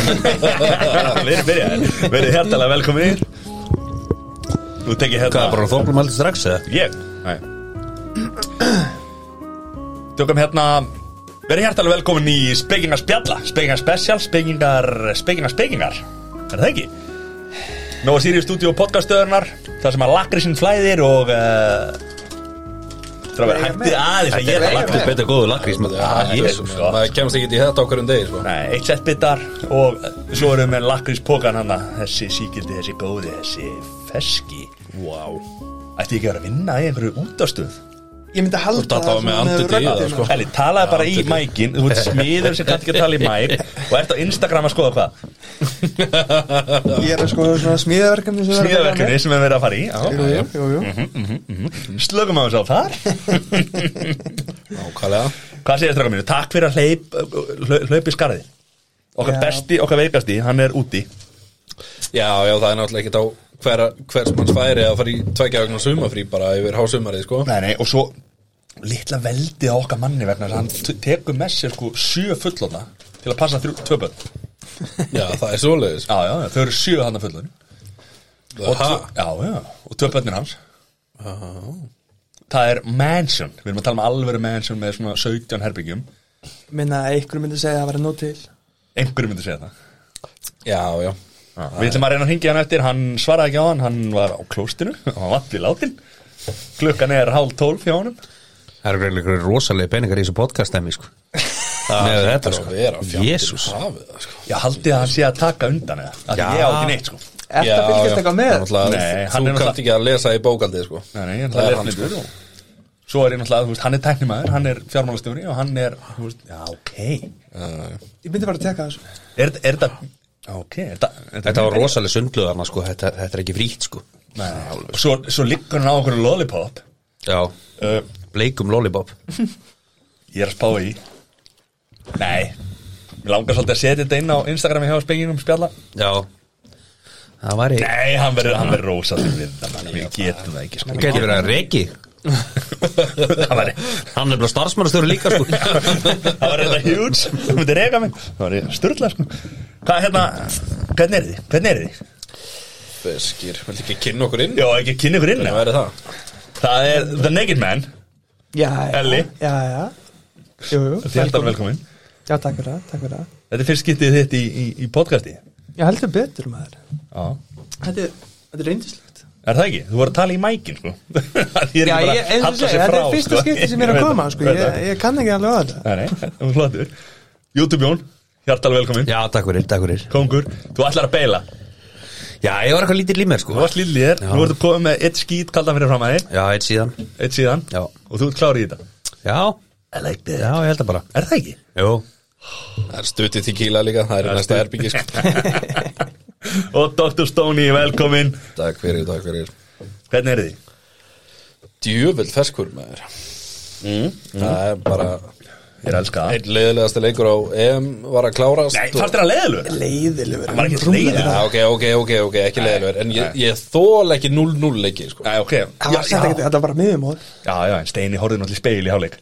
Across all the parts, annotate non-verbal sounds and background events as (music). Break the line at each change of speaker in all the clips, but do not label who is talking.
Við erum byrjaðin Verið hjartalega velkomin í Nú tek ég hérna
Hvað, bara þóknum aldrei strax eða?
Ég Nei. Tökum hérna Verið hjartalega velkomin í Spekingar spjalla Spekingar special Spekingar Spekingar spekingar Er það ekki? Nóa Sirius Studio podcastöðurnar Það sem að lakrisinn flæðir og uh, Það verður hættið aðeins að ég er að
Lagt
lakri
upp betur góðu lakrís maður.
Ah,
Ég-
Jesus, sko.
Maður kemst ekki í þetta á hverjum degi sko.
Nei, eitt sett bitar og svo erum við lakríspokan hann þessi síkildi, þessi góði, þessi feski
Wow
Ætti ég ekki að vera að vinna í einhverju útastöð
Ég myndi halda
ert alltaf
það
með
svona
andlitið í
röddina.
það, sko.
Æli, talaði bara í
andlitið.
mækin, þú ert smiður sem kannski ekki að tala í mæk og ert á Instagram að skoða hvað
Ég er að sko svona smíðaverkefni sem við erum að
Smíðaverkunni
fara
sem við erum að fara í Já.
með. Jú, jú, jú,
Mhm.
jú.
Slökum á þessu á þar
Nákvæmlega
Hvað segir stráka mínu? Takk fyrir að hleyp, hlaup- hlaup í skarði Okkar
Já.
besti, okkar veikasti, hann er úti
Já, já, það er náttúrulega ekkert á hver, hvers manns færi að fara í tveikja vegna sumafrí bara yfir hásumarið sko
Nei, nei, og svo litla veldið á okkar manni vegna þess að hann t- tekur með sér sko sjö fullona til að passa þrjú, tvö börn
Já, það er svoleiðis
Já, já, já, þau eru sjö hann að fullon og,
Ha?
tvö- já, já, og tvö börnir hans Það er mansion Við erum að tala um alvöru mansion með svona 17 herbyggjum
Minna að einhverjum myndi segja að það væri nóg til
Einhverjum myndi segja það
Já, já
Við ætlum að reyna að hringja hann eftir, hann svaraði ekki á hann Hann var á klóstinu, (laughs) hann var við látin Klukkan er hálf tólf hjá honum
Það eru reyðlega ykkur rosalega peningar í þessu podcastæmi sko. með þetta sko Jésús
Þetta
Já, haldið að hann sé að taka undan eða Af
Já.
Því ég á ekki neitt sko
Er það fylgjast eitthvað með?
Nei,
Nei,
hann er
Þú
náttúrulega-
kannt ekki að lesa í bókaldið sko
Nei, nei,
Það
það
er
er
hann,
hlutur og svo er ég náttúrulega, þú veist, hann er tæknimaður, hann er fjármálastjóri og hann er, þú veist, já, ok Er,
Ég myndi bara að teka þessu
er þetta, ok, er þetta er
Þetta var rosalega sundluðarna sko. þetta, þetta er ekki frítt sko.
Nei, og svo, svo liggur hann á okkur lollipop
Já,
uh,
bleikum lollipop
Ég er að spá í Nei, mér langar svolítið að setja þetta inn á Instagrami hjá spenginum spjalla
Já Það var í
Nei, hann verður, hann verður rosa sem við þetta, mann, við getum það ekki,
Það
sko
geti verið að reki
Það var,
Hann er bara starfsmannastöru líka sko.
það var þetta hérna huge, þú myndir reyka mig Það var styrla, sko Hvað, hérna, hvernig er þið, hvernig er þið?
Feskir, viltu ekki kynna okkur inn?
Já, ekki kynni ykkur inn,
Hvernig
eða?
væri það?
Það er The Naked Man
Já, já
Elli.
Já, já Jú, jú
Þjáttan velkomin
Já, takk fyrir það, takk fyrir það
Þetta er fyrst skiptið þitt í, í, í podcasti Já
Já, heldur betur maður Þetta er, þetta er reyndislegt
Er það ekki? Þú voru að tala í mækin sko (laughs) Því er ekki
Já,
bara
ég,
að
eins og
halla
segja,
sig
þetta
frá,
er fyrsta
sko.
skipti sem er
(laughs) Ég
að
veit
koma
það,
sko
veit
Ég,
það.
ég kann ekki alveg á þetta
Nei, (laughs) nei, þú er flottur YouTube Jón, hjartalega velkomin
(laughs) Já, takk fyrir, takk fyrir
Kongur, þú ætlar að beila Þú
Já, ég var eitthvað lítill í mér sko.
varst lillið þér,
Já.
nú ertu komið með eitt skít kaldan fyrir fram að þér
Já, eitt síðan
Eitt síðan
Já.
Og þú ert klárið í þetta
Já,
I like that.
já, ég held það bara
Er það ekki?
Jú,
Það er stutið tequila líka, það er í næsta herbyggi (laughs) sko.
Og Dr. Stoney, velkomin
Takk fyrir, takk fyrir
Hvernig er þið?
Djöfull feskur maður Mm, Það er bara
Ég er að elska það
Einn leiðilegasti leikur á EM var að klárast
Nei,
og-
fannst þér að leiðilegur?
Leiðilegur
Hann var ekki
rúmlega.
leiðilegur.
Já, ok, ok, ok, ok, ekki leiðilegur En ég, ég þól ekki 0-0 leiki sko.
Nei, ok
Það var
Já,
samt
já.
ekki, þetta var bara miðum og
Já, já, en Steini horfði náttúrulega í speil í hálfleik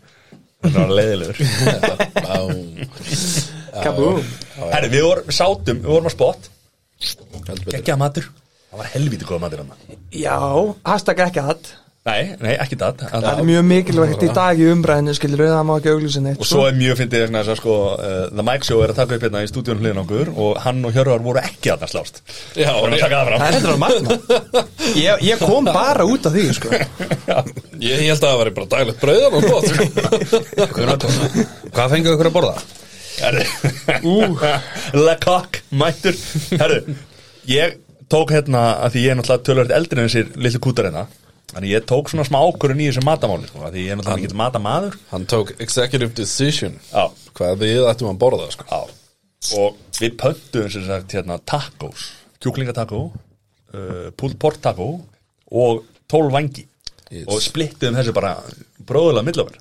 Það var
(laughs)
leiðilegur
Bám.
Kabúm
Herri, við vorum, sátum, við vorum á spot
Heldur betur.
Gekkjaða matur Það var helvítið góða matur hann
Já, hashtag ekki hatt
Nei, nei, ekki það
Það er mjög mikilvægt í dag í umræðinu skilur það má ekki auglýsa neitt sko.
Og svo er mjög fyndið vegna þess að sko uh, The Mike Show er að taka upp hérna í stúdíun hliðin á okkur Og hann og Hjörvar voru ekki að það slást
Já,
voru að taka það
Það
fram
er þetta að
(laughs)
magna ég, ég kom bara út af því sko.
Ég ég held að það væri bara daglegt brauðan og bótt
(laughs)
sko.
hvað fengið ykkur að borða?
Herri, (laughs) Le Coq, mætur Herri, ég tók hérna að Því ég er náttúrulega tölvöld eldri en þessir litlu kútar hérna Þannig ég tók svona smá ákvörun í þessu matamáli sko, af Því ég er náttúrulega ekki matamaður
Hann tók executive decision
Já.
Hvað við ættum að borða sko.
Já, og við pöntuðum sem sagt hérna tacos, kjúklingatakó, uh, pulled pork takó og tól vangi
Yes.
og splittuðum þessu bara bróðulega millofar.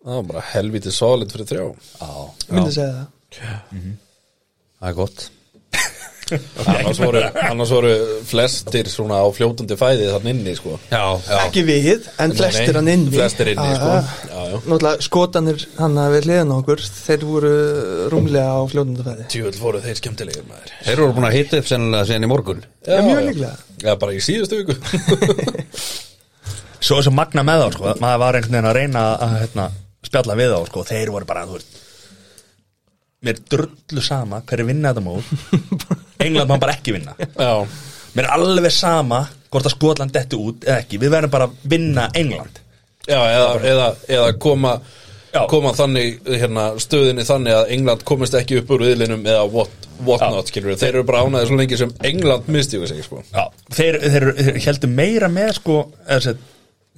Það var bara helviti solid fyrir þrjá
Já,
myndi segja það
(laughs)
Það er gott
annars voru, annars voru flestir svona á fljótandi fæði þann inni sko
Já,
Já.
Ekki við, en
Nei,
flestir
nei,
hann inni
flestir inni,
Já,
sko.
já.
Já, já.
Náttúrulega skotanir hann að við hliðan á okkur Þeir voru rúmlega á fljóðundafæði
Tjúvel voru þeir skemmtilegir maður
þeir eru búin að hita upp sennilega síðan í morgun
Já, mjög líklega.
Já, bara í síðustu viku
(laughs)
(laughs)
Svo þess að magna með þá sko Maður var einhvern veginn að reyna að hérna, spjalla við þá sko Þeir voru bara, þú veist Mér er drullu sama hver er vinna þetta mót England maður bara ekki vinna
Já,
Mér er alveg sama hvort að Skotland detti út eða ekki Við verðum bara að vinna England
já eða, eða, eða koma
Já.
koma þannig, hérna, stöðinni þannig að England komist ekki upp úr viðlinum eða what, what
Já.
not, skilur við, þeir eru bara ánaði svo lengi sem England misti við sig, sko
Já, þeir, þeir, þeir heldur meira með sko eða, sem sagt,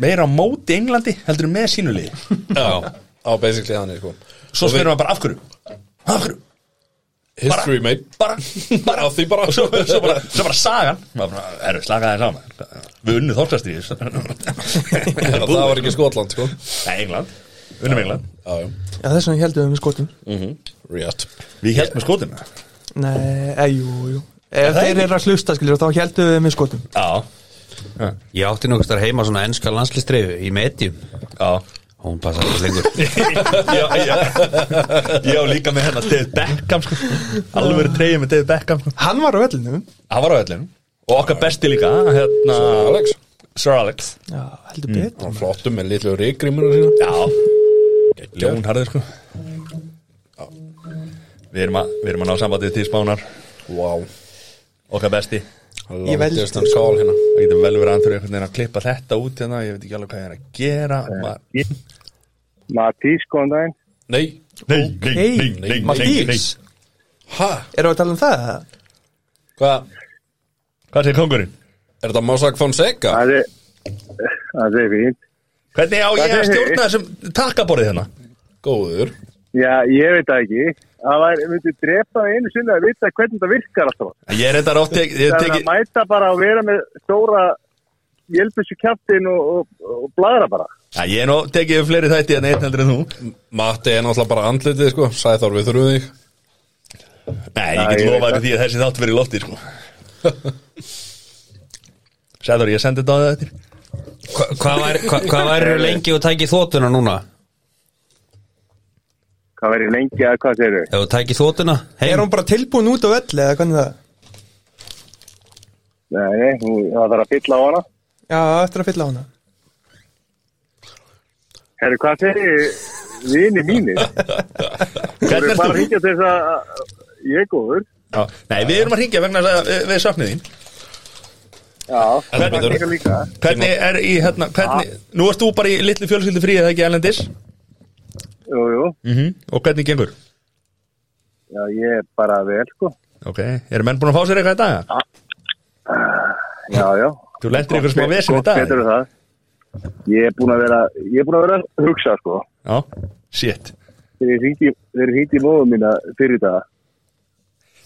Meira á móti Englandi heldur en með sínuliði
Já, á basically þannig, sko
Svo spyrir maður bara af hverju Af hverju
History, mate
bara, bara
Á því bara
og svo, svo, bara, svo bara sagan Maður bara, herru, slakaði það saman við unnu (laughs) þorskastrýðis
(laughs) Það
það
var ekki Skotland, sko
Nei, England, unnum England
Já, já,
Já, þess vegna heldum við með skotum
rétt
Við heldum með skotum
Nei, eða, jú, jú Ef
það
þeir
ekki?
eru að hlusta, skilur, þá heldum við með skotum
Já,
Ég átti nokkast að heima svona enska landslistriðu í medium
já
Hún passar ekki lengur
Já, já Ég á líka með hennar David Beckham sko. Alveg verið treyið með David Beckham sko.
Hann var á vellinu
Hann var á öllinu Og okkar besti líka hérna,
Alex,
Sir Alex
Já, heldur betur
hann flottum með litlu ríkgrímur sína
Já, ljónharður sko Við erum að, við erum að ná sambandið til spánar
Wow
Okkar besti
Ég
Long
veldi-
distance call hérna
Það getur vel verið að hann þurfa einhvern veginn að klippa þetta út hérna, ég veit ekki alveg hvað ég er að gera Ma-
Matís, góðan daginn.
Nei,
Nei, nei,
Hey,
nei.
Matís,
ha,
eru að tala um það?
hvað,
Hvað segir kongurinn?
er þetta Mossack Fonseca?
Það er, það er fínt.
Hvernig á ég að
segir-
stjórna þessum takkaborðið
(laughs)
hérna?
Góður
Já, ég veit það ekki. Það var, ég myndi drepa það einu sinni að vita hvernig það virkar alltaf.
Ég er þetta rátt ég, ég
Það er
teki,
að mæta bara og vera með stóra hjálpissu kjáttin og, og, og bladra bara.
ja, ég er nú tekið fleiri þætti en einn heldur en þú
Matti er náttúrulega bara andlitið sko Sæþór við þurfum þig
Nei, ég get
ég veit
lofað
það.
því að þessi þáttu verið í lofti
(laughs)
sko. Sæður, ég sendi þetta á það eftir
(laughs) Hva- Hvað væri hva, hva væri lengi og tæki þótuna núna?
Hvað verður lengi að hvað þeir eru?
Ef þú tæki þótuna
Er
heim
hún bara tilbúin út á velli eða hvernig það?
Nei, nei, hún- það þarf að fylla á hana.
Já, eftir að fylla á hana
Herru, hvað segir vini mínir? Þú
(laughs) Hvernig
eru bara að
er þú?
hýkja til þess að ég er góður.
Já, Nei, við erum að ringja vegna þess að eh, við, við söknum þín
Já, það
Hvernig-
er líka.
Hvernig er í, hérna,
Ah.
hvernig Nú erst þú bara í litlu fjölskyldu frí eða ekki Erlendis
Jú, jú.
Og hvernig gengur?
Já, ég er bara vel, sko.
Ok, eru menn búin að fá sér eitthvað í dag?
Já, já.
Þú lendir ykkur smá vesinn í
Gott
dag
betur en það. Ég er búin að vera, ég er búin að vera að hugsa sko.
Já, shit
Þegar ég hringi, þegar ég hringi í móðum mína fyrir það.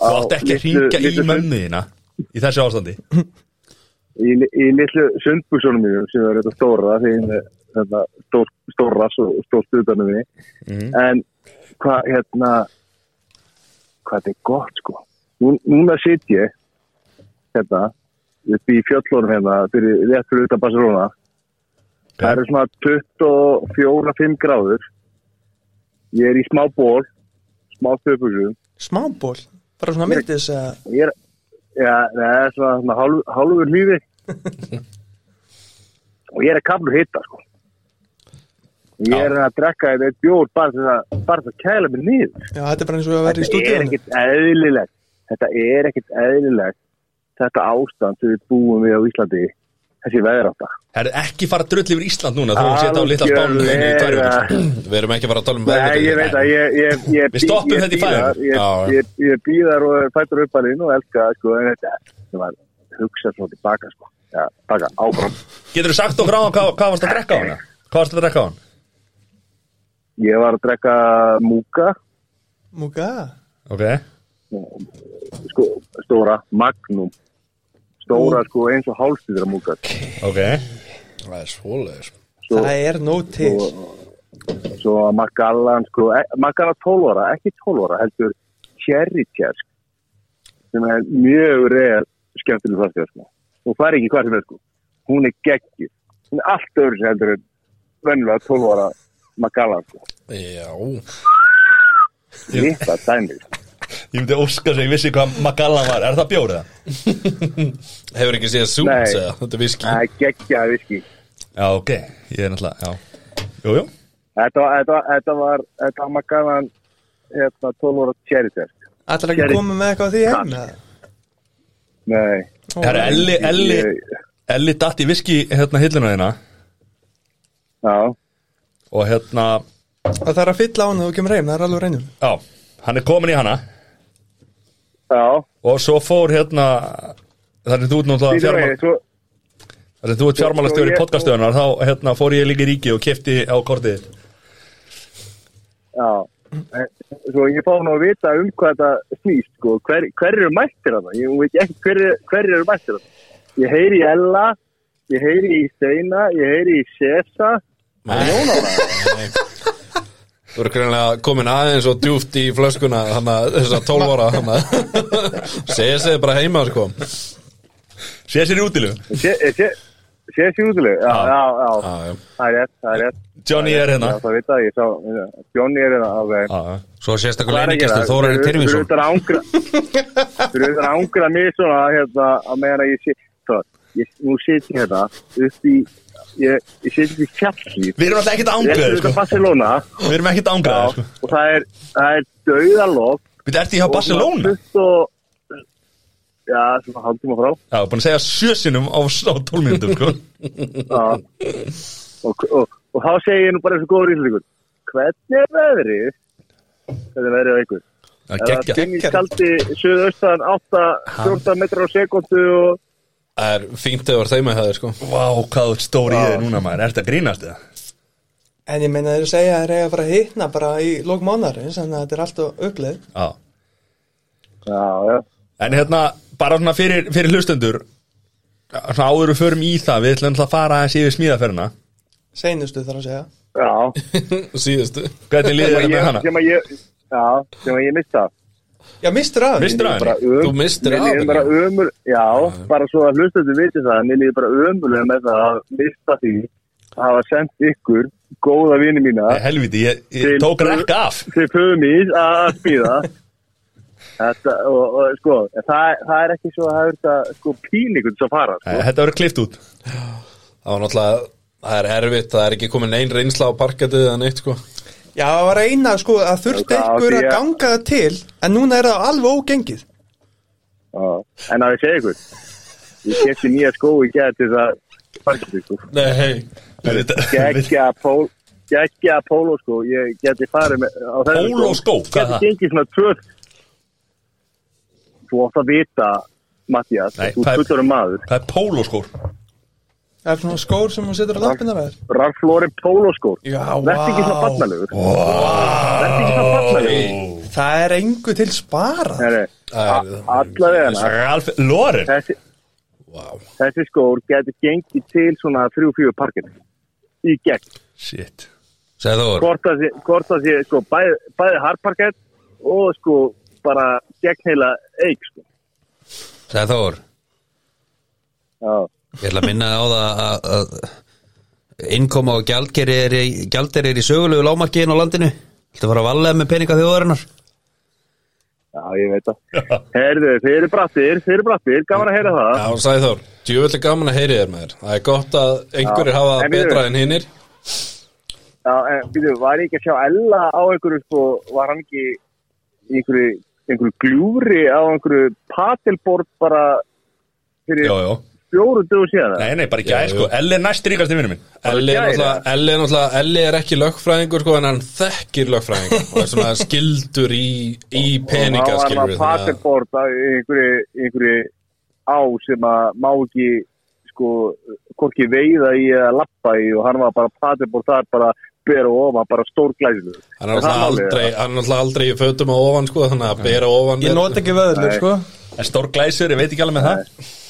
Þú átt ekki að hringa í mömmu þína Í þessu ástandi
Í, í litlu sundbúsunum mínum sem er þetta stóra því ég er með þetta stór, stóra og stór stuðdanum minni. um En hvað, hérna, hvað þetta er gott sko. Nú, núna sit ég, hérna, upp í fjöllunum hérna, fyrir, rétt fyrir utan Barcelona. Það eru svona 24-5 gráður. Ég er í smá ból, smá stöpugsum.
Smából, bara svona myndis að
Ég er, já, neða, svona, svona hálf, hálfur
(laughs)
lífi. og ég er að kaflu hitta, sko. Ég er að drekka þetta eitt bjór bara til að, bara til að kæla mig niður.
Já, þetta er bara eins og að vera í
Þetta er
stúdíónu
ekkit eðlilegt. Þetta er ekkit eðlilegt. Þetta ástand sem við búum við á Íslandi, þessi veðrátta.
Það er ekki fara að drull yfir Ísland núna Þú sétt á litla spánu þínu í tvær vikur
Við erum ekki að fara að tala um
Nei, ég veit að ég, ég, ég
Við stoppum
ég
þetta í
bíð þar,
fæðingu.
Ég,
Já, já.
ég, ég býðar og er fættur upp að og elska sko, en þetta ég var hugsa svo tilbaka sko. Já, taka áfram.
Getur þú sagt okkur á hann hvað, hvað varst að drekka á hana? Hvað varst að drekka á hann?
Ég var að drekka múka
Múka,
Ok
sko, stóra, magnum stóra sko eins og hálfstýðra múka
Ok
Það er svoleiðis
svo,
það er nóg til
svo að Magallan sko, e, Magallan 12 ára, ekki 12 ára heldur cherry tjersk sem er mjög reyðar skemmtileg flaska sko. og fari ekki hvað sem er sko. hún er geggjur hún er allt öðru sem heldur en vennulega 12 ára Magala sko.
Já,
litla dæmi sko.
Ég myndi óska sem ég vissi hvað Magalla var Er það bjórið það?
hefur ekki séð
Nei.
Zooms eða þetta er viski
það er geggja viski
Já, ok, ég er náttúrulega, já Jú, jú,
þetta, var- þetta, var- þetta var þetta var Magala hérna 12 ára cherry test
Ætlar ekki að
Gerði.
koma með eitthvað af því hérna? heim? eða?
nei
herra, Elli, Elli
Ég-
Elli datt í viski hérna hillinu þína
já
Og hérna,
Það þarf að fylla á hann þegar þú kemur heim, það er alveg reynum
já, hann er komin í hana
já
Og svo fór hérna Þannig þú ert náttúrulega
Býtu
fjármál
við, svo-
Þannig þú ert fjármálastjóri
Svo ég-
podcastöðunar Þá hérna fór ég líka í ríki og kefti á kortið þitt.
Já, en svo ég fá nú að vita um hvað þetta snýst, sko, hver, hver eru mættir þetta? Ég hún veit ekki hver, hver eru mættir þetta. Ég heyri í Ella, ég heyri í Steina, ég heyri í Sessa,
Þú eru greinlega komin aðeins og djúft í flöskuna hana, þess að 12 ára (laughs) hana. segja sig bara heima sko.
Sér sér í útilegu
Sessi útileg, já, já, já,
Já, já.
það er rétt, það er rétt.
Johnny er hérna
Já, það veit að ég sá, Johnny er hérna, ok.
Já, já.
Svo sérstakur leinigestur Þórar Tyrfinsson
Fyrir
(laughs)
auðvitað að ángra mig svona hérna að meðan að ég sé svo, ég, nú sit ég hérna upp í ég, ég sit upp í kjalli
Við erum alltaf ekkert ángraðið sko.
Réttur út af Barcelona
Við erum ekkert
já,
ángraðið sko.
og það er, það er dauðalokk
Við ertu hjá Barcelona
og, svona 20 og já, svona haldum að frá
Já, búin að segja sjösinum á, á tólmyndum sko.
já. og, og, og þá segi ég nú bara eins og góður íslendingur hvernig er veðrið hvernig er veðrið á ykkur
Já,
Það
geggja
er skaldi suðaustan 8-14 metrar á sekundu og
Það er fínt eða var þeim að það er sko.
Vá, hvað þú ert stór í þig núna maður Ertu að grínast það?
En ég meina þeir segja að þeir eiga að fara að hitna bara í lók mánarins, þannig að þetta er alltaf uppleið.
Já
já, já,
En hérna, bara svona fyrir, fyrir hlustendur Svona áður við förum í það Við ætlum náttúrulega að fara aðeins yfir smíðaferðina
Seinustu þarf að segja.
já
(laughs) síðustu
Hvernig líður þetta
sem að
með
ég,
hana?
sem að ég já, sem að ég mista
Já, mistur af.
Mistur af henni?
um,
Þú misstir af
mér líður
henni.
bara ömur, já, bara svo að hlustendur viti það, mér líður bara ömulega með það að mista því að hafa sendt ykkur, góða vini mína
Nei, Helviti, ég, ég
Til-
tók rekka af
til fömið að að spýða Þetta, og, og sko, það, það er ekki svo að hafa þetta, sko, píningun sem fara,
Nei,
sko.
Þetta verður klift út
Það var náttúrulega, það er erfitt Það er ekki komin neinn reynsla á parkatið eða neitt sko.
Já, það var eina sko að þurfti
Já, hvað
ykkur að
átti ég-
ganga það til, en núna er það alveg ógengið.
Já. En að ég segja ykkur, ég kefti nýja skó í gerð til þess að parkið, sko.
Nei, hei
Við-
geggja pól geggja póló sko ég geti farið með á þessum
Pólóskó, hvað er
geti
það?
gengið svona tvö þú átt að vita Mattias,
Nei,
þú
það er-
tuttur um maður
Það er pólóskór
Það er svona skór sem hún setur á lappinnar að þér.
rarflóri pólóskór
Já,
verði ekki svona
vá.
fallalegur verði ekki svona fallalegur
Það er engu til sparað.
Nei, nei, a- allavega
Ralf Loren
þessi,
wow.
þessi skór geti gengið til svona 3-4 parkir í gegn
Shit
Segð Þór
hvort að sé, hvort að sé sko, bæði, bæði hardparkett og sko bara gegn heila eik sko.
Segð Þór
Já.
Ég ætla að minna á það að- að innkoma og gjaldgeri er í, gjaldgeri er í sögulegu lámarki inn á landinu Þetta var að valega með peninga þjóðarinnar
Já, ég veit það. Herðu, þeir eru brattir, þeir eru brattir, gaman að heyra það.
Já, sagði Þór, djúvöldi gaman að heyri þér með þér Það er gott að einhverjir
Já.
hafa það
En við-
betra en hinnir
Já, en býtum, var ég ekki að sjá Ella á einhverju, sko, var hann ekki í einhverju, einhverju gljúri á einhverju patilbord bara fyrir
Jó, jó
fjóru dögu síðan?
Nei, nei, bara ekki aðeins sko Elli er næst ríkast í vinnum minn
Elli er
gæri.
náttúrulega, Elli er náttúrulega, Elli er ekki lögfræðingur sko en hann þekkir lögfræðingur og er svona skildur í, í peninga
Þá var
skilur
hann á patilbord á einhverju, einhverju á sem að má ekki, sko, hvorki veiða í eða lappa í og hann var bara patilbord þar bara bera ofan, bara stórglæsilegur.
Hann er náttúrulega
málið,
aldrei, hann er náttúrulega aldrei í fötum á ofan sko þannig að bera ofan
Ég
er-
nota ekki vöðlu,
Nei.
sko.
En stór glæsur, ég veit ekki alveg með það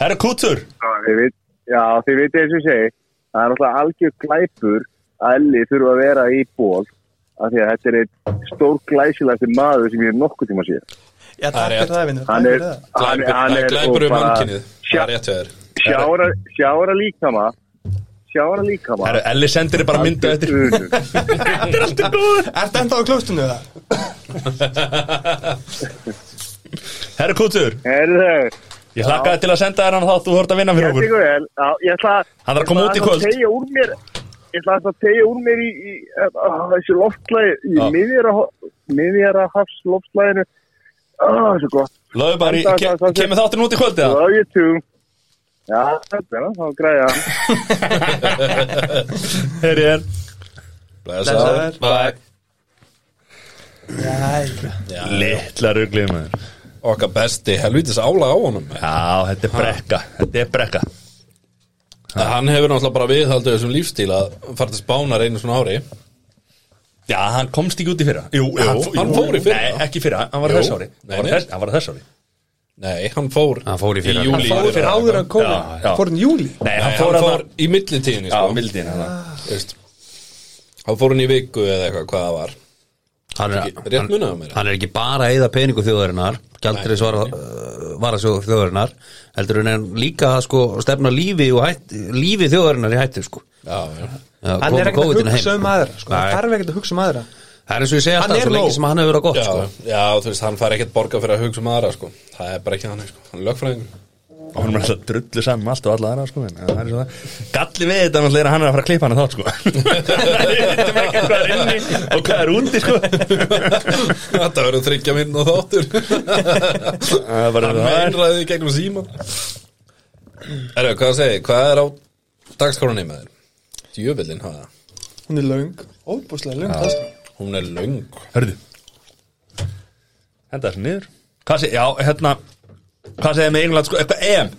Herra Kútur
Já, þið veit, já, þið veit eins og ég segi það er náttúrulega algjör glæpur að Elli þurfa að vera í ból af því að þetta er einn stór glæsilegasti maður sem ég er nokkuð tíma síðan
Já,
Það er
takk fyrir
rétt.
það, vinnur.
Hann
Takk
er-
fyrir það.
Glæpur-
Hann- hann
Það
er-
er glæpur
og
um
bara-
mannkinnið Það
Sjá-
er rétt hjá þér
Sjára, sjára líkama Sjára líkama
Herru, Elli sendir þér bara mynda eftir
Unum.
(laughs) Þetta er alltaf góð
Ertu enda á klóstinu það?
Herru Kútur,
Herðu,
ég hlakkaði til að senda þér hann þátt Þú hort að vinna fyrir
ég
okkur
tekur vel Já, Ég ætla að
Hann þarf að koma
ég
út í
ætla að
kvöld.
tegja úr mér Ég ætla að tegja úr mér í, í, í á, þessu loftlægi í miðjara miðjara hafs loftlæginu Það er svo gott
Löðu bara í,
Senda-
ke-
senda-
kemur þáttin út í kvöld eða?
Love you too Já, þetta er það, þá græði hann
Herri er
Blessaður. Bye.
Jæja.
Littla ruglið maður
Okkar besti helvítis álag á honum
Já, þetta er brekka Þetta er brekka
Hann hefur náttúrulega bara viðhaldið þessum lífstíl að fara til spánar einu svona ári
Já, hann komst ekki út í fyrra Jú, jú,
Hann- hann fór í fyrra.
Nei, ekki fyrra, hann var
Jú.
þess ári
Nei,
Hann var
nei.
þess- Hann var þess ári
Nei, hann fór
Hann fór í fyrra.
júlí
Hann fór í fyrra.
Áður en
Já, já.
COVID, fór hann í júli.
Nei,
Nei,
hann fór að það
í millitíðinni
Já,
sko.
mildin hann
Veist. Hann fór hann í viku eða eitthvað hvað það var
hann er,
Ekki- Rétt munaðu mér
hann er ekki bara að eyða peningu þjóðarinnar gældur þess varasjóð þjóðarinnar heldur hann er líka að sko stefna lífi, og hætt, lífi þjóðarinnar í hættu sko
Já, já
Hann er ekkert að hugsa um aðra, sko. Hann
það
þarf ekkert að hugsa um aðra.
er eins og ég segja
Hann
alltaf
er
svo lengi
nóg.
sem hann hefur verið gott
Já,
sko.
já, þú veist, hann fær ekkert borga fyrir að hugsa um aðra sko. Það er bara ekki hann, sko. hann er lögfræðingur
Og hann er alltaf drullu saman með allt og alla aðra sko en það er svo það. Galli við þetta náttúrulega er að hann er að fara að klippa hann þátt sko (laughs) Við veitum ekki hvað er inni og hvað er úti sko
(laughs) Þetta verður þryggja minn og þáttur
(laughs) Það er bara
Hann með
það
einræði gegnum síma Erðu, hvað að segja, hvað er á dagskorunni með þér? Djöfellin hafa það.
Hún er löng, óbúslega löng dagskrá.
Hún er löng
Hörðu Henda þessu niður Hvað segir, já, hérna Hvað segir með England sko, eitthvað EM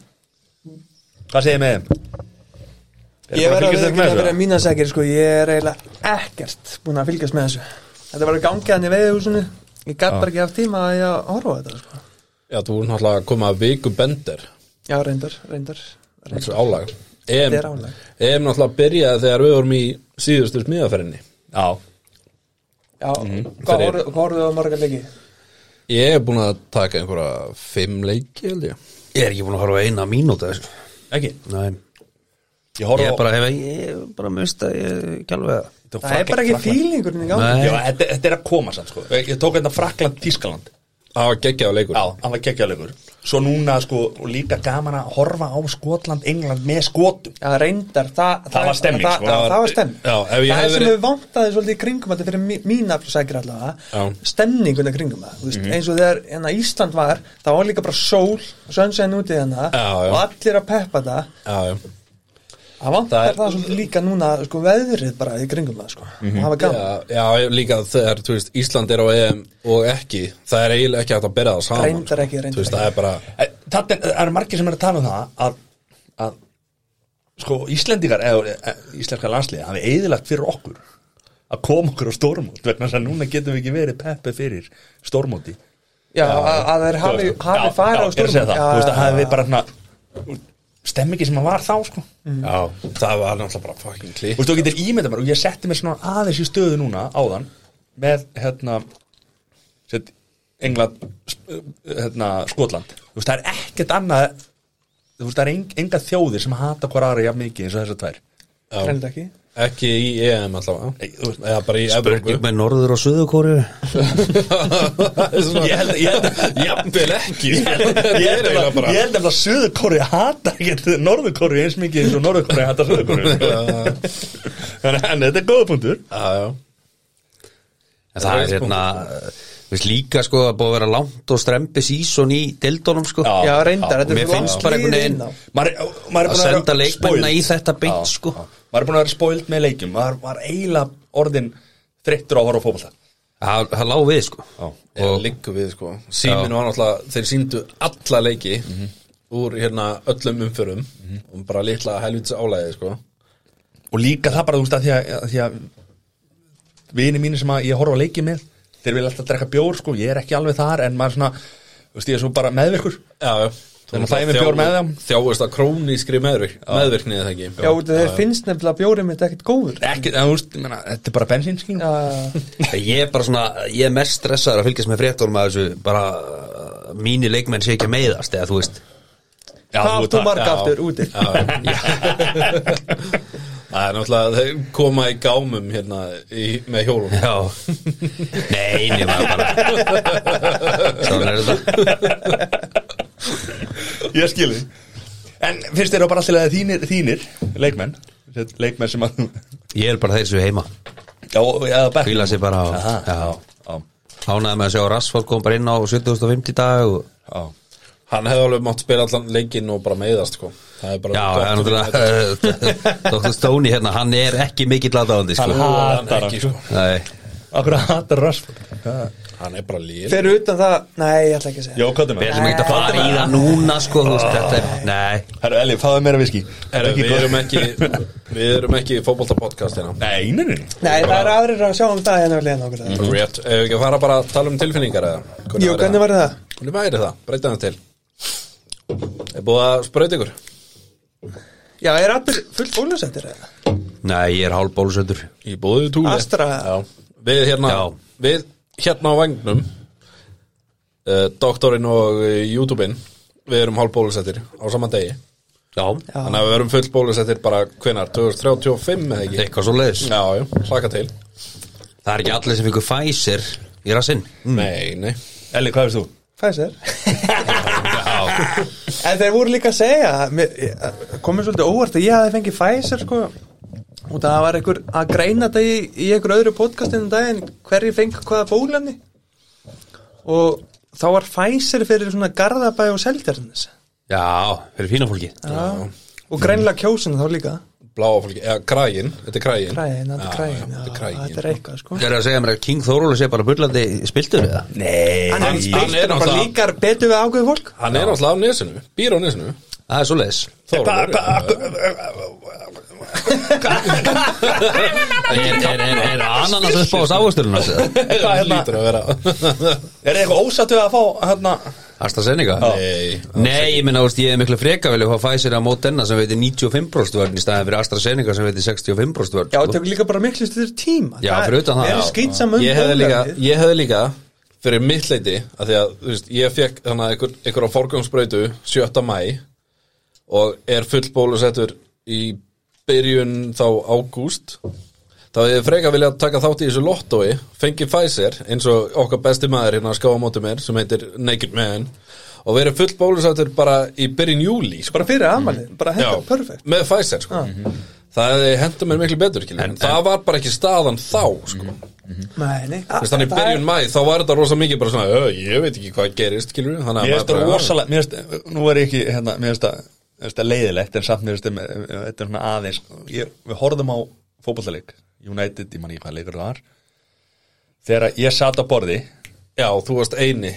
Hvað segir með EM Er
Ég
það
verð að
fylgjast
vera
ekki
ekki
með
að vera
þessu?
mína segir sko, ég er eiginlega ekkert búin að fylgjast með þessu Þetta var að gangið hann í veiðhúsinu Ég gaf bara ekki af tíma að ég að horfa á þetta sko.
Já, þú er náttúrulega að koma að viku bender
Já, reyndar, reyndar, reyndar.
Þetta er álag EM,
Þetta er álag.
EM náttúrulega byrjaði þegar við vorum í síðustu smiðaferðinni
Já,
Já, hvað
Fyrir-
horfðu- hvað horfðu á marga leiki?
Ég er búin að taka einhverja fimm leiki, held ég
ég er ekki búin að horfa á eina mínúta sko.
ekki
Nei.
Ég horf
ég
á
bara hef ég bara mista ég ekki alveg að-
Þetta
Það er
Frakk-
bara ekki
Frakkland.
fílingurinn í gangi
Nei.
Já, þetta, þetta er að koma sann sko Ég tók hérna Frakland Tískaland
Það var geggjaða leikur
Já, hann var kekkjalegur Svo núna sko, og líka gaman að horfa á Skotland, England með skotum
Já, reyndar, það,
Það var stemning,
það,
sko.
það, það var stemning
Já, ef ég
Það
hefði
er sem
verið-
við vantaði svolítið í kringum þetta fyrir mí- mína sækir allavega
Já.
Stemninguna kringum það, þú veist, eins og þegar hérna, Ísland var Það var líka bara sól, sönnsæðin úti hérna
Já, já.
Og allir að peppa það
Já, já.
Það
Það
vantar það,
er-
svolítið líka núna sko, veðrið bara í kringum það sko. og hafa gaman,
Já, já, líka þegar, þú veist, Ísland er á EM og ekki, það er eiginlega ekki hægt að bera það saman
Reyndar
sko.
ekki,
Þú
reyndar
veist,
ekki.
það er bara,
Eh, Það er, það er margir sem er að tala um það að, að sko Íslendingar eða e, íslenska landsliði hafi eðilagt fyrir okkur að koma okkur á stórmót vegna þess að núna getum við ekki verið peppi fyrir stórmóti
já, að að þeir hafi,
Þú veist,
hafi
já,
farið
já,
á
ég er að segja það. Þú veist að hafi við bara svona stemmingi sem að var þá sko
Mm.
já, það var náttúrulega bara fucking klí
Þú veist, þú getur ímyndað mér og ég setti mér svona aðeins í stöðu núna áðan með hérna set, England sp- hérna, Skotland þú veist, það er ekkert annað þú veist, það er eng, enga þjóðir sem hata hvar aðra jafn mikið eins og þessar tvær
Reyndar ekki
Ekki í EM allavega
Nei, þú veist-
Eða bara í Evrópu
(laughs)
spurning með norður og söður kóru
Það er svona-
Ég held- ég held-
Jafnvel ekki
ég held
Ég er eiginlega
að-
bara
ég held að Suður Kóri hata ekkert Norður Kóri eins mikið eins og Norður Kóri hata Suður (laughs) Kóri þannig að þetta er góða punktur
Já, já
En það er hérna þú veist líka sko að búið að vera langt og strempi síson í deildónum sko
Já.
já, reyndar, þetta
mér
er
finnst bara einhvern veginn-
veginn
maður, maður er
að
búin vera
senda leikmennina
spoiled.
í þetta beint
Já,
sko
já. maður er búin að vera spoilt með leikjum maður var eiginlega orðin þreyttur á að horfa á fótbolta
það það lá við sko
og
og
líku við sko Mhm. síminu var náttúrulega, þeir síndu alla leiki úr hérna öllum umförum og bara litla helvits álæði sko
og líka það bara þú veist að því að, að, því að vini mínu sem að ég horfa á leiki með þeir vilja alltaf drekka bjór sko ég er ekki alveg þar en maður svona þú veist ég er svo bara meðvirkur
já, já
Þannig að þægjum við bjór með þeim.
þjáist að krónískri meðvirk, meðvirkni eða ekki
já, út af þeir finnst nefnilega bjórið mitt ekkert góður
ekki, en, þú veist, ég meina, þetta er bara bensínskín
já,
ég er bara svona ég er mest stressaður að fylgjast með fréttónum að þessu bara uh, mínir leikmenn sé ekki að meiðast eða þú veist
Já,
Hvað átt þú
það-
marga
já.
aftur úti?
Já,
(laughs)
já. Það er náttúrulega þeir koma í gámum hérna í, með hjólum
Já (laughs) Nei, nema bara Svona er þetta
Ég skil þig En finnst þér það bara alltaf að þínir, þínir leikmenn sem sagt, Leikmenn sem að
Ég er bara þeir sem er heima
Já, eða bekk
Hvíla sig bara á
Aha,
Já
já,
Hánaði með að sjá Rassford kom bara inn á 70.50 dag og
já
Hann hefði alveg mátt spila allan leikinn og bara meiðast sko. Það er bara
Já,
gott
það er
fyrir
náttúrulega (laughs) Dr. Stoney hérna, hann er ekki mikill aðdáðandi
Hann
sko.
hatar
ekki,
hann sko
Nei,
Akkur hatar Rashford
þetta. Hann er bara líf
Fyrir utan það, nei, ég ætla ekki að segja
Jó, hvað er
við
með?
erum ekki að fara í það núna sko, þú veist, þetta er, nei
Herru, Eli, fáðu meira viski
Við erum ekki Við erum ekki fótbolta podcast hérna
Nei, nei, nei
Nei, það eru aðrir að sjá um það hérna við leiðan okkur það
Rétt, ef við ekki að fara bara að tala um tilfinningar eða
Jú,
væri
hvernig var það?
það? Hvernig væri það? Breyta það til Er búið að sprauta ykkur?
Já, er allir fullt bólusettir eða?
Nei, ég er hálf bólusöndur
Í búið túli
Astra.
Já, við hérna
Já.
Við hérna á vagnum uh, Doktorinn og eh, YouTube-inn Við erum hálf bólusettir á sama degi
Já,
Þannig að við erum full bólusettir bara hvenar 2035 eða ekki
eitthvað svo leiðis
Já, já, hlaka til
Það er ekki allir sem fengur Pfizer í rassinn
Nei, nei
Eli, hvað veist þú?
Pfizer En þeir voru líka að segja mér- ég- komið svolítið óvart að ég hafi fengið Pfizer sko og það var einhver að greina þetta í, í einhver öðru podcastinu um daginn hverju feng hvaða bólefni og þá var Pfizer fyrir svona Garðabæ og Seltjarnis
Já, fyrir fína fólki
og greinlega kjósin þá líka
Bláa fólki, eða grægin, þetta er grægin
Græðin, þetta
Já,
er
já,
græðin,
þetta er
þetta er
grægin
eitthvað sko
Það er að segja mér að King Þórólu sé bara bullandi spiltur eða?
Nei
Hann er
Hann- hann er
spiltur og bara
náttúrulega-
líkar betur við ágöðu fólk
Hann er náttúrulega á nesinu, býr á nesinu
Það er svo leiðis
Þórólfur,
Er, er, er, er ananas upp á sávasturinn hans eða?
(laughs)
Hvað
Hann
hérna?
lítur að vera
Er þið eitthvað ósattu að fá hérna
AstraZeneca?
Nei,
Nei, ég minna, veist, ég er miklu freka vilja hvað Pfizer að Moderna sem veitir 95% vörn í staðin fyrir AstraZeneca sem veitir 65% vörn
Já, það tekur líka bara miklu styrður tíma
Já, fyrir utan það.
Er
Já.
skýt saman
ég hefði líka, ég hefði líka fyrir mitt leiti að því að þú veist, ég fekk þannig að einhver, einhver á forgangsbrautu 7. mæ og er full bólusettur í byrjun þá ágúst þá hefði ég freka vilja taka þátt í þessu lottói fengi Pfizer eins og okkar besti maður hérna að skáða móti mér sem heitir Naked Man og verið full bólusettur bara í byrjun júli sko.
Bara fyrir aðmælið, bara
Já,
hendur perfekt
með Pfizer sko. það hefði henda mér miklu betur en, en, það var bara ekki staðan þá sko.
Nei, nei
Þú veist, þannig í byrjun mæ, þá var þetta rosa mikið bara svona, "Ö, ég veit ekki hvað gerist, skilur við Þannig
Mér finnst það
bara,
rosalega, mér finnst, nú er ég ekki, hérna, mér finnst það- mér finnst það leiðilegt en samt mér finnst það, mér- þetta er svona aðeins, ég, við horfðum á fótballaleik, United, ég man ekki hvað leikur það var, þegar ég sat á borði
Já, þú varst eini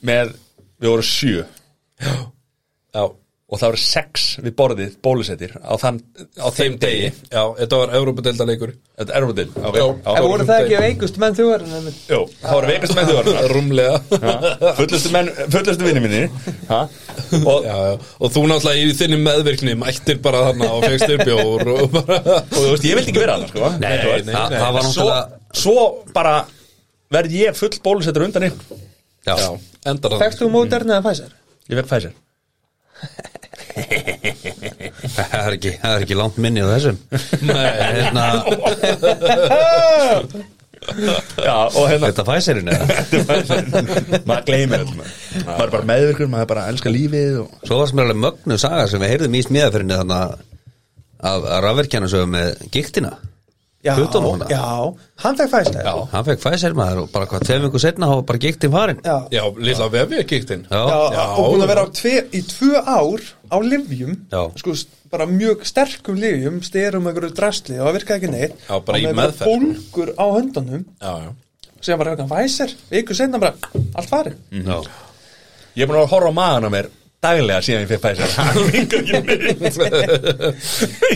með, við vorum sjö
Já,
og það voru sex við borðið bólusettir á, þann, á þeim degi,
Já, þetta var Európa-deildarleikur
þetta er erfudil, ok,
Já.
já,
En voru
Þórum
það ekki
þeim.
veikust menn þú erum nefnir
jú, það voru veikast með þjóðar, (laughs)
Rúmlega
fullustu menn, fullustu vinni minni, ha, og
Já, já, og þú náttúrulega í þinni meðvirkni mættir bara þarna og fegst yrbjór og bara
og þú veist, ég vildi ekki vera þarna sko
Nei,
þú veist.
nei, það- það var
En svo,
náttúrulega-
svo bara verð ég full bólusettur undan ykkur
Já,
Já, endar þannig
Fækst þú Moderna eða Pfizer?
ég vekk fæsir
það er ekki, það er ekki langt minni á
(laughs)
þessum Hérna,
já, og hérna
Þetta Pfizerin eða?
maður gleymir öll maður maður er bara meðvirkur, maður er bara að elska lífið og...
Svo varst mér alveg mögnu saga sem við heyrðum í smíðaferinni þannig að af rafverkjana sögum með giktina
Já,
Hlutamóna.
já, hann fekk Pfizer Já,
Hann fekk Pfizer maður og bara hvað tveim ykkur setna og bara giktin farin
já,
Já, lilla vefi að kíktinn
Já,
já og búin að vera á tve, í tvö ár á livjum
Já.
Sko, s- bara mjög sterkum livjum styrum einhverju drastli og það virkaði ekki neitt
Já, bara
Og
í
með bara
meðferð.
Bólgur á höndunum
Já, já
sem bara hefðan Pfizer, viku senna bara allt farið
já.
ég er búin að horfa á maðan á mér daglega síðan ég fekk fæsir hann vingur ekki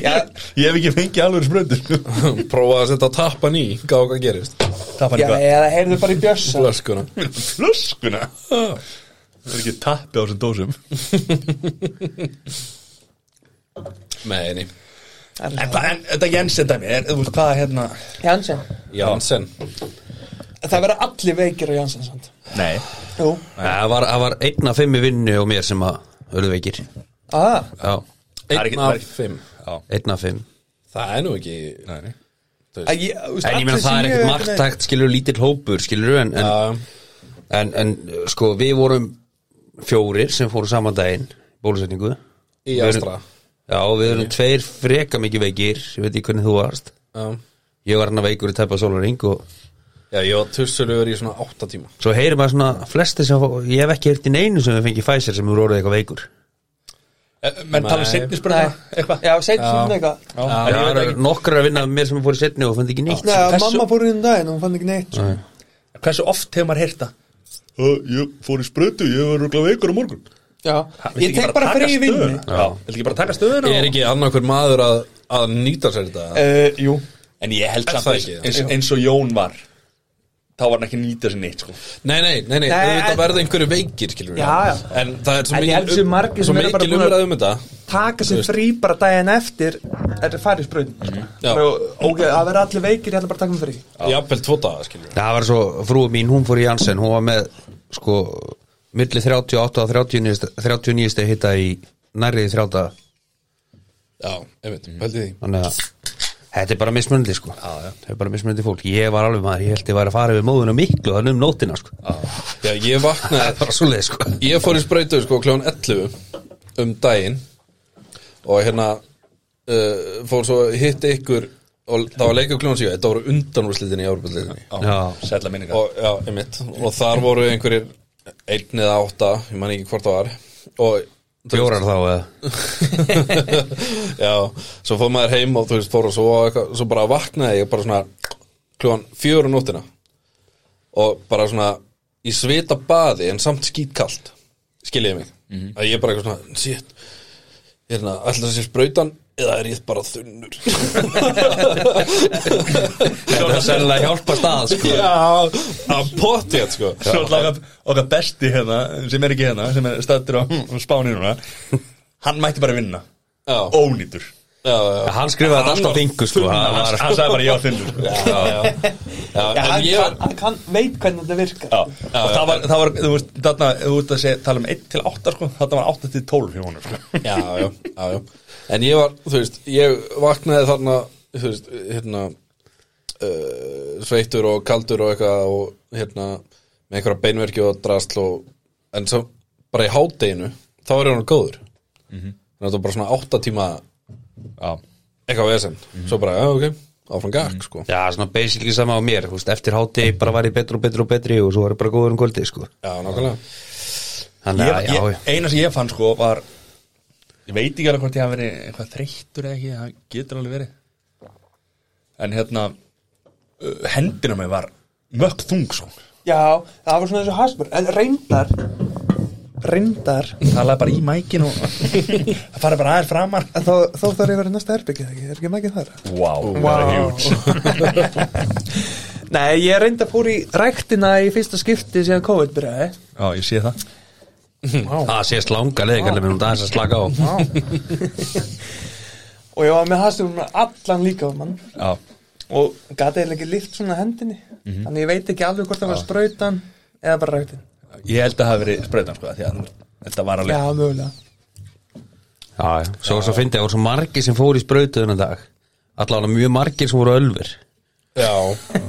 Já.
neitt ég hef ekki fengið alveg spröndur
Prófaði að setja tappan í, gá hvað gerist
tappan
Já,
eitthvað
eða heyrðu bara í bjössa
Flöskuna
flöskuna það er ekki tappi á þessum dósum
Með eini
Það
en,
er
hvað- en þetta Jensen dæmi, er, þú veist hvað hérna
Janssen
Jansen
Það verða allir veikir á Janssen samt
nei,
Jú,
Það var, það var einn af fimm í vinnu og mér sem að öruðu veikir Já,
að,
er ekki- það er
Einn af
ekki-
fimm
einn af fimm
Það er nú ekki
Nei, nei.
að ég, þú veist,
En ég
allir
meina það
sem
er
ég-
ekkert margtækt skilur lítill hópur skilur en, en,
Já,
en, en sko við vorum fjórir sem fóru saman daginn bólusetningu
Í
Við erum-
Astra.
Já, við erum tveir freka mikið veikir ég veit ekki hvernig þú varst
já
Ég var hann að veikur í tæpa sólaring og
Já, ég var tussulögur í svona átta tíma
svo heyrir maður svona flesti sem fá- ég hef ekki hirti neinu sem við fengið Pfizer sem eru orðið eitthvað veikur
Eh, Menn tala um
Nei.
setni spurninga eitthvað
Já, segir svona eitthvað
Já, ég
Það
veit
eru
ekki.
nokkrar að vinna með mér sem fór í setni og fann ekki neitt
Nei,
sko.
Hversu-
mamma fór í um daginn, hún fann ekki neitt sko.
Hversu oft hefur maður heyrt það? Uh, Ég fór í sprötu, ég var rúglega veikur á morgun
Já, ég tek bara frí í vinnu
Viltu ekki bara taka stöðuna?
Er
og-
ekki annarkur maður að, að nýta sér þetta?
Uh, jú,
En ég held
Er
samt
það
eins,
ekki, já?
eins, eins og Jón var Þá var hann ekki að nýta sér neitt sko.
Nei, nei, nei, nei,
Nei,
auðvitað
en-
verða einhverju veikir, skilur við
Já, já.
En það er svo
En ég
mikil um-
held sér
svo
margir sem eru bara
mikil
búin að-
umræð um þetta
taka sér frí bara daginn eftir er farið spröðin mm
Já.
ok, það verður allir veikir hérna bara taka mig frí
Jafnvel tvo daga, skilur við
Það var svo, frúi mín, hún fór í Janssen hún var með, sko milli 38 og 39 st- 39 steg hitta í nærriði 30
Já, einmitt, pældi Mhm. því
þannig að þetta er bara mismunandi sko þetta er bara mismunandi fólk, ég var alveg maður ég held ég var að fara við móðuna miklu þannig um nótina sko,
Já, ég
það er
vaknaði
bara svoleið sko
Ég fór í sprautu, sko, kljón 11 um daginn og hérna uh, fór svo að hitta ykkur og það var leikur kljón 7, þetta voru undanúrslitin í árbúrlitinni
Já.
Sætla minninga
og, já, einmitt, og þar voru einhverjir einn eða átta, ég man ekki hvort það var og (laughs)
fjórar þá eða
já, svo fór maður heim og þú veist fór og svo, svo bara vaknaði ég bara svona klúan fjör á nóttina og bara svona í svita baði en samt skítkalt skiljiði mig, að ég bara eitthvað svona shit, hérna, alltaf þessi sprautan eða er ég bara þunnur (laughs)
það er sennilega hjálpa stað sko
já, að potið sko
Svo alltaf okkar- okkar besti hérna sem er ekki hérna, sem er stættur á spáni núna Hann mætti bara vinna
já,
Ónýtur
já, já,
hann skrifaði þetta allt á fingu sko
Hann,
það
hann,
var-
hann sagði bara já þunnur sko.
já, já, já,
Já,
en
hann,
ég
kann,
var
hann kann, veit hvernig þetta virkar
Já, og það var, það var, þú veist, þarna, þú veist að segja, tala um 1 til 8 sko, þarna var 8 til 12 hjá honum sko.
já, já, já, já En ég var, þú veist, ég vaknaði þarna Þú veist, hérna uh, Sveittur og kaldur og eitthvað Og hérna, með einhverja beinverki og drasl og En svo, bara í hádeginu Þá var ég hann góður Þannig að það var bara svona átta tíma
Mhm. Já, Mhm.
Eitthvað vesen Svo bara, já, ok, áfram gakk, sko
já, svona basically sama á mér, þú veist, eftir hátti bara var ég betri og betri og betri og svo var ég bara góður um kvöldi sko,
Já, nákvæmlega
þannig
ég,
að já,
ég, eina sem ég fann sko var ég veit ekki alveg hvort ég hafi verið eitthvað þreyttur eða ekki, það getur alveg verið en hérna uh, hendina mig var mökk þung sko,
Já, það var svona þessu hasmur En reyndar Reyndar
talaði bara í mækin (laughs) og það farið bara aðeins framar
En Þá, þá þarf ég að vera í næsta herbyggið ekki, er ekki mækið þar
wow,
Wow.
(laughs)
Nei, ég reyndar fór í ræktina í fyrsta skipti síðan COVID byrjaði
já, ég sé það
það sést langa leið kallar mér um það að slaka á
Og ég var með hasmur með allan líka mann
já,
Og gati eða ekki lift svona hendinni
Mhm.
Þannig ég veit ekki alveg hvort það
Ah.
var sprautan Eða bara ræktin
ég held að það hafi verið sprautan sko, af því að þetta var alveg
Já, mögulega
Já, já. Svo, svo fyndi ég, það voru svo margir sem fóru í sprautu þennan dag Allavega mjög margir sem voru ölfur
Já,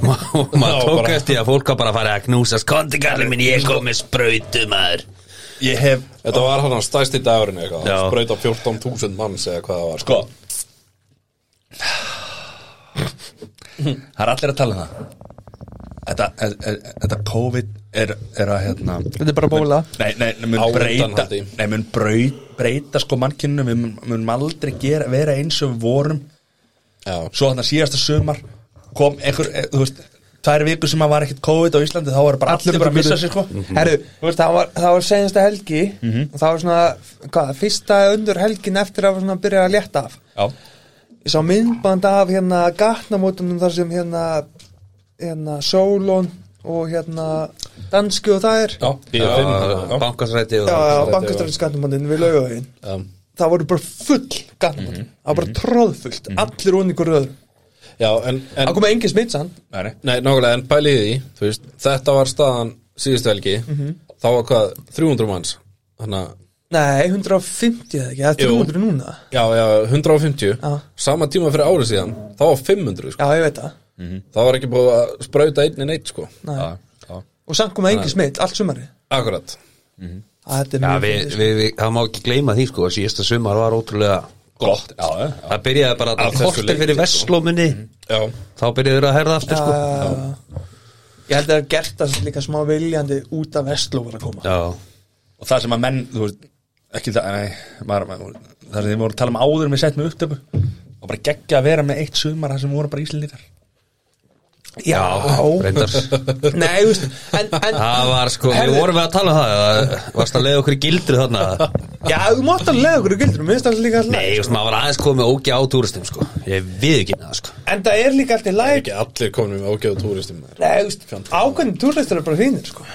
Ma- og maður
Já,
tók
bara-
eftir að fólk var bara að fara að knúsast kondikalli minn, ég kom með sprautu maður
ég hef,
þetta var hann að stæsti dagurinn eitthvað
Já.
Sprauta 14.000 manns eða hvað það var
sko það er allir að tala um það þetta, er, er, þetta COVID er, er að hérna
Þetta er bara bóla
Nei, nei, nei, mun
Á
breyta
undanhaldi.
Nei, mun braut, breyta sko mannkyninu Við mun, mun aldrei gera, vera eins og við vorum
Já,
Svo þarna síðasta sumar Kom einhver, eh, þú veist Tvær vikur sem að var ekkert COVID á Íslandi Þá var bara allir, bara að missa sig sko
Mhm.
Mhm.
Herru, þú veist, það var, það var senasta helgi og það var svona, hvað, fyrsta undur helgin eftir að var svona að byrja að létta af
Já,
Ég sá myndband af hérna gatnamótunum þar sem hérna hérna Sólon og hérna Danski og það er
já,
Já, bankasræti
Já,
og það
já, bankastrætis gatnamótin við laugavegin
já
Það voru bara full gatnamótin
Mhm.
það var bara tróðfullt, allir onni ykkur öðru
Já, en, en
Það komið engin smitsan
Nei, nei.
Mhm.
Nei, nákvæmlega, en pælið í því, þú veist, þetta var staðan síðustu helgi þá var hvað 300 manns þannig að
Nei, 150 eða ekki, það er
Jú.
300 núna
Já, já, 150
Já.
Sama tíma fyrir árið síðan Þá var 500, sko
Já, ég veit það
Mhm.
Það var ekki búið að sprauta einn en eitt, sko
Nei.
Já, já.
Og samt koma engin smitt, allt sumari
Akkurat
Það er
Já,
mjög sko.
við, við, við, það má ekki gleyma því sko að síðasta sumar var ótrúlega
Gott
Já, já, já.
það byrjaði bara
Af
að
þessu
kortir
leyti,
fyrir
sko.
vestlóminni
Já,
þá byrjaði að herða aftur sko
Já. Ég held að það er gert það líka smá viljandi út af vestló var að koma
Já,
og það sem að menn þú veist, ekki það, nei maður, maður, það sem þið voru að tala um áður með sett með upptöku og bara geggja að vera með eitt sumar það sem voru bara íslendingar
Já,
reyndar
Nei, þú veist en, en,
Það var sko, við vorum við að tala um það það varst að leiða okkur í gildru þarna
Já, þú mátt alveg lega okkur og gildur Mér finnst það líka alltaf
Nei, þú veist, maður var aðeins komið ógjá á túristum sko Ég við ekki það sko
En það er líka alltaf læg
ekki allir komin með ágæðu túristum þar
Nei, þú veist, ákveðin túristar er bara fínir sko.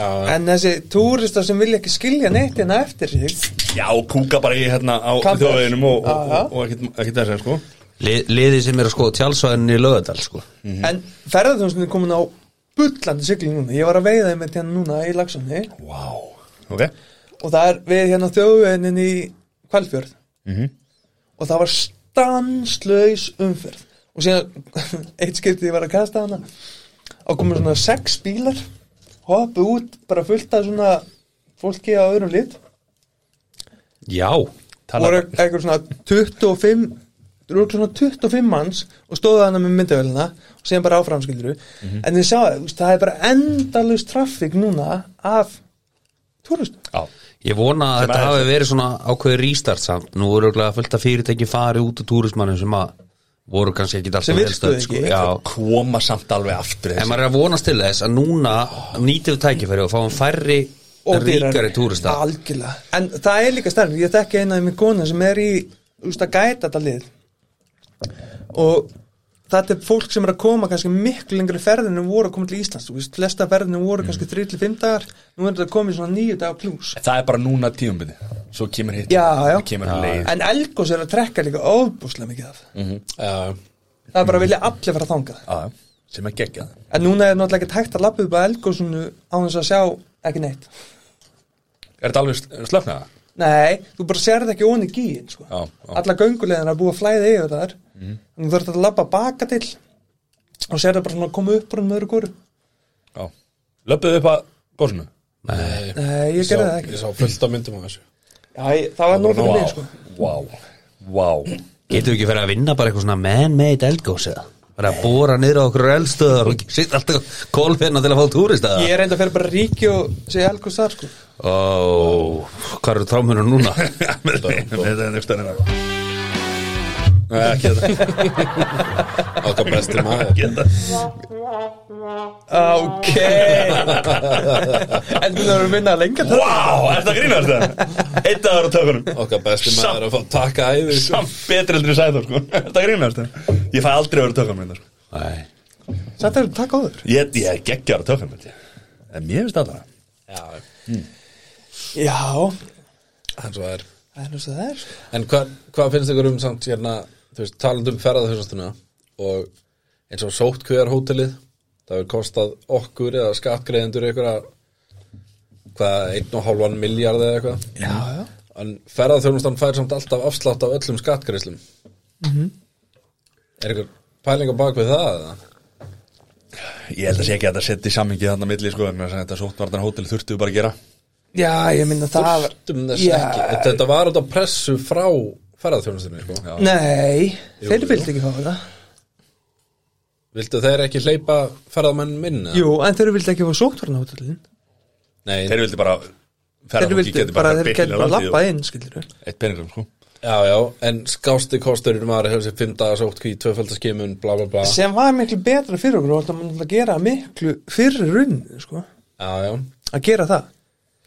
Já,
En þessi túristar sem vilja ekki skilja neitt hérna eftir sig
já, kúka bara í hérna á
Kampar.
þjóðveginum og, og,
Já, já.
og, og ekkit, ekkit þess að sko
Li- Liðið sem er að skoða tjálsvæðinni í lögadal sko
En ferðarþjónstin er komin á bullandi sigling núna Ég var að veiða þeim hérna núna í Lagsóni
wow. ok,
og það er við hérna þjóðveginnin í Kvalfjörð og það var stanslaus umferð og síðan (laughs) eitt skiptið ég var að kasta hana og komið svona sex bílar hoppu út, bara fullt af svona fólki á öðrum lit
Já,
tala,
voru eitthvað svona 25 þú voru svona 25 manns og stóðu hana með myndavélina og síðan bara áfram skilduru en þið sjáðu, þú veist, það er bara endalaus traffík núna af túristum
já,
ég vona að þetta hafi verið svona ákveði rístart samt Nú voru örugglega fullt af fyrirtæki farið út á túrismannum sem að voru kannski ekki alltaf
Sem
vel
virkuðu
stödd, sko.
ekki.
Já,
koma samt alveg aftur
En maður er að vonast til þess að núna nýtum við tækifæri og fáum færri
og
ríkari túrista
algjörlega, en það er líka stærn ég þekki eina af mér kona sem er í úst, að gæta þetta lið og þetta er fólk sem er að koma kannski miklu lengri ferðinu voru að koma til Íslands, þú veist, flesta ferðinu voru kannski 3-5 dagar, nú er þetta komið svona 9 dagar pluss,
það er bara núna tíumbyrði svo kemur hitt,
Já, já.
kemur leið
en Elgos er að trekka líka óbúslega mikið af,
já,
það er bara að vilja allir fara þangað,
já, sem er geggjað
en núna er náttúrulega ekki hægt að lappa upp að Elgosunu á þess að sjá ekki neitt,
er þetta alveg sl- slöknað?
nei, þú bara sérð ekki onni gíin, sko
Já, Mhm. já.
alla göngulegðin er að búa flæði yfir þar mm. þú þarf að labba baka til og sér það bara svona að koma upp úr um með öðru góru
já. löpuðu upp að góðsunu
nei
Nei, ég gerði það
sá-
ekki.
Ég sá fullt af myndum á
(laughs)
þessu
Já, ég, það var nóg fyrir mig sko.
wow, wow
Getum við ekki verið að vinna bara eitthvað svona man-made eldgós eða bara að bóra niður á okkur eldstöðar og sitt alltaf kólfinna til að fá túrista
ég er enda að fyrir bara ríki og segja algúst þar sko.
Ó, hvað eru trámunum (laughs) núna?
þetta er hérna. nefnstæðina
Nei, ekki
(laughs)
þetta Okkar besti maður
(laughs)
ok en þú þarf að vinna lengi wow.
Vá, er þetta grínast (laughs) það? Eitt dagur á tökunum
Okkar besti maður að fá taka æði sko.
Samt betri heldur í sæður sko (laughs) Er þetta grínast það? Ég fæ aldrei að vera á tökunum hérna, sko.
Nei.
satt er takk á þur
Ég, ég geggjar á tökunum held ég. En mér finnst það það
Já,
já,
en svo er
það er nú svo það er sko.
En hvað, hvað finnst ykkur um samt hérna, þú veist, talandi um ferðarþjónustuna og eins og sótkvíðar hótelið, það hefur kostað okkur eða skattgreðendur ykkur að hvað, einn og hálfan miljard eða eitthvað. Já, já. En ferðarþjónustan fær samt alltaf afslátt af öllum skattgreðslum. Mm -hmm. Er ykkur pælinga bak við það eða?
Ég held að sé ekki að þetta setja í sammingi þarna milli sko En þetta sóttvartan hótel þurftu bara að gera
já, ég minna það var-
Dum þess
Já.
ekki. Þetta- Þetta var út á pressu frá ferðarþjónustunni, sko. Já.
nei, þeir vildi ekki fá það
Vildu þeir ekki hleypa ferðamenn minna?
jú, en þeir vildi ekki fá sóttvarna hótelin
Nei,
Þeir vildi bara
þeir
ferðafólki
vildi
geti
bara,
farið
þeir
beint inn í
gæti bara
landið
lappa inn skilur
og- Eitt peningum sko
Já, já, en skásti kosturinn var að hefði sér fimm daga sótt kví, tvöfaldaskimun, bla bla bla
sem var miklu betra fyrir okkur og það var náttúrulega að gera miklu fyrir runni sko,
Já, já,
að gera það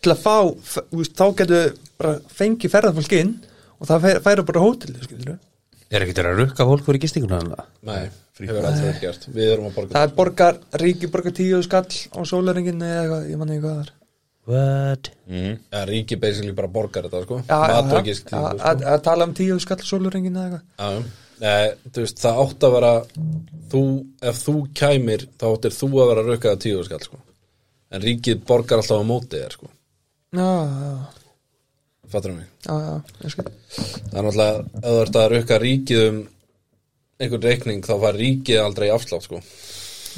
til að fá, f- þú veist, þá getur bara fengið ferðarfólk inn og það fæ- færa bara hótelið, skilur
Er ekki til að rukka fólk fyrir gistinguna? þarna?
nei, hefur alltaf verið gert Við erum að borga
það er borgar, ríki borgar tíu skall á sólaringin eða eitthvað, ég manni eitthvað þar
What?
Já, ríki basically bara borgar þetta, sko
Mhm. Já, já,
Mat og
já,
gistingu,
að-
sko
að að tala um tíu skall á sólaringin eða eitthvað
Já, já, nei, þú veist, það átt að vera þú, ef þú kæmir, þá áttir þú að vera raukaða tíu skall, sko en ríkið borgar alltaf á móti þér sko.
Já, já,
fattur mig
já, já, ég skil
það er náttúrulega, ef þú ert að rukka ríkið um einhvern reikning þá fær ríkið aldrei afslátt sko.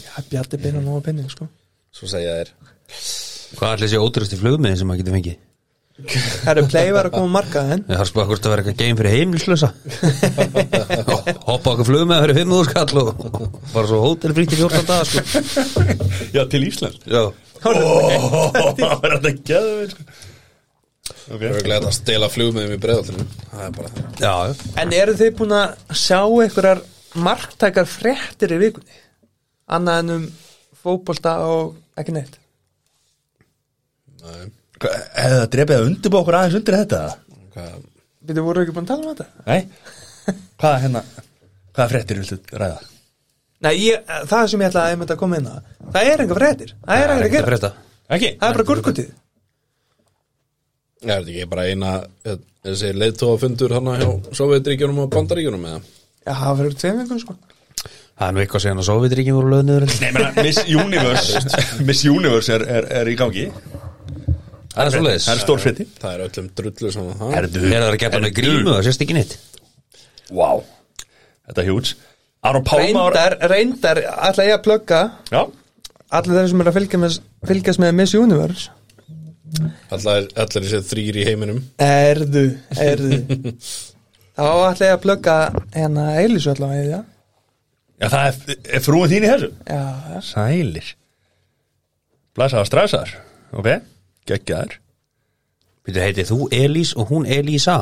Já, Bjarti beina nóg að penning, sko
svo segja þér
Hvað ætli þessi ótrústi flugmiði sem maður getur fengið?
Herru, play var að koma á markaðin
Það er sko akkur að vera eitthvað game fyrir (laughs) heimlislösa Hoppa okkur flugmiða fyrir 5.000 skall og bara svo hótelfríkt í 14 daga sko
Já, til Ísland
Já,
Ó, (laughs) Það var sko. alltaf gæðu
Það
okay.
er glæðið að stela flugmiðum í breiðaldinu Það er bara það
já,
En eru þið búin að sjá einhverjar marktækar fréttir í vikunni? Annað en um fótbolta og ekki neitt
Nei,
Hefði það drefið að undirbúa okkur aðeins undir þetta?
hvað,
Við þið voru ekki búin að tala um þetta?
Nei Hvað hérna Hvaða fréttir viltu ræða?
Nei, ég, það sem ég ætlaði að ég myndi að koma inn að Það er enga fréttir, það er
það er
enga
ekkert að
fréttir
frétta
Ekki?
Það er bara gulgutið
ég veit ekki, bara eina eh, þessi leiðtóðafundur hana hjá Sovjetríkjunum og Bandaríkjunum eða
Já, það verður tveim vikum, sko
Það er nú eitthvað síðan að Sovjetríkin voru löðniður
Nei, menna, Miss Universe Miss Universe er, er, er í gangi
Það er svo leiðis
Það er stór frétti
Það er öllum drullu saman það
Er það að gefa með grímu, það sést ekki neitt
Vá Þetta er huge Aron Pálma var-
Reyndar, reyndar, ætla ég að plugga
Já
Allir þeir sem eru að fylgja með, fylgjast með Miss Universe
Allar, allar þessi þrýr í heiminum
Erðu, (laughs) erðu Þá ætla ég að plugga hérna Eilis allavega í það
Já, það er, er frúin þín í þessu
Já, já.
Sælir Blæsaðar stræsaðar Ok Gekkjaðar
Býttu heitið þú Elís og hún Elísa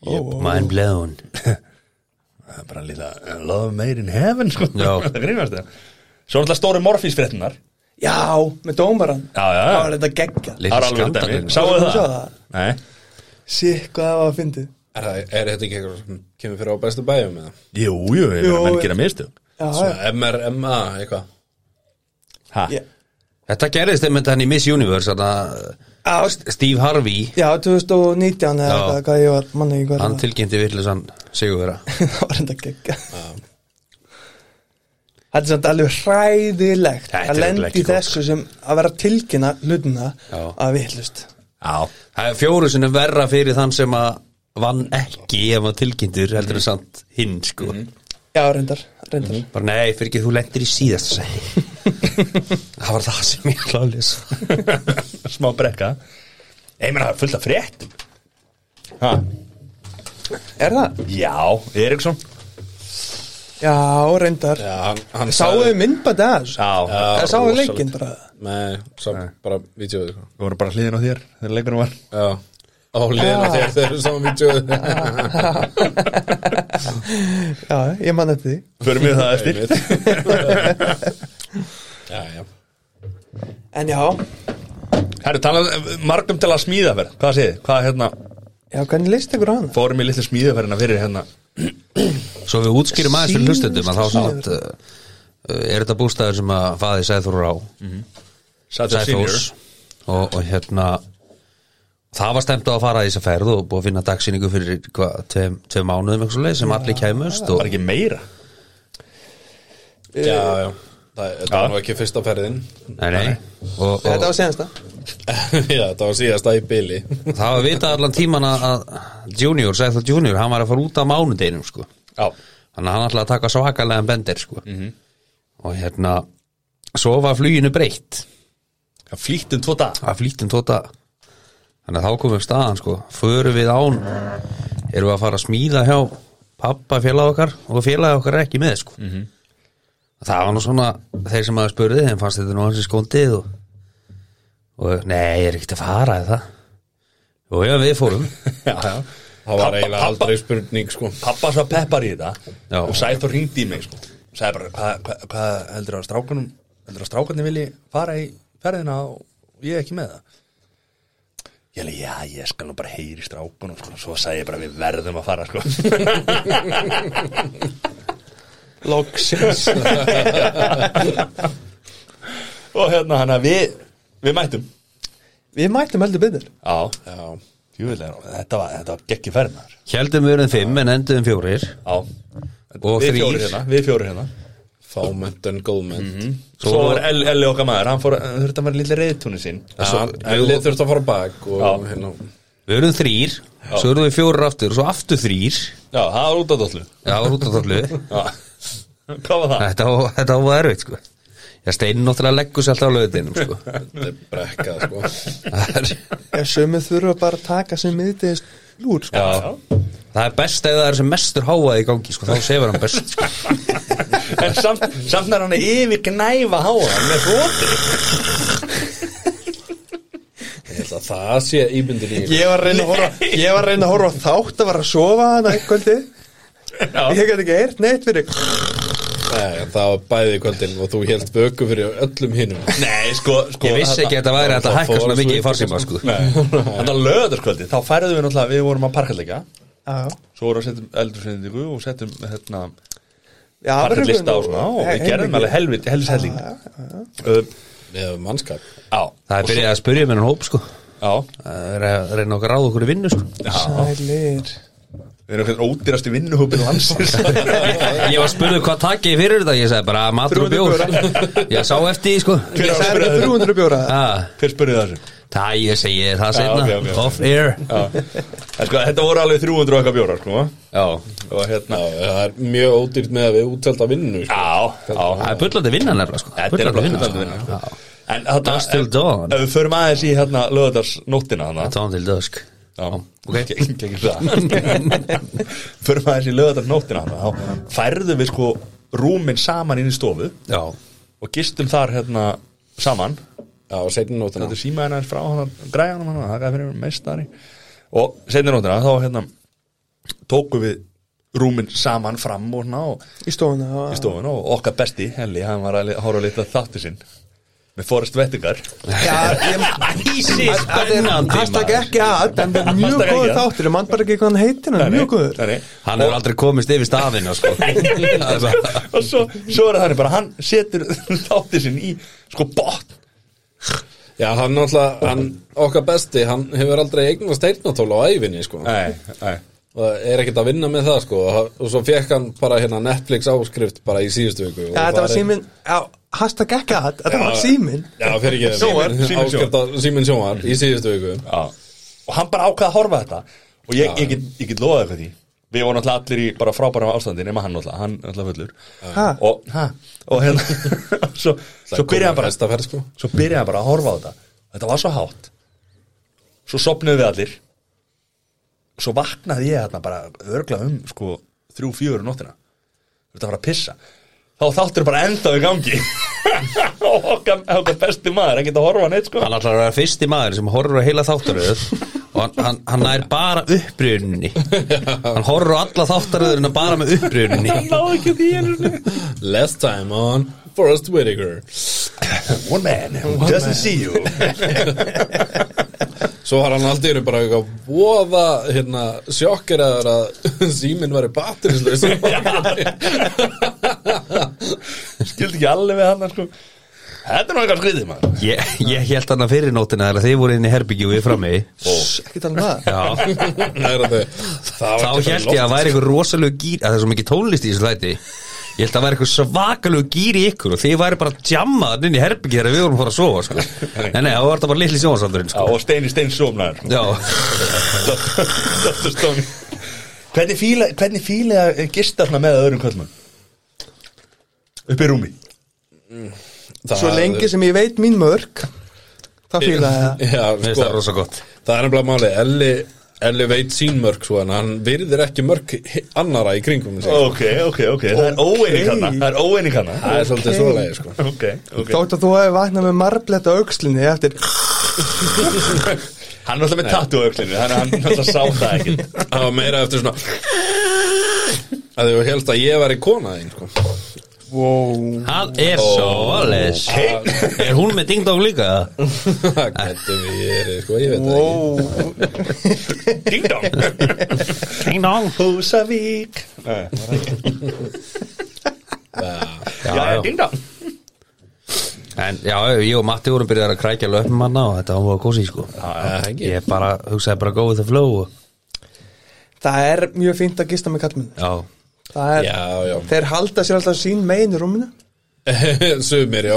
Jöp, mæn bleðun
Það er bara líka Love made in heaven sko
Já.
(laughs) Það grínast það Svo náttúrulega stóru morfís fréttinar
já, með dómaran
Já, já,
Það
já
var þetta geggja
Það er alveg
skandalinn.
dæmi Sáuðu
Sáuð
það?
það?
Nei
Sitt, hvað það var að fyndið
Er, það- er þetta ekki eitthvað sem kemur fyrir á bestu bæjum eða?
Jú, jú, ég
Jú,
verður menn
ég-
gera mistug
Já, já,
Svona MRMA eitthvað
Hæ?
Ég-
Þetta gerðist einmitt hann í Miss Universe þarna,
já,
Steve Harvey
já 2019 eða
Já.
eitthvað, hvað ég var, manni ekki hvað
Hann
það
tilkynnti villusan sigurvera
var (laughs) Það var þetta geggja Þetta er samt alveg hræðilegt
Þetta er
að lendi
ekki
í
gott.
þessu sem að vera að tilkynna hlutina
Já.
að vitlust
Já (laughs)
Það er fjóru sinni verra fyrir þann sem að vann ekki ef að tilkynntur
Mhm.
heldur en samt hinn sko
Já, reyndar, reyndar
Bara nei, fyrir ekki þú lendir í síðasta sæti
(laughs)
Það var það sem ég ætla að lesa
Smá brekka Ég meina, það er fullt af frétt Hæ?
Er það?
Já, Eriksson
Já, reyndar
Já, hann, hann
Sáuðu
sagði-
myndbandi að þessu?
Já,
Það sáuðu leikinn bara
Nei, sá bara vídeoðu sko.
Við vorum bara hliðin á þér þegar leikunum var
Já, á liðin að þér þeir eru saman vídeoðu
Já, ég man eftir því
Förum við (laughs) það eftir
Já, já
En já,
Herru, talað um- margum til að smíðaferð Hvað segið? þið? Hvað hérna?
já, hvernig leist ykkur á hana?
Fórum í litlu smíðaferðina fyrir hérna
Svo við útskýrum aðeins fyrir
Síðasta
hlustendum að þá samt uh, uh, er þetta bústæður sem að faði Sæþór á
Sæður Senior
Sæþórs og, og hérna það var stemt á að fara í þessa ferð og búið að finna dagsýningu fyrir hvað, tveim, tveim mánuðum eitthvað svo leið sem allir kæmust og
Var ekki meira?
Já, já Það, það
Já.
var nú ekki fyrsta ferðin (laughs)
Nei, nei, og, og,
Þetta var senasta
Já, það var síðasta í byli
það var vitað allan tíman að að Junior, Sæþór Junior, hann var að fara út á mánudeginum sko,
Já
þannig að hann ætlaði að taka svakalega bendir sko og hérna, svo var fluginu breytt
Það flýtt um tvo dag
að flýttum tóta þannig að þá komum við staðan sko förum við án erum við að fara að smíða hjá pappa félag okkar og félag okkar er ekki með sko það var nú svona þeir sem að spurði þeim fannst þetta nú hans í skóndið og, og nei, ég er ekkert að fara eða það og já, við fórum
Já, já
Það var
Pabba-
eiginlega
pabba-
aldrei spurning sko
Pappa svo peppar í þetta
Já.
Og Sæður ringdi í mig sko Sæði bara, hvað hva, hva heldur að strákunum Heldur að strákunum vilji fara í ferðina Og ég ekki með það Ég alveg, já, ég skal nú bara heyri strákunum sko. Svo sagði ég bara, við verðum að fara
(laughs)
sko.
Loksins
(laughs) Og hérna, hann að við Við mættum
Við mættum heldur byrður
Já,
Já,
Júlega, þetta var, þetta var geggi ferðnar
heldum við erum fimm en endum fjórir
Já
Og
við
þrír.
fjórir hérna Við fjórir hérna
Fámennt en góðmennt
Mhm.
mm -hmm.
Svo, var Elli El okkar maður, hann fór, hann þurfti að vera lilla reyðtúni sín
ja, Elli þurft að fara á bak og
Já.
hérna
Við erum þrýr, svo erum við fjórir aftur og svo aftur þrýr
Já, það var út af dollu
Já, rútatallu
(laughs) Hvað var það?
Þetta var- þetta var erfitt sko Já, steinin náttúrulega leggur sér alltaf á löðinum sko
Þetta er brekkað
(laughs)
sko
það, er,
Ég sömu þurfa bara að taka sem miðdegis lúr sko.
Já.
það er best ef það er sem mestur háaði í gangi sko, þá sefur hann best sko.
(laughs) En samt, samt er hann að yfir gnæfa háa með þóti
Ég held að það sé íbundin í
Ég var að reyna að horfa Ég var að reyna að horfa á þátt að var að sofa hana einhverdi
Já,
Ég gæti ekki eirt neitt fyrir
Nei, það var bæði í kvöldin og þú held vöku fyrir öllum hinum
nei, sko, sko
Ég vissi ekki að þetta væri hægt að hækka svona mikið í farsíma sko
Þannig að löðarskvöldi, þá færðu við náttúrulega, við vorum að parkallega
Já, já.
Svo vorum við að setjum eldursendingu og setjum, hérna,
Já, það verður
parkallista á
einhvern-
svona Og við
He-
gerðum
heilmikið.
alveg helviti, helvits helling Um,
með mannskap
Já,
Það er byrjað að spyrja með hann hóp sko
já
Það er að reyna okkar ráð okkur í vinnu sko
Sælir
Við erum eitthvað ódýrasti vinnuhópin (laughs) landsins
(laughs) Ég var spurðið hvað takið þið fyrir þetta Ég sagði bara matur og bjór (laughs) Ég sá eftir því sko
Hver var
Ég
að
sagði
spyrja
ekki
þér?
300 bjóra
Ah,
Hver spurði það þessu?
Það ég segi þér það
Já,
setna
ok, ok, ok.
Off air
En sko, þetta voru alveg 300 og eitthvað bjórar, sko
Já
Og hérna
Já, það er mjög ódýrt með að við útselda vinnu sko.
Já, já
Það er bullandi vinna nefnilega sko
Þetta er
Bullandi
alveg
vinna,
hundandi
sko.
vinna
Já.
sko. En þarna
Dusk till dawn.
Ef við förum aðeins í hérna lögðarsnóttina
Það
hana
tóðum til dösk
Já,
ok.
Kekir (laughs) það Förum aðeins í lögðarsnóttina hana Þá færðum við sko rúmin saman inn í stofu
Já
Og gistum þar hérna saman
Já, setjum nótina
Þetta er símaðin aðeins frá hann Græjanum hana, það gæði fyrir meistari Og setjum nóttina þá hérna Tókum við rúmin saman fram og hérna og
Í stofuna já.
í stofun og okkar besti Helli, hann var að li- horfa lítið að þáttu sinn með Forrest Vettingar
Já, ég
Ísi
Þetta er hashtag eh? ekki að En þetta er mjög
Hashtag ekki
góður
að.
þáttur Ég mann bara ekki hvað hann heitir En hann er mjög góður
Hann hefur aldrei komist yfir stafina sko Það er bara-
og svo, svo er það þannig bara hann setur (laughs) þáttu sinn í sko botn
Já, hann náttúrulega, hann, okkar besti hann hefur aldrei eignast eirnatól á ævinni sko.
nei, nei.
og er ekkert að vinna með það sko. og, og svo fekk hann bara hérna Netflix áskrift bara í síðustu viku
Já, þetta var símin Já, hashtag ekki að Þetta var símin
Já, fyrir ekki
Sjónvarp, Síminn
Áskrift á símin sjóar í síðustu viku
Já. og hann bara ákvaði að horfa á þetta og ég, ég, get, ég get lofaði eitthvað því við vorum alltaf allir í bara frábæra ástandi nema hann alltaf, hann alltaf fullur
Ha?
og, ha, og hérna (laughs) svo, svo byrjaði hann bara
Hestaferð sko
svo byrjaði hann bara að horfa á þetta þetta var svo hátt svo sopnuðu við allir svo vaknaði ég hérna bara örgla um sko þrjú, fjögur um nóttina þetta var að pissa þá þáttur bara enda í gangi (laughs) og okkar, okkar besti maður ekki að horfa á neitt sko
Hann ætlar að vera fyrsti maður sem horfur á heila þáttaröð og hann, hann, hann er bara upprýðunni Hann horfur á alla þáttaröðurina bara með upprýðunni
náðu ekki því einu
Last time on Forrest Whitaker
one man who doesn't see you (laughs)
Svo var hann aldrei bara eitthvað voða hérna, sjokkir að (laughs) síminn væri
(laughs)
batterislaus
skildi ekki allir við hann sko þetta er nú eitthvað skriðið maður
Ég, ég held hann að fyrir nótina þegar þeir voru inn í herbyggju og ég frammi
Ekki tala um það
Já,
Það er að þau Það
þá
var ekki sko.
held ég að væri eitthvað rosalegu gýr að það er svo mikið tónlist í þessu þætti Ég held að væri eitthvað svakalegu gýr í ykkur og þið væri bara að jamma þannig inn í herbyggju þegar við vorum að fara að sofa sko. Nei, nei, þá var þetta bara litli
Já,
sjónsaldurinn sko.
og Steini sko. Steins somnar
Já,
Dr. Stone Hvernig fíla, hvernig fíla að gista svona með öðrum kvöldmann? Upp í rúmi
Það-
Svo lengi sem ég veit mín mörg Það fíla ég
Já,
mér finnst það
sko,
rosa gott
það er nefnilega máli Elli, Elli veit sín mörg svo en hann virðir ekki mörg hi- annara í kringum sig
Ok, ok, ok Það er óeining hana Það er óeining hana
Það er svolítið
ok.
svoleiði sko
Ok, ok
Þótt að þú hefði vaknað með marblett á aukslinni eftir
Hann er alltaf með tattu á öxlinu Þannig að hann alltaf sá það ekki
Það var meira eftir svona að þau helst að ég væri kona þín sko (laughs)
Wow
Hann er svo alveg Er hún með ding-dong líka?
Það getur verið sko, ég veit það ekki
Wow
Ding dong
Ding-dong
Húsavík Nei, það er ekki. Já, já, ding dong
En já, ég og Matti vorum byrjað að krækja löpum hann og þetta var voða kósi sko
Það ekki
Ég bara hugsaði bara go with the flow og,
Það er mjög fínt að gista með kallmenn
Já,
Það er,
Já, já
þeir halda sér alltaf sín megin í rúminu
Sumir, já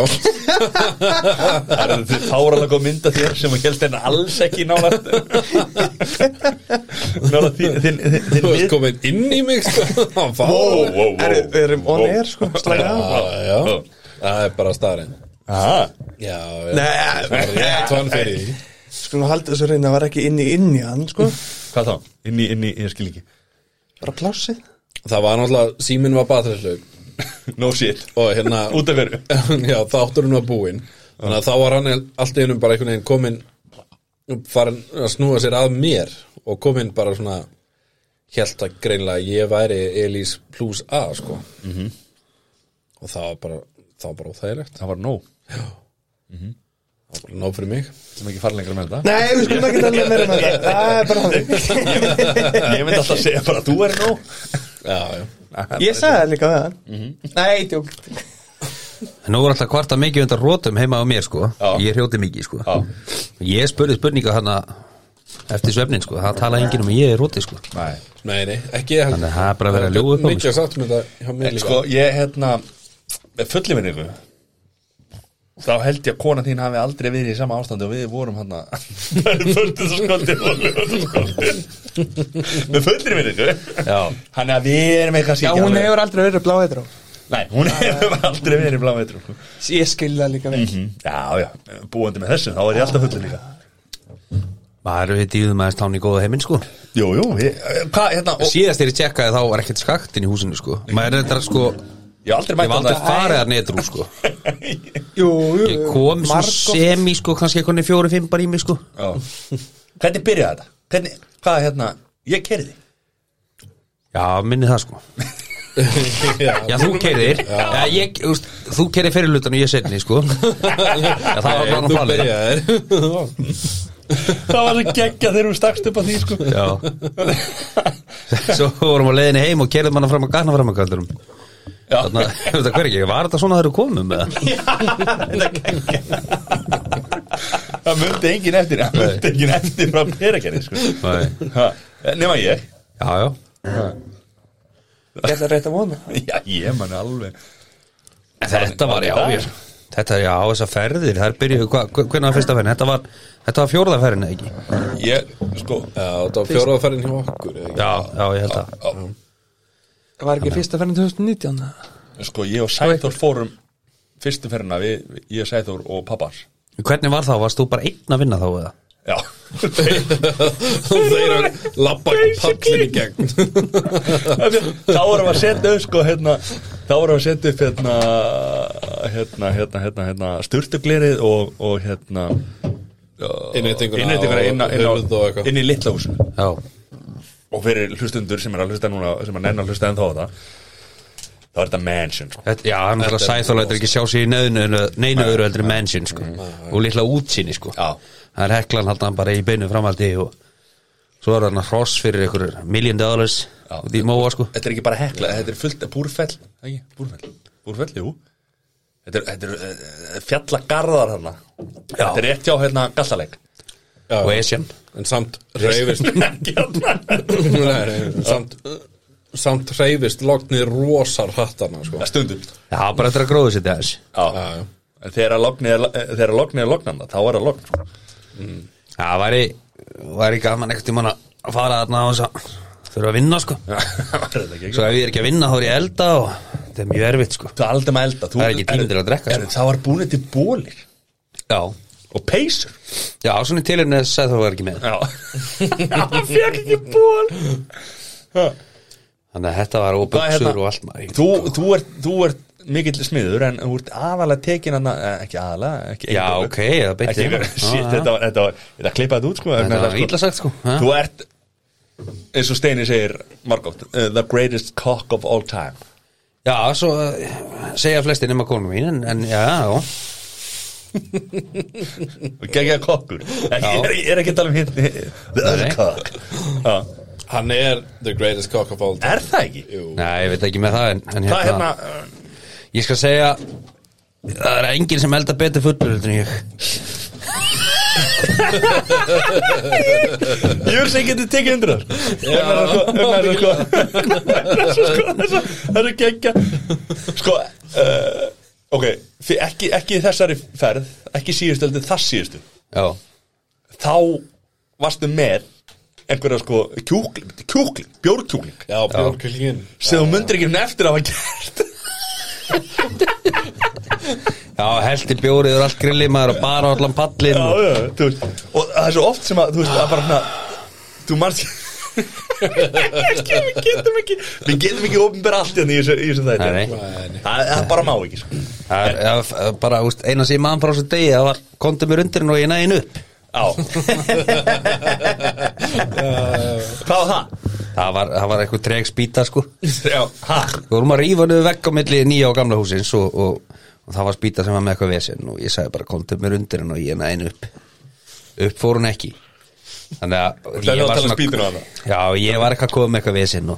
(laughs)
Það eru því fáralega góð mynd af þér sem að helst henni alls ekki nála Nála þín þín, þín, þín
Þú veist
við
komin inn í mig sko. (laughs) Hann fá-
Wow, wow, wow.
Er- Við erum on air sko
Já,
Slæða
já Það er bara starinn
Ah, Aha.
Já, já
Nei,
Rétt vann fyrir því
skulum halda þessu reyna Það var ekki inn í inn í hann sko
Hvað þá? Inn í, inn í, ég skil ekki
Bara plássið
Það var náttúrulega, síminn var batterislaug
No shit
Og hérna
Út af hverju
(laughs) Já, þátturinn var búinn Þannig að þá var hann allt í einum bara einhvern veginn kominn farin að snúa sér að mér og kominn bara svona held að greinlega að ég væri Elís plus A sko -hmm. og það var bara það var bara
Mhm.
óþægilegt,
Það var no
það var bara nóg fyrir mig
sem ekki fara lengra með þetta
Nei, við skulum ekki tala meira með það Það er bara hann
Ég myndi alltaf að segja bara þú er no
Já, já,
Ég sagði það líka við hann Mhm. Nei, djók
Nú er alltaf kvarta mikið undan rótum heima á mér sko Ég hrjóti mikið sko
Já.
Ég spurði spurninga hana eftir svefnin sko Það tala enginn um að ég er róti sko
Nei
nei, nei, ekki ég held
Þannig að það er bara að vera að ljúga upp á mig, sko.
Mikið að satt með þetta hjá mér
sko. En
líka
sko, (laughs) ég hérna með fulli minningu þá held ég að kona þín hafi aldrei verið í sama ástandi og við vorum (laughs) hann að með fullri minningu
Já.
hann að við erum eitthvað
Já,
síkja
hún hefur aldrei verið blá eitrá
Nei, hún hefur aldrei verið í blá metru
Ég skil það líka vel
Mm. Já, já, búandi með þessu, þá er ég alltaf fulli líka
Maður við dýðum aðeins tán í góða heiminn sko
Jú, jú, ég, eh, hvað, hérna og,
Síðast þegar ég tjekkaði þá var ekkert skaktin í húsinu sko Maður er þetta sko Ég
Ég hef aldrei mætt
var aldrei
þarna-
farið að netrú sko
Jú, jú,
Ég
jú.
kom svo
Margoft.
semi sko Kannski eitthvað fjóri-fimm bara í mig sko
Já. Hvernig byrjaði þetta? Hvernig, hvað, hérna, ég kerði því
Já, minni það sko (laughs) Já, þú keirir Já, ég, þú veist, Þú keirir fyrir lutan og ég setni (laughs) sko Já, það var bara
Þú
planið
byrjaðir
Það var svo geggja þegar hún stakst upp að því, sko
Já Svo vorum við á leiðinni heim og kerðum hana fram að gana fram að kaldurum Þannig að, þetta hver ekki, var þetta svona þegar þú komum með það?
Það myndi engin eftir Það myndi engin eftir frá perakerði sko.
Nei.
Ha, Nema ég
Já, já
Ég ætla rétt að vona
Já, ég manni alveg
En Þetta var, já, ég Þetta, já, þessar ferðir, þær byrjuðu, hva, hvernig var fyrsta ferðin? Þetta var, þetta var fjórða ferðin, eða ekki?
Ég, sko
Já, það var fjóraðaferðin hjá okkur eða ekki?
Já, já, ég held að
á,
Það var ekki fyrsta ferðin 2019 eða?
Sko, ég og Sæþór fórum Fyrstu ferðina við, ég og Sæþór og pappars
Hvernig var þá, varst þú bara einn að vinna þá eða?
Já
Þeir eru labba pallin í gegn
Þá vorum við að setja upp, sko, hérna Þá vorum við að setja upp, hérna Hérna, hérna, hérna, hérna Sturtuglerið og, og, hérna
Innréttinguna
Innréttinguna inn á- inn á-
höfuð og eitthvað.
Inn í litla húsinu
Já,
og fyrir hlustundur sem er að hlusta núna sem er nenn að hlusta ennþá á það þá er þetta mansion sko.
þetta, já, hann er að sæþá lætur ekki sjá sér í neðinu, neinu öðru heldur en mennsinn, sko Og litla útsinni, sko
Já.
Það er heklan haldan bara í beinu framaldi og svo er hann að hross fyrir ykkur million dollars
Já.
út í móa, sko
þetta er ekki bara hekla, þetta er fullt búrfell, ekki, búrfell, búrfell, jú þetta er, þetta er eh, fjallagarðar hann þetta er rétt hjá hérna gallaleg
Og Esjan
En samt (laughs)
(laughs)
reyfist
ekki hérna
Nei, nei, samt samt hreyfist lognir rosar hattana sko.
stundum
Já, bara eftir að gróðu sér þess
já.
já, já.
En þegar að lognið er- eh, þegar að lognið er lognanda þá er að logn sko.
Já, væri, væri gaman ekkert í mann að fara þarna á þess að þurfa að vinna, sko
(laughs) Það er þetta ekki, ekki.
Svo ef ég er ekki að vinna, þá er ég að elda og þetta er mjög erfitt, sko
þú er aldrei maður elda þú,
Það er ekki tími til að drekka,
er,
sko.
það var búin til bólir
Já,
og peysur
já, svona til henni að sæþá var ekki með
(laughs) já hann fekk ekki (laughs) ból
Þannig að þetta
Hvað
var
er
óbuxur
hérna?
og allt maður
þú, þú, ert, þú ert mikill smiður en þú ert aðalega tekin hann eh, ekki aðalega ekki
Já,
eingöngu.
ok, það beitt
ekki, shit, þetta var, þetta var, þetta klippaði þetta út sko,
Þetta
en
var illa sagt, sko ha?
þú ert eins og Steini segir margótt uh, the greatest cock of all time
Já, svo eh, segja flesti nema konu mín En, en já, já,
geggja kokkur ekki,
Já.
ég er, ég er ekki að tala um hitt the other
Nei.
cock Já.
Hann er the greatest cock of all time
er það ekki?
Jú.
nei, ég veit ekki með það En, en
það er hérna uh,
Ég skal segja Það er enginn sem elda betur fullur heldur en ég
Ég vil segja getið tekið undir það sko. Um þessa, sko, um þessa, sko. Þessa, sko, þessa, þessa geggja Sko uh, Ok, fyr- ekki, ekki þessari ferð Ekki síðustu, heldur það síðustu
Já,
Þá varstu með einhverja sko kjúkling, kjúkling bjórkjúkling
Já, bjórkjölingin
sem þú mundir ekki nefnir eftir að hafa gert
já heldur bjórið og allt grilli maður og bara á allan pallin
Já, já, þú veist Og það er svo oft sem að, þú veist, að bara svona Þú manst ekki Við getum ekki Við getum ekki opinbera allt hérna í þessu- í þessum þætti
Nei, nei.
Það það er bara má ekki sko.
Það er já, f- bara, úst, eina sem ég maður frá þessu degi það var, komdu mér undir henn og ég næði henn upp (laughs)
Já Hvað var það?
Það var, það var eitthvað treg spýta sko Við
Já, ha,
vorum að rífa niður vegg á milli nýja og gamla húsins og, og, og það var spýta sem var með eitthvað vesinn og ég sagði bara komdu mér undir henn og ég næði henn upp Upp fór hún ekki Þannig að
það er að tala um spýtinu að það
Já, ég var eitthvað að koma með eitthvað vesinn og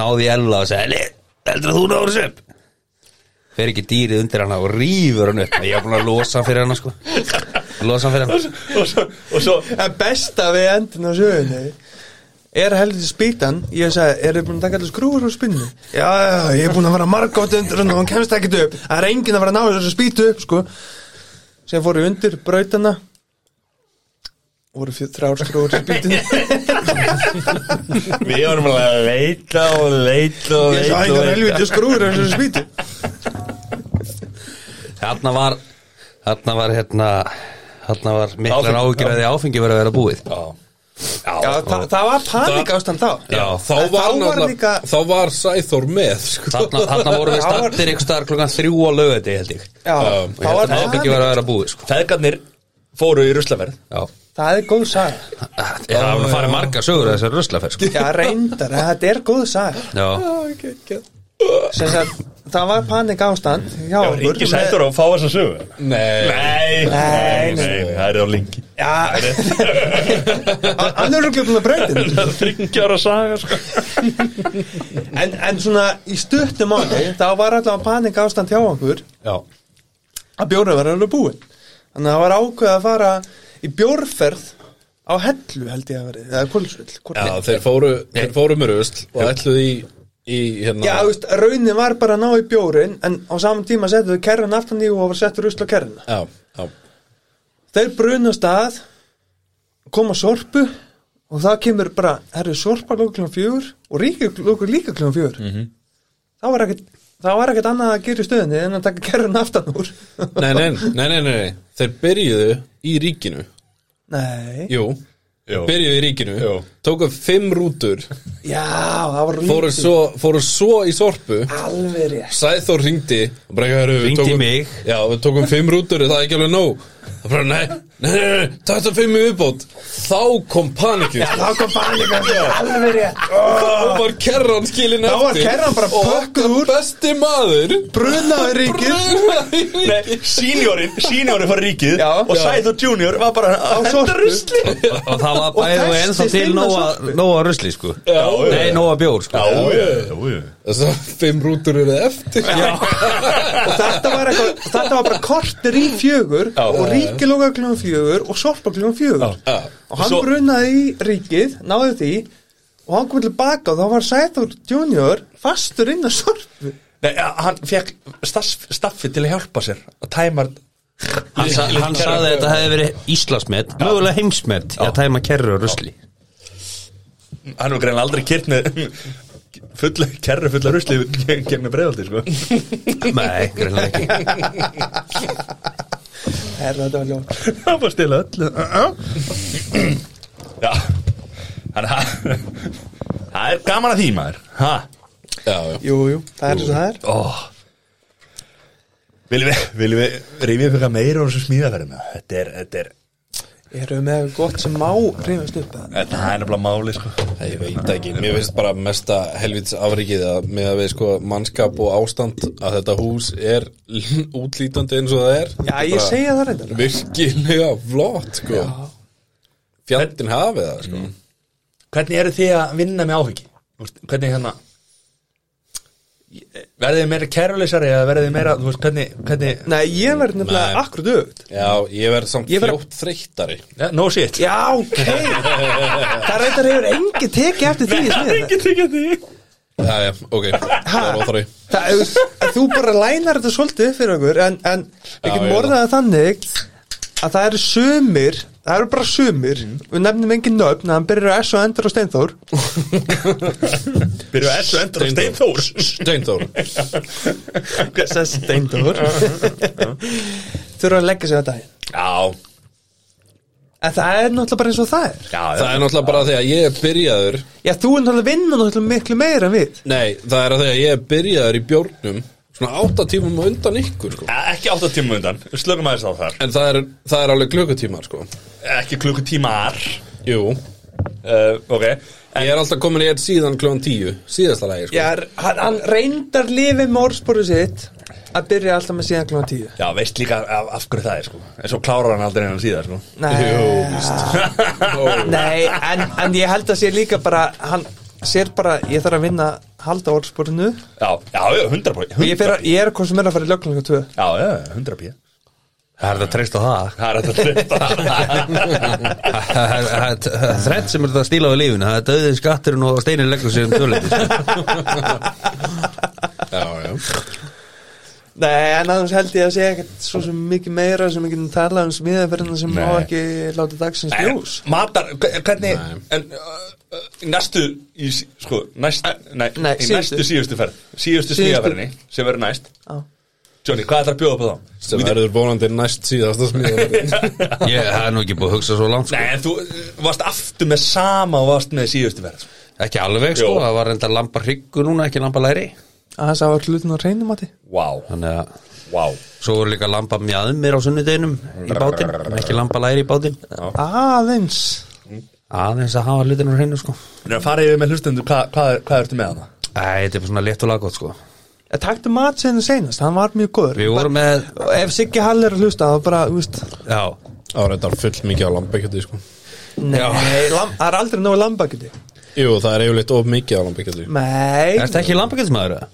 náði í Ella og sagði Elli, heldur að þú náður þessu upp Fer ekki dýrið undir hana og rýfur hann upp og ég var búin að losa hann fyrir hana sko Losa hann fyrir hana
Og svo, og svo
En besta við endin á sögunni er heldur spýtan ég sagði, eru þið búin að taka allir skrúfur og spinnu? Já, já, ég er búin að vera margótt undir hann og hann kemst ekkert upp það er enginn að vera að ná þessu spýtu upp, sko sem fóru undir brautana voru fjö- þrjár skrúfur í spýtunni (laughs)
Við vorum alveg að leita og leita og
ég
leita
sagði
og
engar
leita
helviti skrúfur á þessu spýtu
Þarna var Þarna var hérna Þarna var miklar
Áfengi,
áhyggjur að því áfengi verið að vera búið
Já
Já, það, það var panik ástand þá
Já, þá
En
var,
þá var
náttúrulega-
líka
þá var Sæþór með sko.
Þarna, þarna vorum við
Já, var-
startir ykkur staðar klukkan þrjú á lögði held ég
Já,
Um,
Og
þá var
hérna áfengi
panik
verið að vera búið sko
Feðgarnir fóru í ruslaverð
Já
Það er góð saga
Það er alveg að fara marga sögur að þessar ruslaferð sko
Já, reyndar, en þetta er góð saga
Já
sem sagt, það var panik ástand hjá
Já,
okkur
Ríkis hættur að fá þess að sögu
Nei,
Nei,
Nei, nei.
það er á linki
Já, hann er okkur búin að breyta
Þryggjar að saga sko
en, en svona í stuttum áni þá var allavega panik ástand hjá okkur
já
að bjórið var alveg búin þannig að það var ákveð að fara í bjórferð á hellu held ég að verið eða kólsvill
Já, þeir fóru, þeir fóru með rusl og ætluðu í, í hérna
Já, þú veist, raunin var bara að ná í bjórin en á saman tíma settu þau kerran aftan í og var settur rusl á kerrina
já, já,
Þeir brunast að koma sorpu og það kemur bara, herri, sorpa lókur kljóðum fjögur og ríkir lókur líka kljóðum fjögur mm -hmm. Það var ekkert Það var ekkert annað að gera í stöðinni en að taka kerran aftan úr. (laughs)
Nei, nei, nei, nei, nei, nei. Þeir byrjuðu í ríkinu
Nei.
Jú,
Jú.
byrjuðu í ríkinu
Jú.
Tóku fimm rútur
Já, það var
Fóru
ríkir.
svo, fóru svo í sorpu
Alveg rétt.
Sæþór ringdi
Hringdi í mig.
Já, við tókum fimm rútur, það er ekki alveg nóg Það bara, nei, nei, nei, nei, nei Þetta fimm í uppbót Þá kom panikið
Þá kom panika. Alveg rétt.
Þá var kerran skilin
Ah. Þá
eftir
var kerran bara pökkuð
úr Besti maður
Brunaði ríkir.
brunaði í ríkinu.
Sýnjórin, sýnjórin fór í ríkið
Já.
og
Já.
Sæður Junior var bara að henda
sorpu.
rusli
Og það var bæðið og
festi
ennþá til
steina
nóga, nóga rusli sko
Já,
Nei, nóga bjór sko
Þess að fimm rútur eru eftir Já,
og þetta var, eitthvað, þetta var bara kortir í fjögur og ríki lóka kljóðum fjögur og sorpa kljóðum fjögur
Já.
og hann
Svo-
brunaði í ríkið, náði því og hann kom til baka og þá var Sæþór junior fastur inn á sorpu
Nei, ja, hann fekk staff, staffi til að hjálpa sér að tæma
Hann, sa, hann saði að þetta hefði verið Íslandsmet, mögulega heimsmet í að tæma kerru og rusli
hann var greinlega aldrei kyrt með fulla, kerru fulla rusli gegn með breiðaldi sko.
Nei, greinlega ekki
er þetta var ljótt
hann var stila öllu já hann, hann, það er gaman að því maður ha.
já
jú, jú, það er þess að það er
Ó. viljum við, viljum við rifja upp eitthvað meira og þessu smíðaferðina þetta er, þetta er
eru við með gott sem má hrifast upp eða?
Þetta það er nefnilega máli sko
Nei, Ég veit ekki, mér finnst bara mesta helvits afrikið að með að við sko mannskap og ástand að þetta hús er útlítandi eins og það er
já, ég segja það reyndar
Virkilega flott sko Fjandinn hafið það sko
Mm.
Hvernig eru þið að vinna með áhengi? Hvernig hérna Verðið þið meira kæruleysari eða verðið þið meira, þú veist, hvernig, hvernig
Nei, ég verður
Nei.
nefnilega akkur dögt
Já, ég verð samt
Ég verð-
fljótt þreyttari
ja, No shit
Já, ok
(laughs)
Það reyndar hefur engi tekið eftir því í sniðið.
tekið því
Já, já, ok, það er óþarfi
Það, þú veist, þú bara lænar þetta svolítið fyrir okkur en, en við
ég
getum
veit
orðað það þannig að það eru sumir það eru bara sumir, við nefnum engin nöfn að hann byrjar að S og endur á Steinþór
Byrjuðu S og endur á Steinþór
Steinþór
SS Steinþór (laughs) þurfa að leggja sig á daginn
Já,
en það er náttúrulega bara eins og það er
já,
Það er náttúrulega bara því að ég er byrjaður
já, þú er náttúrulega vinna náttúrulega miklu meira en við
Nei, það er að því að ég er byrjaður í bjórnum Svona átta tímum á undan ykkur sko.
Já, Ekki átta tíma undan, við slögum aðeins á þar
En það er, það er alveg klukkutímar sko.
Ekki klukkutímar
Jú,
uh, Ok,
ég er alltaf komin í eitt síðan klukkan tíu Síðasta lagi sko.
já, hann, hann reyndar lifið með orðsporu sitt að byrja alltaf með síðan klúna tíu
já, veist líka af, af hverju það er, sko En svo klárar hann aldrei hennan síðar, sko
Jú,
nei,
víst.
(laughs) Nei, en, en ég held að sé líka bara hann sér bara, ég þarf að vinna halda orðspórinu og
Já, já, já, hundra bói
ég, fer að, ég er hvað sem er að fara í löglingu 2
Já, já, hundra bói
(laughs) Það er þetta að treysta á það
Það er þetta þetta
Það er- það er- það er þrætt sem er þetta að stíla á lífinu Það er döðið skatturinn og steinir leggur sér um tölviti
(laughs) Já, já
Nei, en aðeins held ég að sé ekkert svo sem mikið meira sem við getum talað um smiðaferðina sem má
Nei.
ekki láta dagsins ljós
Matar, hvernig
Nei.
En uh, uh, næstu í, sí- Sko, næst, nei,
nei,
í
síðustu.
næstu síðustu ferð Síðustu smíðaferðinni, sem verður næst
Já.
Johnny, hvað ætlar að bjóða upp á þá?
Sem verður vonandi næst síðasta smiðan
Ég það er nú ekki búið að hugsa svo langt sko.
Nei, en þú uh, varst aftur með sama og varst með síðustu ferð
Ekki alveg sko,
Jú.
það var enda lampa hryggu núna, ekki lampa læri
að það sá að hlutin á reynum átti
Vá,
Þannig að
vá
svo voru líka lampa mjadmir á sunnudeginum í bátinn, ekki lampa læri í bátinn
aðeins
Aðeins að hafa hlutinu hreinu sko
Þannig að fara yfir með hlustendur, hvað, hvað, hvað ertu með hana?
Æ, þetta er bara svona létt og laggótt sko
Ég takti Eh, mat sinni senast, hann var mjög góður
Við vorum með,
Og Ef Siggi Hall er að hlusta, þá bara, þú veist
já
(laughs) Það var þetta full mikið á lambakjöti sko.
Nei, lam- það er aldrei nógu lambakjöti
Jú, það er yfirleitt of mikið á lambakjöti
Nei,
Er þetta ekki lambakjöldismæður?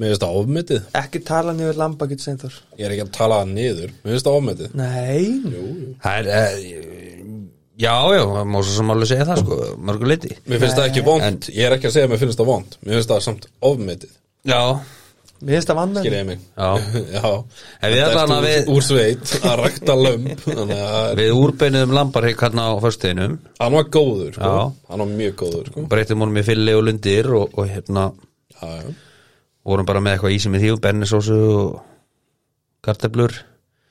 Mér finnst það ofmetið
ekki tala niður lambakjöti Steinþór
Ég er ekki að tala það niður Mér finnst það ofmetið
Nei,
Það er, eh, já, já, má svo sem alveg segja það sko, mörgur leiti
Mér finnst það ekki vond, ég er ekki að segja að mér finnst það vond Mér finnst það samt ofmetið
Já,
Mér finnst það
Skil
vannmenni
ég mig (laughs)
Já.
Já
En við
Þetta ertu
allan að Hérna við-
Úr sveit að rækta lömb Þannig að það er-
við úrbeinuðum lambarhygg hérna á föstuðinum
hann var góður sko.
Já.
Hann var mjög góður sko.
Breytum honum í fylli og lundir og, og hérna
Já, já
vorum bara með eitthvað ísi með því og bennisósu og karteblur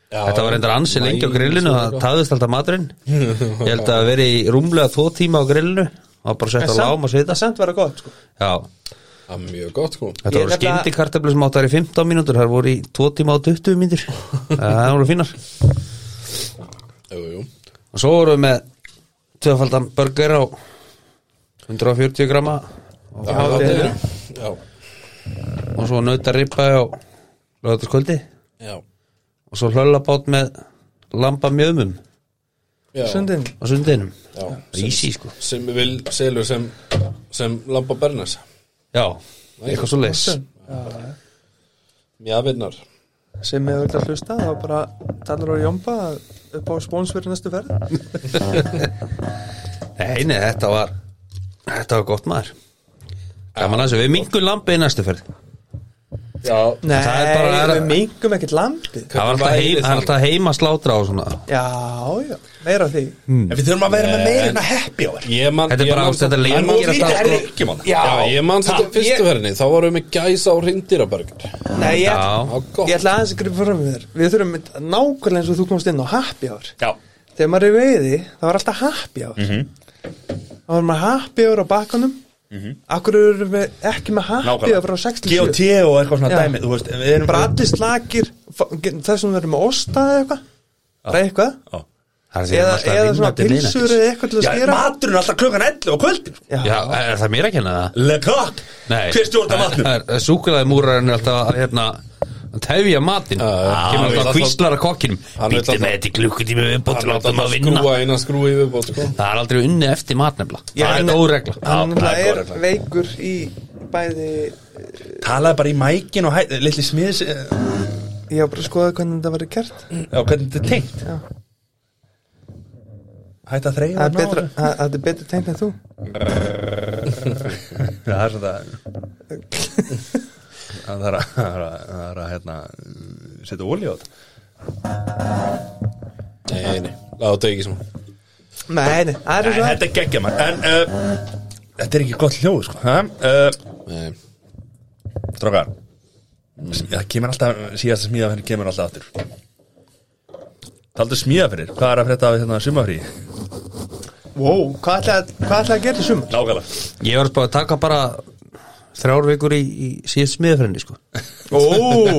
Já,
Þetta var reyndar ansi lengi á
maís
grillinu
og
það
eitthvað.
taðist alltaf maturinn Ég held að veri í rúmlega tvo tíma á grillinu og bara sett á lám og svita
samt var það gott sko.
Já,
Það var mjög gott sko
þetta
Ég
voru
nefnilega-
skyndi karteblur sem áttar í 15 mínútur það voru í 2 tíma og 20 mínútur Það voru fínar
Jú, jú
Og svo vorum við með tvöfaldan burger á 140 gramma
Já, það
er-
er- Já,
og svo nauta rippa á lögataskvöldi
já
og svo hlöllabát með lamba mjöðmum á
Já,
Sundin,
sundinum
já.
Ísi sko
Sem vil selur sem, sem Lamba Bernes
Já, eitthvað svo leis
Mjafinnar
sem hefur vilt að hlusta þá bara talar á Jomba upp á spóns fyrir næstu ferð
Nei, nei, þetta var þetta var gott maður Gaman að þessu, við mingum lambi í næstu ferð
Já,
Nei,
Það er bara-
við mingum ekkert lambið
Það var alltaf,
væri
heim, það
það?
var alltaf heima slátra á svona
Já, já, meira af því
Hmm.
En við þurfum að vera með
Nei.
meira en að happy hour
Ég man,
Þetta er
ég
bara
man
ástæða
samt-
lengi
En nú
að
líka-
það-
Það er ekki mann
Já.
Já, ég man þetta fyrstu verðinni Þá varum við með gæsa og hrindýrabergur
Nei, ég,
Já.
ég ætla aðeins að gripa fram við þér Við þurfum nákvæmlega eins og þú komst inn á happy hour
Já,
Þegar maður er í veiði, það var alltaf happy hour Það var maður happy hour á bakkanum Akkur erum við ekki með happy hour frá 67
GOT og eitthvað svona
Já.
dæmi Þú veist, við erum
bara allir slakir þessum verður með osta eða eitthvað bara eitthvað
Já.
Það er því að
eða,
maður alltaf að
eða
vinna
svona
til miðnættis.
pilsur eða eitthvað til að
Já,
skýra
maturinn er alltaf klukkan 11 á kvöldin sko.
Já, er það mér að kenna það?
Le coq
Nei
Hver stjórnar
(laughs)
matnum?
Súkulæðimúrarinn er alltaf að hérna að tefja matinn
Já, já.
kemur
Hann
alltaf
vill
kvíslar að kokkinum
Hann vill
býttu
alltaf-
með þetta í klukkutími við bótt
Hann
látum
ætlaði
að
að
vinna
skrúa eina skrúi viðbót sko.
það er aldrei unni eftir matnefla
Já,
það er
en-
þetta óregla
hérna-
það
hann
er góð
náttúrulega er
regla.
veikur í bæði eh,
talaði bara í mækin og hæ, litli smiðis eh,
Ég var bara að skoða hvernig þetta verið kert
Já, hvernig þetta er tengt
Já.
Hætt að þreyja
Það er betra, það það er betra tengt en þú
Það er svona
(laughs)
Það er að, það er að, það er að hérna, setja olíu á þetta
Nei, nei, láta ekki svona
Nei, nei, það er
Nei,
svo
þetta er geggja mann En uh, þetta er ekki gott hljóð sko. ha? uh,
Nei,
Strákar Það kemur alltaf, síðasta smíða fyrir kemur alltaf aftur Taldu smíða fyrir, hvað er að frétta af hérna sumafrí?
Wow, hvað ætlaði hvað ætlaði að gera í sumar?
Nákvæmlega
Ég var bara að taka bara þrjár vikur í, í síðast smiðafrenni sko.
Ó,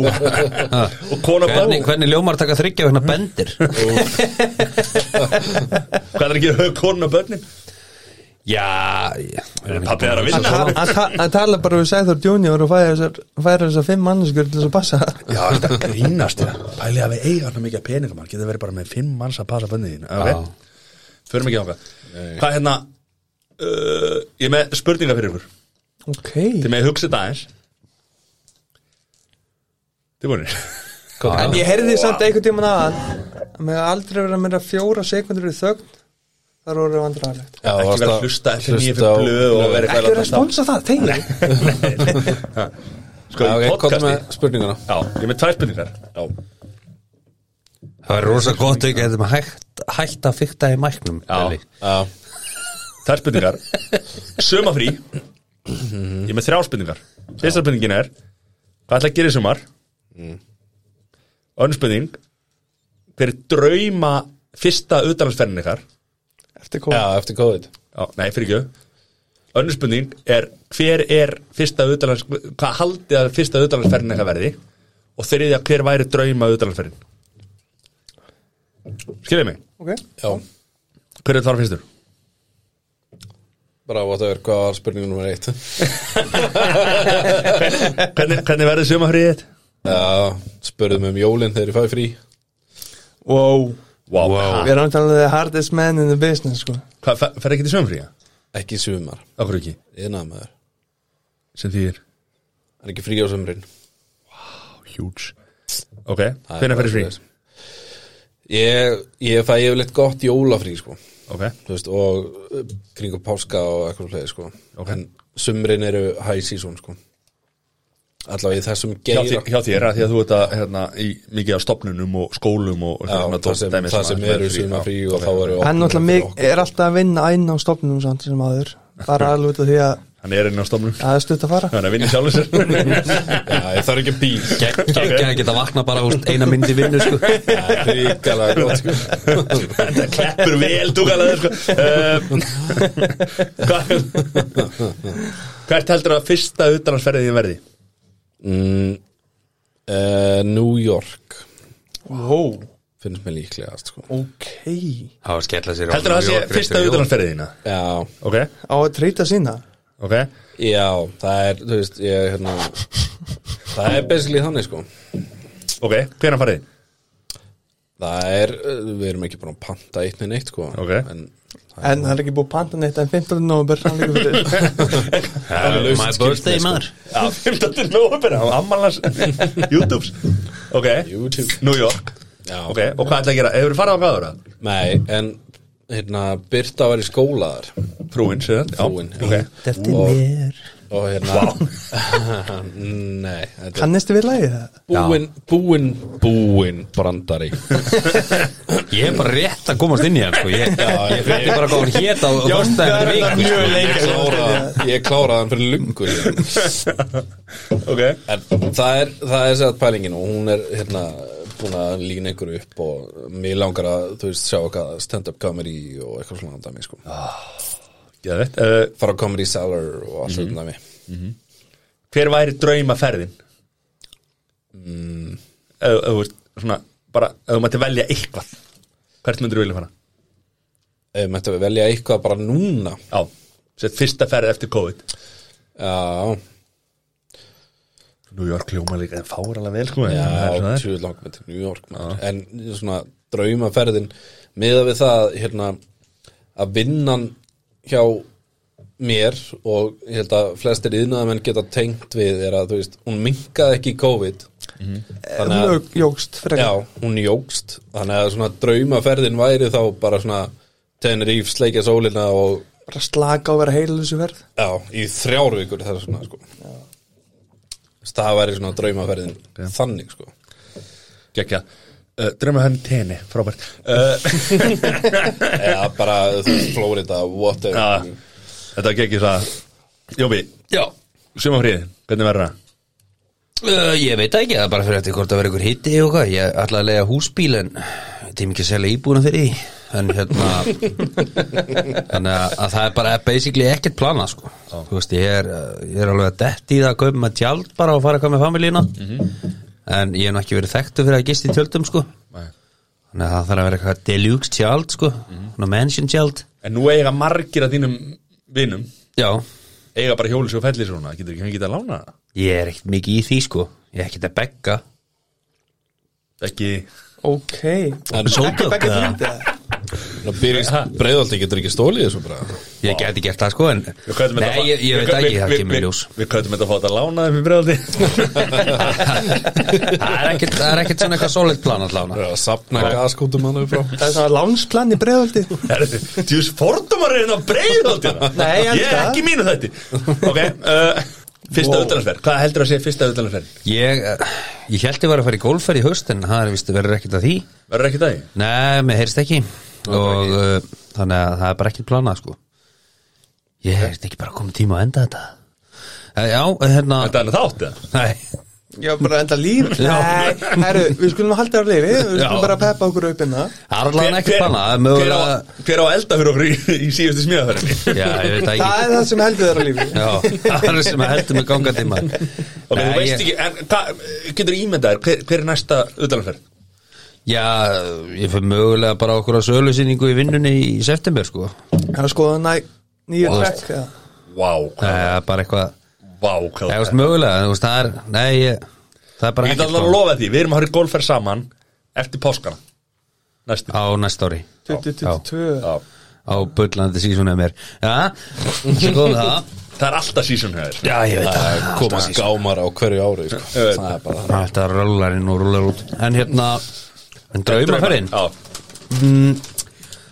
og kona bá
hvernig, hvernig ljómar taka þryggja hérna bendir
Hvað er ekki að höfðu kona og börnin?
Já ég-
Pappi er að
Hann-
vinna
hann- Hann ta- hann talar bara við Sæþór Junior og færa þessar, færa þessar fimm manneskur til þess að passa
Já, þetta grínast þér Pæli að við eiga hann mikið peningum Hann getur verið bara með fimm manns að passa bönnið þín
Já.
Ok, förum ekki ákvað Hvað hérna uh, Ég er með spurninga fyrir ykkur
Ok
Þið með hugsa þetta aðeins Þið búinir
En ég heyrði samt einhvern tímann aðan að með aldrei vera meira fjóra sekundur í þögn þar voru vandrarlegt
Já,
Ekki
varst
vera
að
að hlusta eftir nýja
hlusta á
fyrir blöð og
blöð.
verið
Ekki vera að sponsa það, þegar
Sko, í
Já, ok, komdu
podcasti
með spurninguna
Já, ég er með tvær spurningar Já,
Það er rosa gott ekki að þeim hægt, hægt að fykta í mæknum
Já.
Elli.
Já,
tvær
(laughs)
spurningar Sumafrí Ég er með þrjá spurningar Fyrsta spurningin er Hvað ætla að gera í sumar?
Mm.
Önnur spurning Hver er drauma fyrsta utalansferðin ykkar?
Eftir
já,
kóla
eftir COVID
Já, nei, fyrir ekki Önnur spurning er hver er fyrsta auðvitaðlands hvað haldið að fyrsta auðvitaðlandsferðin eitthvað verði og þriðja hver væri drauma auðvitaðlandsferðin Skiljið mig,
Ok,
Já,
hver er þar fyrstur?
bara whatever, hvað var spurningu nummer eitt (laughs)
Hvernig, hvernig verður sumafriðið þitt?
Já, spurðum um jólinn þegar ég fæ frí
wow
Wow, wow.
Við erum talað um the hardest man in the business sko
Hvað, fer, fer ekki til sumafriða?
Ekki í sumar,
Okkur ekki,
innað maður
sem því er
Hann er ekki frí á sumrin
huge Ok, hvernig ferður frí?
Ég, ég fæ yfirleitt gott jólafrí, sko
Ok,
Þú veist, og uh, kringum páska og eitthvað fleiri, sko
Ok.
En sumrin eru high season, sko Alla í þessum
hjá,
geira
þér- hjá þér að því að þú ert að hérna, í mikið af stopnunum og skólum og
Já, það sem,
dæmi
það
að ætla
sem
að
eru
vera frí.
sumar frí
Já,
og þá eru
Hann
opnanir
náttúrulega
fyrir
mig- er alltaf að vinna inn á stofnum samt sem aður bara alveg út af því að
Hann er inn á stopnunum
að það er stutt að fara
Þannig að vinna sjálfur sér
okkur. Já, ég þarf ekki (laughs) bíl
Ekki að geta vakna bara úr eina myndi vinnu sko.
Ríkalega gott, sko
Þetta kleppur vel dúkalega sko. um, hvað, Hvert heldur að fyrsta utanhansferðið þín verði?
mm, uh, New York
Wow,
finnst mér líklegast, sko
ok Á
Það var að skella sér á
Heldur að það
New
sé
York
fyrsta
rétt fyrir jól.
utanhansferðið þína?
Já,
Ok,
að trýta sína
ok
já, það er, þú veist, ég, hérna Það er basically þannig, sko
Ok, hvernig (laughs) farið? þið?
Það er, uh, við erum ekki búin að panta eitt með neitt, sko
Ok.
En
En það er ekki búið að panta neitt en 15. nómber hann líka fyrir
Uh, My birthday maður
Já, 15. november á ammalans YouTubes Ok,
YouTube.
New York
Já,
Ok, og hvað ætla að gera? Hefur farið á hvaður það?
Nei, en, hérna, Birta var í skóla þar
Frúin, sér það?
Frúin, já.
ok
Eftir mér
Og hérna (laughs) Nei, þetta er
Kannistu við lagið það?
búin, búin, búin
(laughs)
brandari
Ég er bara rétt að komast inn í hann sko. Ég, ég fætti bara hvað hún hét á
það er
þorstæðinu viku
mjög
sko.
Ég kláraði- Ég kláraði hann fyrir lungu síðan.
Ok,
En það er, það er sér að pælingin og hún er hérna búin að lína ykkur upp og mér langar að, þú veist, sjá eitthvað stand-up comedy og eitthvað svona dæmi, sko Eh,
ég veit uh,
fara á comedy cellar og allt svona dæmi
hver væri draumaferðin mm. ef ef þú veist svona bara ef þú mætti velja eitthvað hvert myndir þú vilja fara
Ef Mættu við velja eitthvað bara núna
já, sett fyrsta ferð eftir COVID
Já,
New York hljóma líka en fáur alveg vel sko
já, tjúið langt með til New York maður. en svona draumaferðin miða við það hérna að vinnan hjá mér og ég held að flestir yðnaðamenn geta tengt við er að þú veist, hún minkaði ekki í COVID þannig að,
Hún jógst
já,
frekar
hún jógst þannig að svona draumaferðin væri þá bara svona Tenerife sleikja sólina og
Bara slaka á að vera heilalösu verð
já, í þrjár vikur það er svona sko Þess, það væri svona draumaferðin þannig sko
Gekja uh, Drömmu henni tenni, frábært (laughs) uh,
eða bara þú veist, Florida, whatever
Já, Þetta gekki það Jóbi, já, sumafríði, hvernig verður það?
Uh, ég veit það ekki, það er bara fyrir eftir hvort það verður ykkur hitti og hvað, ég ætla að lega húsbíl en ég tím ekki að selja íbúna fyrir því en hérna þannig að, að það er bara basically ekkert plana sko, þú veist ég er, uh, ég er alveg að detti í það að kaupa með tjald bara og fara að koma með familína en ég hef nú ekki verið þekktu fyrir að gist í tjöldum sko,
Nei.
þannig að það þarf að vera eitthvað deluxe tjald sko, svona mansion tjald
En nú eiga margir af þínum vinum
já,
Eiga bara hjólis og fellis svona Getur ekki fengið að lána það?
ég er ekkert mikið í því sko ég er ekkert að begga
Ekki
Ok
en
Sódögg, eða?
byrjist breyðaldi getur ekki stólið þessu bara
Ég geti gert það sko en
Við köttum þetta
Nei,
að fá-
ég, ég
við
veit
köttum-
ekki, það
við-
kemur í
við-
ljós (laughs)
Við köttum þetta að fá þetta að lána þeim í breyðaldi
Það er ekkert, það er ekkert svona eitthvað solid plan allavega
að sapna gaskútum hann upp frá
Það er svona lánsplan í breyðaldi
Tjús fordumar er þetta breyðaldina
Nei, ég
hérna
held
Ég er
það.
ekki í mínu þetta
(laughs)
Ok, uh, fyrsta wow. utalansferð Hvað heldur að segja fyrsta utalansferð?
Ég, eh, ég held ég var að fara í golfferð í haust en það er vist verður ekkert að því
Verður ekki dagi?
Nei, mér heyrst ekki og uh, þannig að það er bara ekkert planað sko Ég heyrst ekki bara komið tíma að enda þetta Eh, Já, hérna
Þetta er þátt eða?
Nei,
Já, bara enda líf
Já.
Nei, herru, við skulum halda af lífi Við
Já.
skulum bara peppa okkur upp hérna. innan
það er allavega
Hver-
ekkert planað það er
hver,
mögulega
á- hver á að elda fyrir okkur í, í síðustu smíðaferðinni?
(laughs) Já, ég
(laughs)
veit það
Það
ekki
er það sem heldur þér á lífi
Já, það er sem að heldur mig ganga tíma
Ok, þú veist ekki, en hvað, getur ímyndað þér, hver, hver er næsta utalansferð?
Já, ég fyrir mögulega bara okkur að sölusýningu í vinnunni í september sko
Það er skoða næ, nýju
Wow.
trekk eða?
Vá, hvað,
Það er bara eitthvað
vá, hvað
Það er mögulega, þú veist, það er Nei, ég, það er bara
Ég get
ekkert
alltaf að
sko,
lofa því, við erum að horfa í golfferð saman eftir páskana Næstu
Á næsta ári
2022
Já.
Á bullandi sísunni mér Já, svo góðum við það
Það er alltaf season hefur
Já, ég veit það sko.
koma skámar á hverju ári sko.
Eh,
það er bara
Þetta rullar inn og rullar út En hérna, en draumaferðin
Já,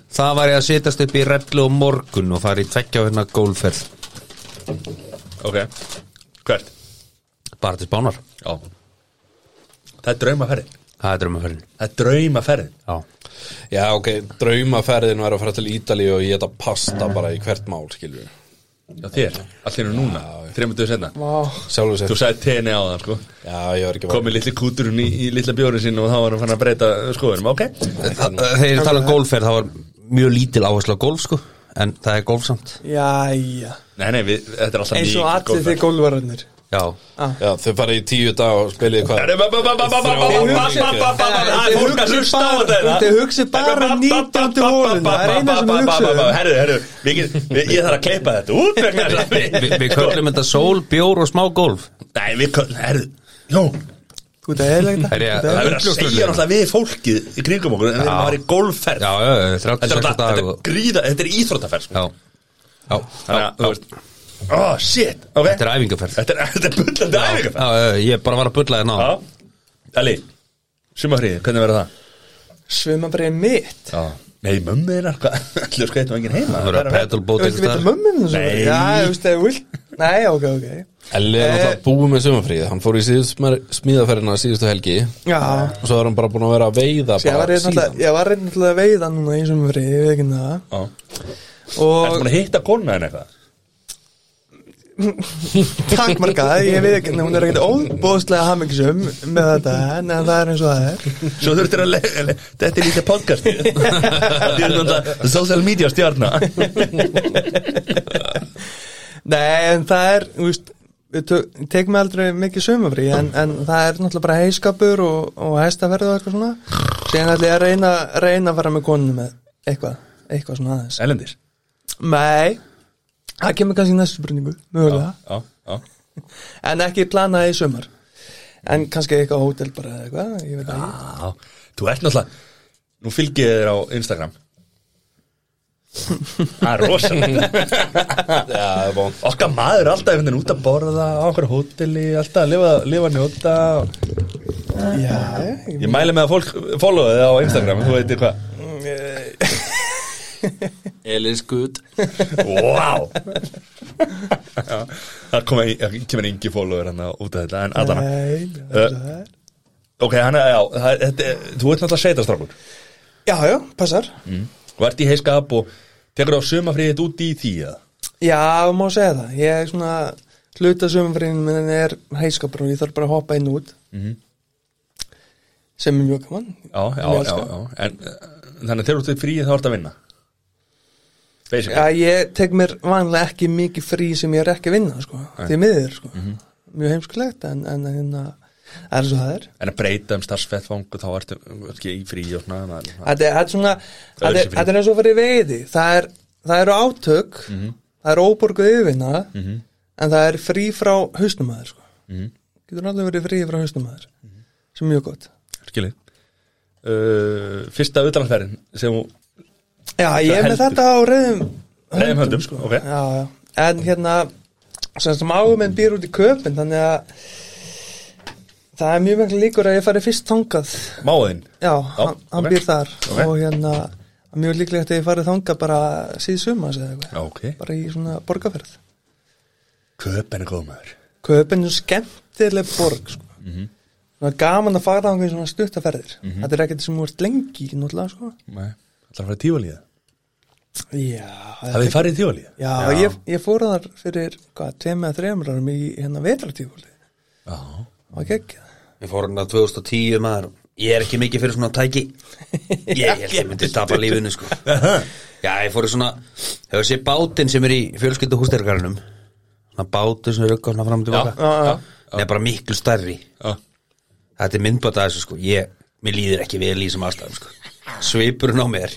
Það var ég að setjast upp í rellu og morgun og fara í tveggja hérna gólferð
ok Hvert?
bara til spánar
Já Það er draumaferðin
Það er draumaferðin
Það er draumaferðin
Já,
já ok, draumaferðin var að fara til Ítalíu og ég geta pasta bara í hvert mál skilju
Já þér, allir eru núna, þreymur döðu senna
sjálfur sér
Þú sagði tenni á það sko
já, ég var ekki bara
Komið litli kúturinn í, í litla bjórið sín og þá var hann fann að breyta eh, skoðunum, ok
Þa- Þegar ég tala um golfferð þá var mjög lítil áherslu á golf sko En það er golf samt
Jæja
Nei, nei, við, þetta er alltaf
Eins og allir þið Ah, gólvararnir
Já
já, þau fara í tíu dag og spiliði hvað
Þið Herru, herru, ég þarf að kleipa þetta út
Vi, Við köllum þetta sól, bjór og smá golf
Nei, við köllum, herru Jón,
Þú veit að eðlægt
Herri,
það
það
það
er verið að segja náttúrulega við fólkið í kringum okkur en við erum að fara í golfferð
Já, já, já, 36
Þetta
dag
er
og,
gríða, þetta er íþróttaferð sko.
Já, já,
Þannig
já,
að, þú veist Oh, shit, ok
Þetta er æfingarferð
Þetta er, þetta er bullandi æfingarferð
Já, já, ég bara var að bulla þérna á
Já, Eli, sumafríði, hvernig verður það?
Svimabriðin mitt
Já Nei, mömmu þínar, hvað, (laughs) allir skreitum enginn heima
Það verður að pedalbót
Þú veist, við veitum mömmum þessu
Nei.
Já, þú veist, það er vilt Nei, ok, ok
Elli er náttúrulega búið með sumafríð hann fór í síðust smíðaferðina síðustu helgi
Já
og svo er hann bara búin að vera að veiða
Ég var
bara
reynd náttúrulega-
Ah, síðan
ég var reynd náttúrulega að veiða núna í sumafrið Ég veit ekki um það
Ertu
Og
maður að hitta konu en eitthvað?
takk marga Ég veit ekki, hún er ekkert óbóðslega hamingisum með þetta En en það er eins og það er
Svo þurftir að le- le- Þetta er lítið
(laughs)
podcast Þetta er náttúrulega social media stjarna
Nei, en það er, þú veist við tök- tekum aldrei mikið sömufrí en, en það er náttúrulega bara heiskapur og, og hestaferð og eitthvað svona síðan ætla ég að reyna, reyna að fara með konunni með eitthvað, eitthvað svona aðeins
Elendis
Nei, það kemur kannski í næstu spurningu mögulega,
Já, já
en ekki planaði í sömur en kannski eitthvað á hótel bara eða eitthvað, ég veit ekki
Já, þú ert náttúrulega Nú fylgið þér á Instagram Það er rosalegt
það er bón
Okkar maður er alltaf einhvern veginn út að borða á einhverju hóteli, alltaf að lifa, lifa njóta
Já,
Ég mæli með að fólk followa þið á Instagram, þú veitir hvað
Elin Skut
Wow Já, Það koma í- það kemur engi follower hann út af þetta En allan uh,
já,
Ok, hann er, já, það, þetta, er- þú ert náttúrulega sveitastrákur
já, já, passar
Og ert í heiskap og tekur á sumafriðið út í því eða?
Já, má segja það Ég er svona hluta sömumfriðin minn er heiskapur og ég þarf bara að hoppa inn og út
Mhm.
sem er mjög gaman
Já, já,
Ég
já,
elska.
já En uh, þannig að þegar þú ert fríið þá ert að vinna Basically
Já, ég tek mér vanlega ekki mikið frí sem ég er ekki að vinna, sko, því miður, sko
Mhm.
mjög heimskulegt, en, en hérna það er svo það er
En að breyta um starfsfettfang þá ertu uh, ekki í frí og svona maður-
Þetta er- þetta er svona, þetta er-
frí.
þetta er eins og fyrir veiði það, er, það eru átök
Mhm.
það eru óborguð yfirvinna en það er frí frá hausnumæður, sko
Mhm.
getur allir verið frí frá hausnumæður sem er mjög gott
Skilið uh, Fyrsta utanlandsferðin sem þú
Já, ég er með
heldur.
þetta á reyðum
Reiðum höndum, sko, ok.
já, já. En hérna, sem sem águm minn býr út í köpinn Þannig að það er mjög miklu líkur að ég fari fyrst þangað Já,
máðinn
hann, hann
ok.
býr þar
Ok.
Og hérna, mjög líklegt að ég fari þangað bara síð sumas eða eitthvað
Ok
Bara í svona borgarferð
Köpen er góð maður
Köpinn er svo skemmtileg borg sko.
Mhm.
Það er gaman að fara þangað í svona stuttaferðir Þetta er ekkert sem þú ert lengi í náttúrulega sko.
Nei Það er að fara í tífalíða
Já,
Það er farið í tífalíða
Já, Ég, ég fór að þar fyrir hvað, tveim eða þreimur árum í hérna vetratífúli
Já
og ekki
Við fórum hérna 2010 maður Ég er ekki mikið fyrir svona (laughs) tæki Ég held ég myndi tapa lífinu sko Já, ég fóru svona Hefur sé bátinn sem er í fjölskyldu hústyrkarinum Svona bátur sem er auka svona fram og tilbaka
Já, já.
Nei, bara miklu stærri
Já.
Þetta er myndbata þessu sko Ég, mér líður ekki vel í þessum aðstæðum sko Svipurinn á mér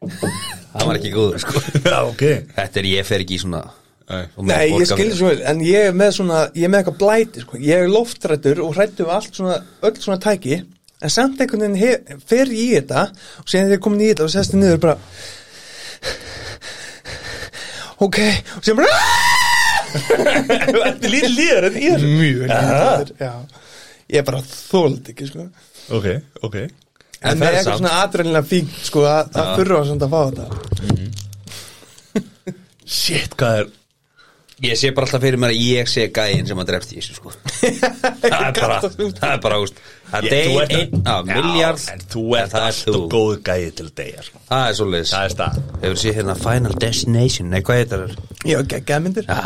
Það var ekki góður sko
Já, ok
Þetta er ég fer ekki í svona
Nei.
og mér
Nei, ég
borgar
skilði
fyrir-
svo vel, en ég er með svona ég er með eitthvað blæti, sko, ég er loftrættur og hrættu við allt svona, öll svona tæki en samt einhvern veginn he- fer ég í þetta og síðan þegar ég er komin í þetta og sest ég niður bara ok, og síðan bara
(laughs) Þetta er lítið líður en ég
mjög lítið, já ég bara þóld ekki, sko
Ok, ok
en það er
En það er
eitthvað
samt.
svona atrennilega fínt, sko, að að þurfa samt að fá þetta
Shit, hvað er
Ég sé bara alltaf fyrir mér að ég sé gæinn sem að drefst í þessu sko Það
(laughs)
er bara, það er bara, úst Það
Ég- þú
deyr
ert-
einn
Já,
af miljard
En þú ert
það
allt og góð gæði til degja sko.
Það er svoleiðis
Það er stað
Hefur séð hérna Final Destination, nei hvað heitir það?
já, geggjaða myndir
Já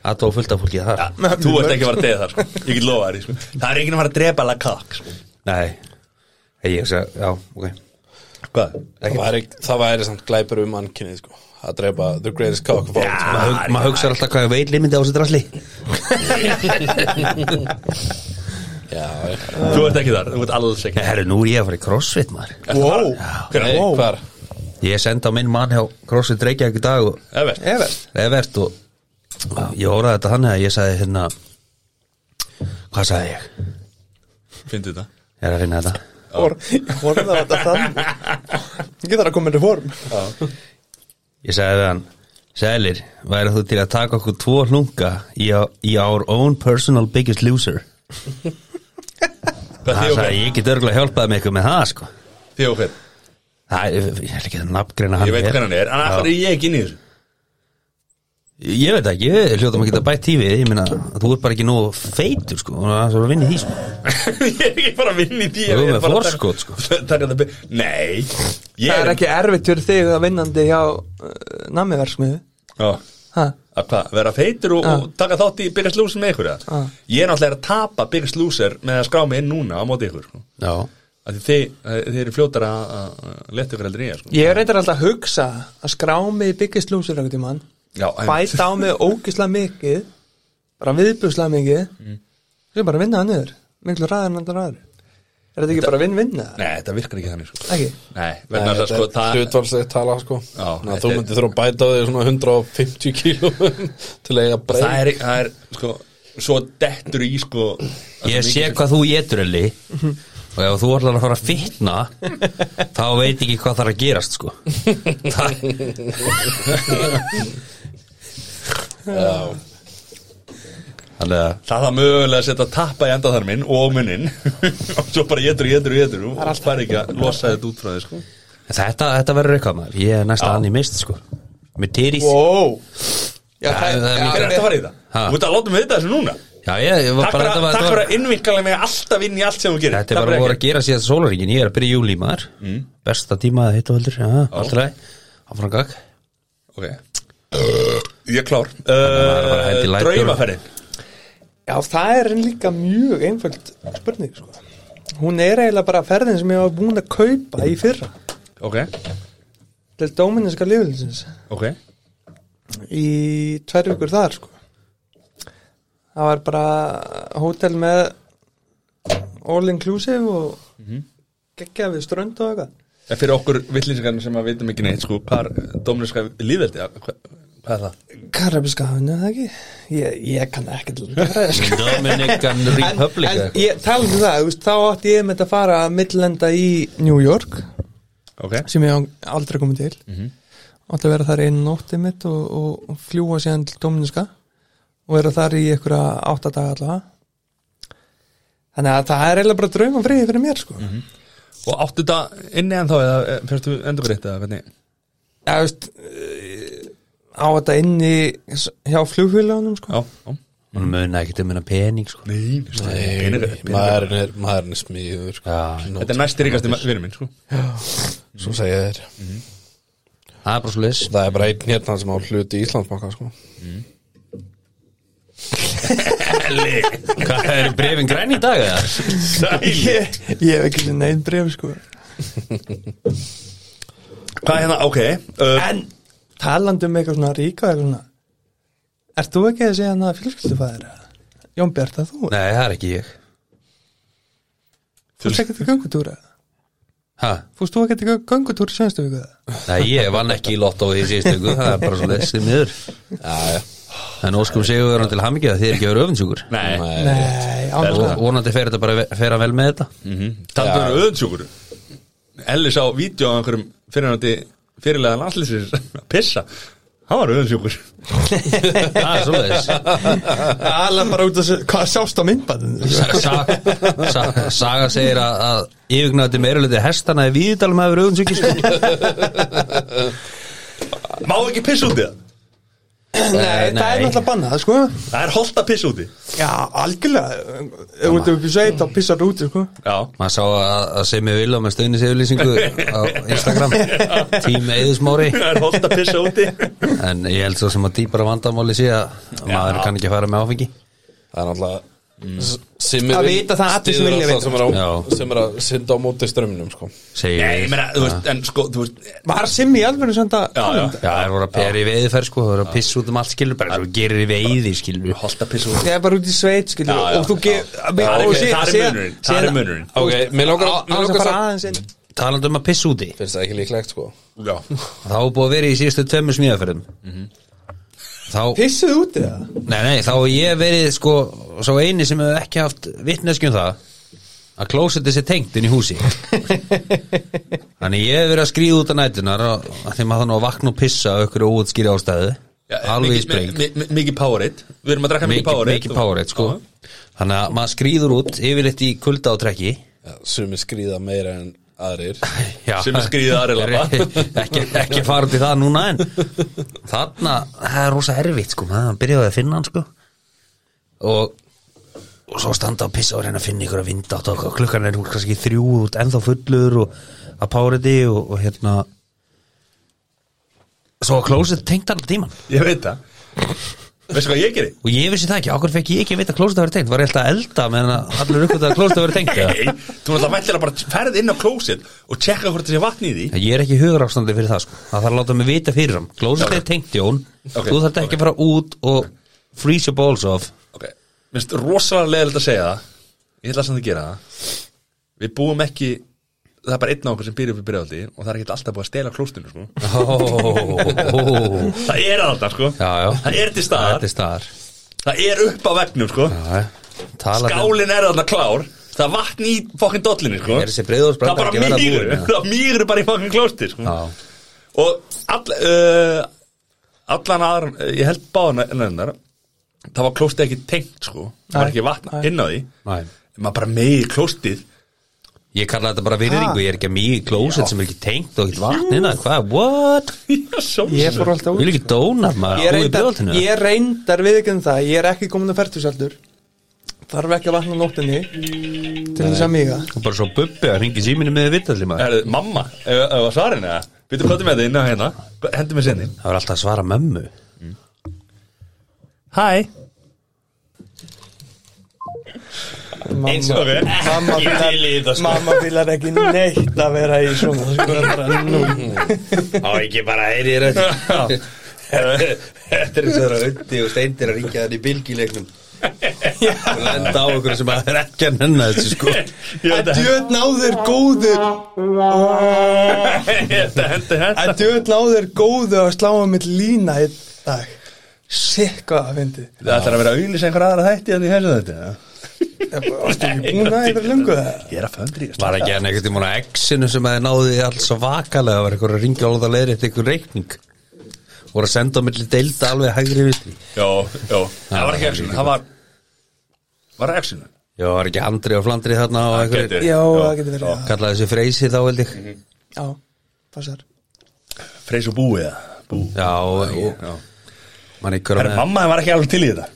Það tók fullt af fólkið þar
Já, Þú ert ekki að fara að deyja þar sko. Ég get lofa þér því, sko. Það er ekki að fara að drepa alveg kakk sko.
Nei, Nei, ég sé, já, ok
Hvað?
það væri, það væri samt glæpur um mannkynið sko að drepa the greatest cock of all time
Maður hug- maður hugsar alltaf hvað er veitlimindi á þessu
(laughs)
drasli
já, já.
Þú ert ekki þar, þú ert alls ekki
Herru, nú er ég að fara í crossfit maður
Wow
Nei,
Hvernig?
hvar?
Ég sendi á minn mann hjá crossfit reykja ekki dag og
Eða veist
Evert,
Evert og ég hóraði þetta þannig að ég sagði hérna hvað sagði ég?
Fyndu þetta
Ég er að finna þetta
form, ég horfði á þetta þannig ég þarf að koma inn í form
Ég sagði við hann Sælir, værið þú til að taka okkur tvo hlunga í, í our own personal biggest loser
Hvað þið
Það
og
sagði
hver?
ég get örgulega hjálpaði með ykkur með það sko
Þið og hver?
Það, ég ég ætla ekki að nafngreina hann
Ég veit hvernig hann er En af hverju er ég ekki inn í þessu? (laughs)
Ég veit ekki, ég hljóta maður geta bætt tífið Ég meina, þú ert bara ekki nógu feitur sko og það er að vinna í því sko
Ég er ekki bara að vinna í því
Þú
ég er
með
bara að
forskot,
taka-
sko.
(laughs) taka það be- Nei Ég
það er ekki erfitt fyrir þig að vinnandi hjá uh, namiversmiðu
Já
ha,
Að hvað, vera feitur og, og taka þátt í Biggest Loser með ykkur eða?
Ah.
Ég er náttúrulega að tapa Biggest Loser með að skrá mig inn núna á móti ykkur sko.
Já
Af því Þið, þið eru fljótar að að leta ykkur heldur en ég sko.
ég reyndar alltaf að hugsa að skrá mig í biggest loser ekkert í mann
Já, en-
bæta á mig ógisla mikið bara viðbjúsla mikið
Mm.
ég bara vinna hann yfir miklu ræðar en andan ræður er þetta ekki bara vinn-vinna?
Nei, þetta virkar ekki þannig sko.
ekki?
Nei,
Nei,
vegna þess að
þetta
sko,
er
það
hlutvalslegt tala sko
Já,
Ná,
þetta
þú
er-
myndir þurfa að bæta á þig svona 150 kíló um (laughs) til að eiga breyð
það er, það er sko, svo dettur í sko
Ég sé hvað þú getur, Eli og ef þú ætlar að fara að fitna þá veit ekki hvað þarf að gerast sko það, þannig að
Það það mögulega að setja tappa í endaþarminn og munnin (laughs) og svo bara getur, getur, getur og spær ekki að losa þetta út frá þér sko.
þetta, þetta verður eitthvað maður ég er næsta animist sko með tyrið
Wow Já,
Já, það er mikið
Hver er þetta að fara í það?
Ha?
Þú ert að láta mig vita þessu núna
já ég, ég var
Takk
bara
fyrir
þetta
að-
var,
takk
þetta
fyrir
var,
að innvinkala mig alltaf inn í allt sem þú gerir
þetta
Takk
er bara
fyrir Mm.
voru
ekki-
að gera síðan sólaringin ég er að byrja í júli maður besta tíma að hitta völdur já, allt í lagi áfram gag
Ok Ég er klár
er bara að henda í
uh,
lætur.
Draumaferðin
Já, það er líka mjög einföld spurning sko. Hún er eiginlega bara ferðin sem ég var búin að kaupa í fyrra
Ok,
til Domininska liðlýsins
ok
í tvær vikur þar sko. Það var bara hótel með all inclusive og mm
Mhm.
geggja við strönd og eitthvað
En Eh, Fyrir okkur villinsingarnir sem að vitum ekki neitt sko, hvað er domniska líðveldi? Hvað, hvað er það?
Karabiska hafinu, það ekki? Ég, ég kann ekkert læra það sko.
(laughs)
Dominican (laughs) Republic
En
eða eitthvað.
ég tala um það, þú veist, þá átti ég með þetta að fara að millenda í New York
Ok,
sem ég hef aldrei komið til átti að vera þar einu nótti mitt og, og fljúa síðan til Dominiska og vera þar í einhverja áttadaga allavega þannig að það er eiginlega bara draugum friði fyrir mér sko
og áttu þetta inni en þá eða eh, fyrstu endur breytt eða hvernig?
Já, þú veist eh, á þetta inni hjá flugfélagunum sko
Já, já
hún muna ekkert um hennar pening sko
Nei,
maðurinn er, maðurinn er smíður sko.
Já.
Þetta er næst ríkasti vinur minn sko.
Svo segja þér
það er bara svo leys
Það er bara einn hérna sem á hluti í Íslandsbanka sko.
hvað er brefin græn í dag eða
Sæl
ég, (laughs) ég hef ekki sinni einn bref sko
Hvað er hérna, ok uh,
en talandi um eitthvað svona ríka og eitthvað svona Ert þú ekki að segja hann að fjölskyldufæðir? Jón Bjart, að þú?
nei það er ekki ég
Þú ert ekki til göngutúra?
ha?
Fúst þú ekki til göngutúra í sjöðnstu viku? eða?
nei ég vann ekki í lotto í síðustu viku það er bara svo leys í miður en óskum segjum við hann til hamingja þið er ekki að vera öfinsjúkur
Nei,
Nei,
og
ánum
vonandi fer þetta bara ve- fer að vel með þetta
taldu
Já.
um öðunsjúkur Elli sá vídeo á einhverjum fyrirhandi fyrirlega landslýsins að (laughs) pissa Hann var öðunsjúkur
það er svo leys
Alla bara út að segja, hvað sjást á myndbandinu?
saga, saga, saga segir að, að yfirgnætti meiruliti hestana í Víðdalum hefur öfinsjúki sko.
Má ekki pissa úti það?
Nei, það er
nei.
náttúrulega bannað, sko
Það er holdt að pissa úti (laughs)
Já, algjörlega, ef þú ert upp í sveit þá pissar þú úti, sko
Já
maður sá að, að Simmi Vilja með stöðnis yfirlýsingu á Instagram tím eðismári
Það er holdt að pissa úti
En ég held svo sem að dýpara vandamáli sé að maður kann ekki fara með áfengi
Það er náttúrulega mm, Simmi
Það
vil-
vita það allir sem
styður
vilja
alltaf sem
vita.
er, á,
Já.
sem er að synda á móti strömminum sko.
segir
Nei, ég
við.
meina, þú veist, en sko, þú veist
Var Simmi alveg senda
Já, já
Já, það er voru að pera í veiðferð sko, það voru að pissa út um allt skilur bara eins og gerir í veiði skilur
Holdt að pissa úti
Ég er bara út í sveit, skilju
Já, já,
Og þú
já.
ge-
Það er-
og sé-
það er
sé-
munurinn, það
sé-
er munurinn.
Þú
Ok,
veist,
mér langar-
á-
mér
án þess
langar
að fara
samt-
aðeins inn
Talandi um að pissa úti
Finnst það ekki líklegt sko
Já
þá er búið að vera í síðustu tveimur smíðaferðum þá,
Pissuð úti, það?
nei nei, þá hef ég verið sko, svo eini sem hefur ekki haft vitneskjum það að klóseti sé tengt inn í húsi Þannig ég hef verið að skrýða út að nætunar og- af því maður þannig að vakna og pissa á ykkur óutskýri ástæðu alveg í spreng
Mikið Powerade Við erum að drakka mikið
mikið
Powerade
mikið Powerade sko þannig að maður skrýður út yfirleitt í kulda og trekki
ja, Sumi skrýða meira en aðrir
Já.
Sem er skrýðið aðri labba.
(laughs) ekki, ekki fara út í það núna en þarna, það er rosa erfitt sko maður byrjaði að finna hann sko og, og svo standa og pissa og reyna að finna ykkur að vinda og klukkan er hún kannski þrjú út ennþá fullur og að Powerade og, og hérna svo að klósið tengt allan tíman
Ég veit það Veistu hvað ég gerir?
og ég vissi það ekki, okkur fekk ég ekki að vita að klósið var tengt var ég alltaf að elda meðan að allir uppgötu að klósið var tengt eða?
Nei, þú náttúrulega væntilega bara ferð inn á klósið og tjekka hvort það sé vatn í því
Ég er ekki hugarástandi fyrir það sko Það þarf að láta mig vita fyrir hann Glóðsett er tengt Jón
Ok,
Þú þarf ekki að fara út og freeze your balls off
Ok, minnst rosalega leðilegt að segja það Ég ætla samt að gera það Við búum ekki Það er bara einn á okkur sem býr upp í byrjaldi og það er ekki alltaf búið að stela klóstinu sko.
oh.
Það er alltaf sko
Já, já
Það er til
Það
staðar
er til staðar
Það er upp á vegnum sko
Já, já. Talandi-
Skálin er alltaf klár Það Það er vatn í fokkin dollinni sko.
Er þessi Breiðholtsblanda
Það
ekki
bara
að verða
mýru,
búin, eða?
það mýru bara í fokkin klósti sko.
Já.
Og all, uh, allan aðra Ég held báðan ennendar Það var klósti ekki tengt sko Það var
Nei.
ekki vatn inn á því
Nei.
Maður bara megi (laughs) klóstið
Ég kalla þetta bara virðingu, ég er ekki að mýja í klóset sem er ekki tengt og ekki vatn innan, hvað, what?
Ég fór alltaf
Vil
út
ekki dónar maður,
Ég
þú í
reyndar,
bjóðaltinu?
ég reyndar við ekki um það Ég er ekki komin að fertugsaldur Þarf ekki að vakna á nóttinni Til þess að miga
Og bara svo bubbi að ringi síminu með vittalli maður.
Herðu, mamma, ef ef það var svarin eða Býttu hvað með þetta inn á hérna Hendur mér sinni
Það var alltaf að svara mömmu.
Hæ Eins og
Mamma,
við
mamma
Ég
fílar-
til í þetta, sko.
mamma fílar ekki neitt að vera í svona sko, bara, nú.
Á, ekki bara heyri þér Þetta er eins og það er auði og steindir að ringja þannig í bylgilegnum og lenda á okkur sem að er ekki að nenna þessu sko
Ég ætla að
Djöðn á þér góður
Ég ætla að henda
að
hérna
Djöðn á þér góður að slá á mitt lína í dag Sikk hvað að fyndi
Það ætlar að vera að auðlýsa einhver aðra þætti en ég hefði þetta eða?
Varstu ekki búin að yfir lungu það?
Ég er að föndri
Var ekki hann einhvern tímann að exinu sem að þið náði því alls að vakalega var eitthvað að ringja alveg að leiðri eitthvað reikning voru að senda á milli deilda alveg hægri vistri
Jó, jó Það var ekki action Það var Var action
Já, var ekki Andri og Flandri þarna og eitthvað
getur. Mhm.
Já,
Já,
það getur verið já.
kallaði þessi freysi þá held ég
Já, passar
Freys og búi eða Bú
Já, og
Já.
mann ykkur
Herra, mamma var ekki alveg til í þetta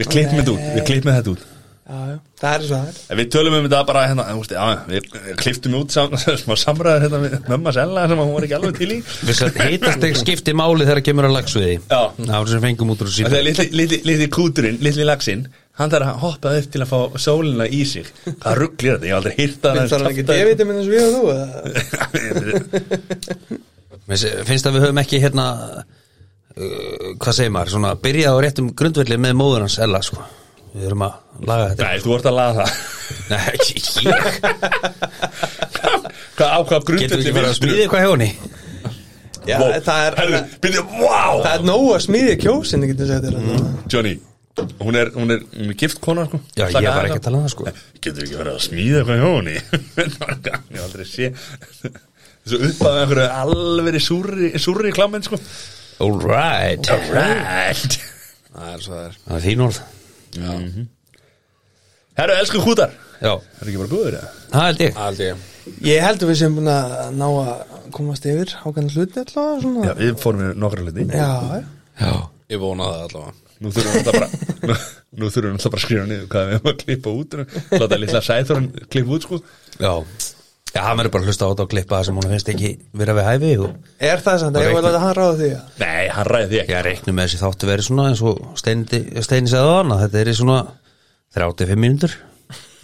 Við klippum þetta út Við klippum þetta út
Já, já, það er svo það er
En Við tölum um þetta bara hérna þú veist, já, Við við klipptum út sam, (laughs) smá samræður hérna við mömma Sella sem hún var ekki alveg til í
Heitast ekki skipti máli þegar kemur að lagsviði
Já.
Það var sem fengum út úr
Og
síðan
Þegar litli, litli, litli kúturinn, litli laxinn Hann þarf að hoppa upp til að fá sólina í sig Hvað rugglir þetta? Ég hef aldrei hýrt að
Finnst það ekki D-vitaminn eins og við og þú? eða?
Mér se- finnst að við höfum ekki hérna uh, hvað segir maður, svona byrjað á réttum grundvelli með móður hans Ella sko. við erum að laga
(laughs)
þetta
Nei, þú ert að laga það
(laughs) Nei, ekki (laughs) ég
(laughs) Hvað ákvað
Getum við
grundvelli
ekki bara að smíði eitthvað hjá henni
Já, það er
Herru, byrju, wow
Það er nóg að smíði kjósinni, getur sagt þér mm.
Johnny, hún er, hún er, hún er gift kona sko. Eh,
Já, ég var ekki að tala um það sko
Getur ekki verið að smíða eitthvað hjá henni (laughs) Ég hef aldrei sé Svo upp af einhverju alveg súri, súri klammen sko
All right
Right
(laughs) Það er svo það er
Það er þín orð
Herru, elsku hútar
Já,
Er ekki bara góður eða?
það held ég
Allt ég
Ég heldur við sem búin að ná að komast yfir ákveðna hluti allavega
Já,
svona.
við fórum við nokkra hluti
Já, já,
Já,
Ég vona það allavega
Nú þurfum við alltaf bara
(laughs)
nú, nú þurfum við alltaf bara að skrifa niður hvað við hefum að klippa út Láta litla sæþórun klippa út sko
já Já, hann verður bara að hlusta á þetta og klippa það sem hún finnst ekki vera við hæfi og
Er það samt að ég
reikna-
vil að hann ráða því að
Nei, hann ræði því ekki
ég reiknum með þessi þáttu verið svona eins og Steini, Steini sagði á hana þetta er í svona 35 mínútur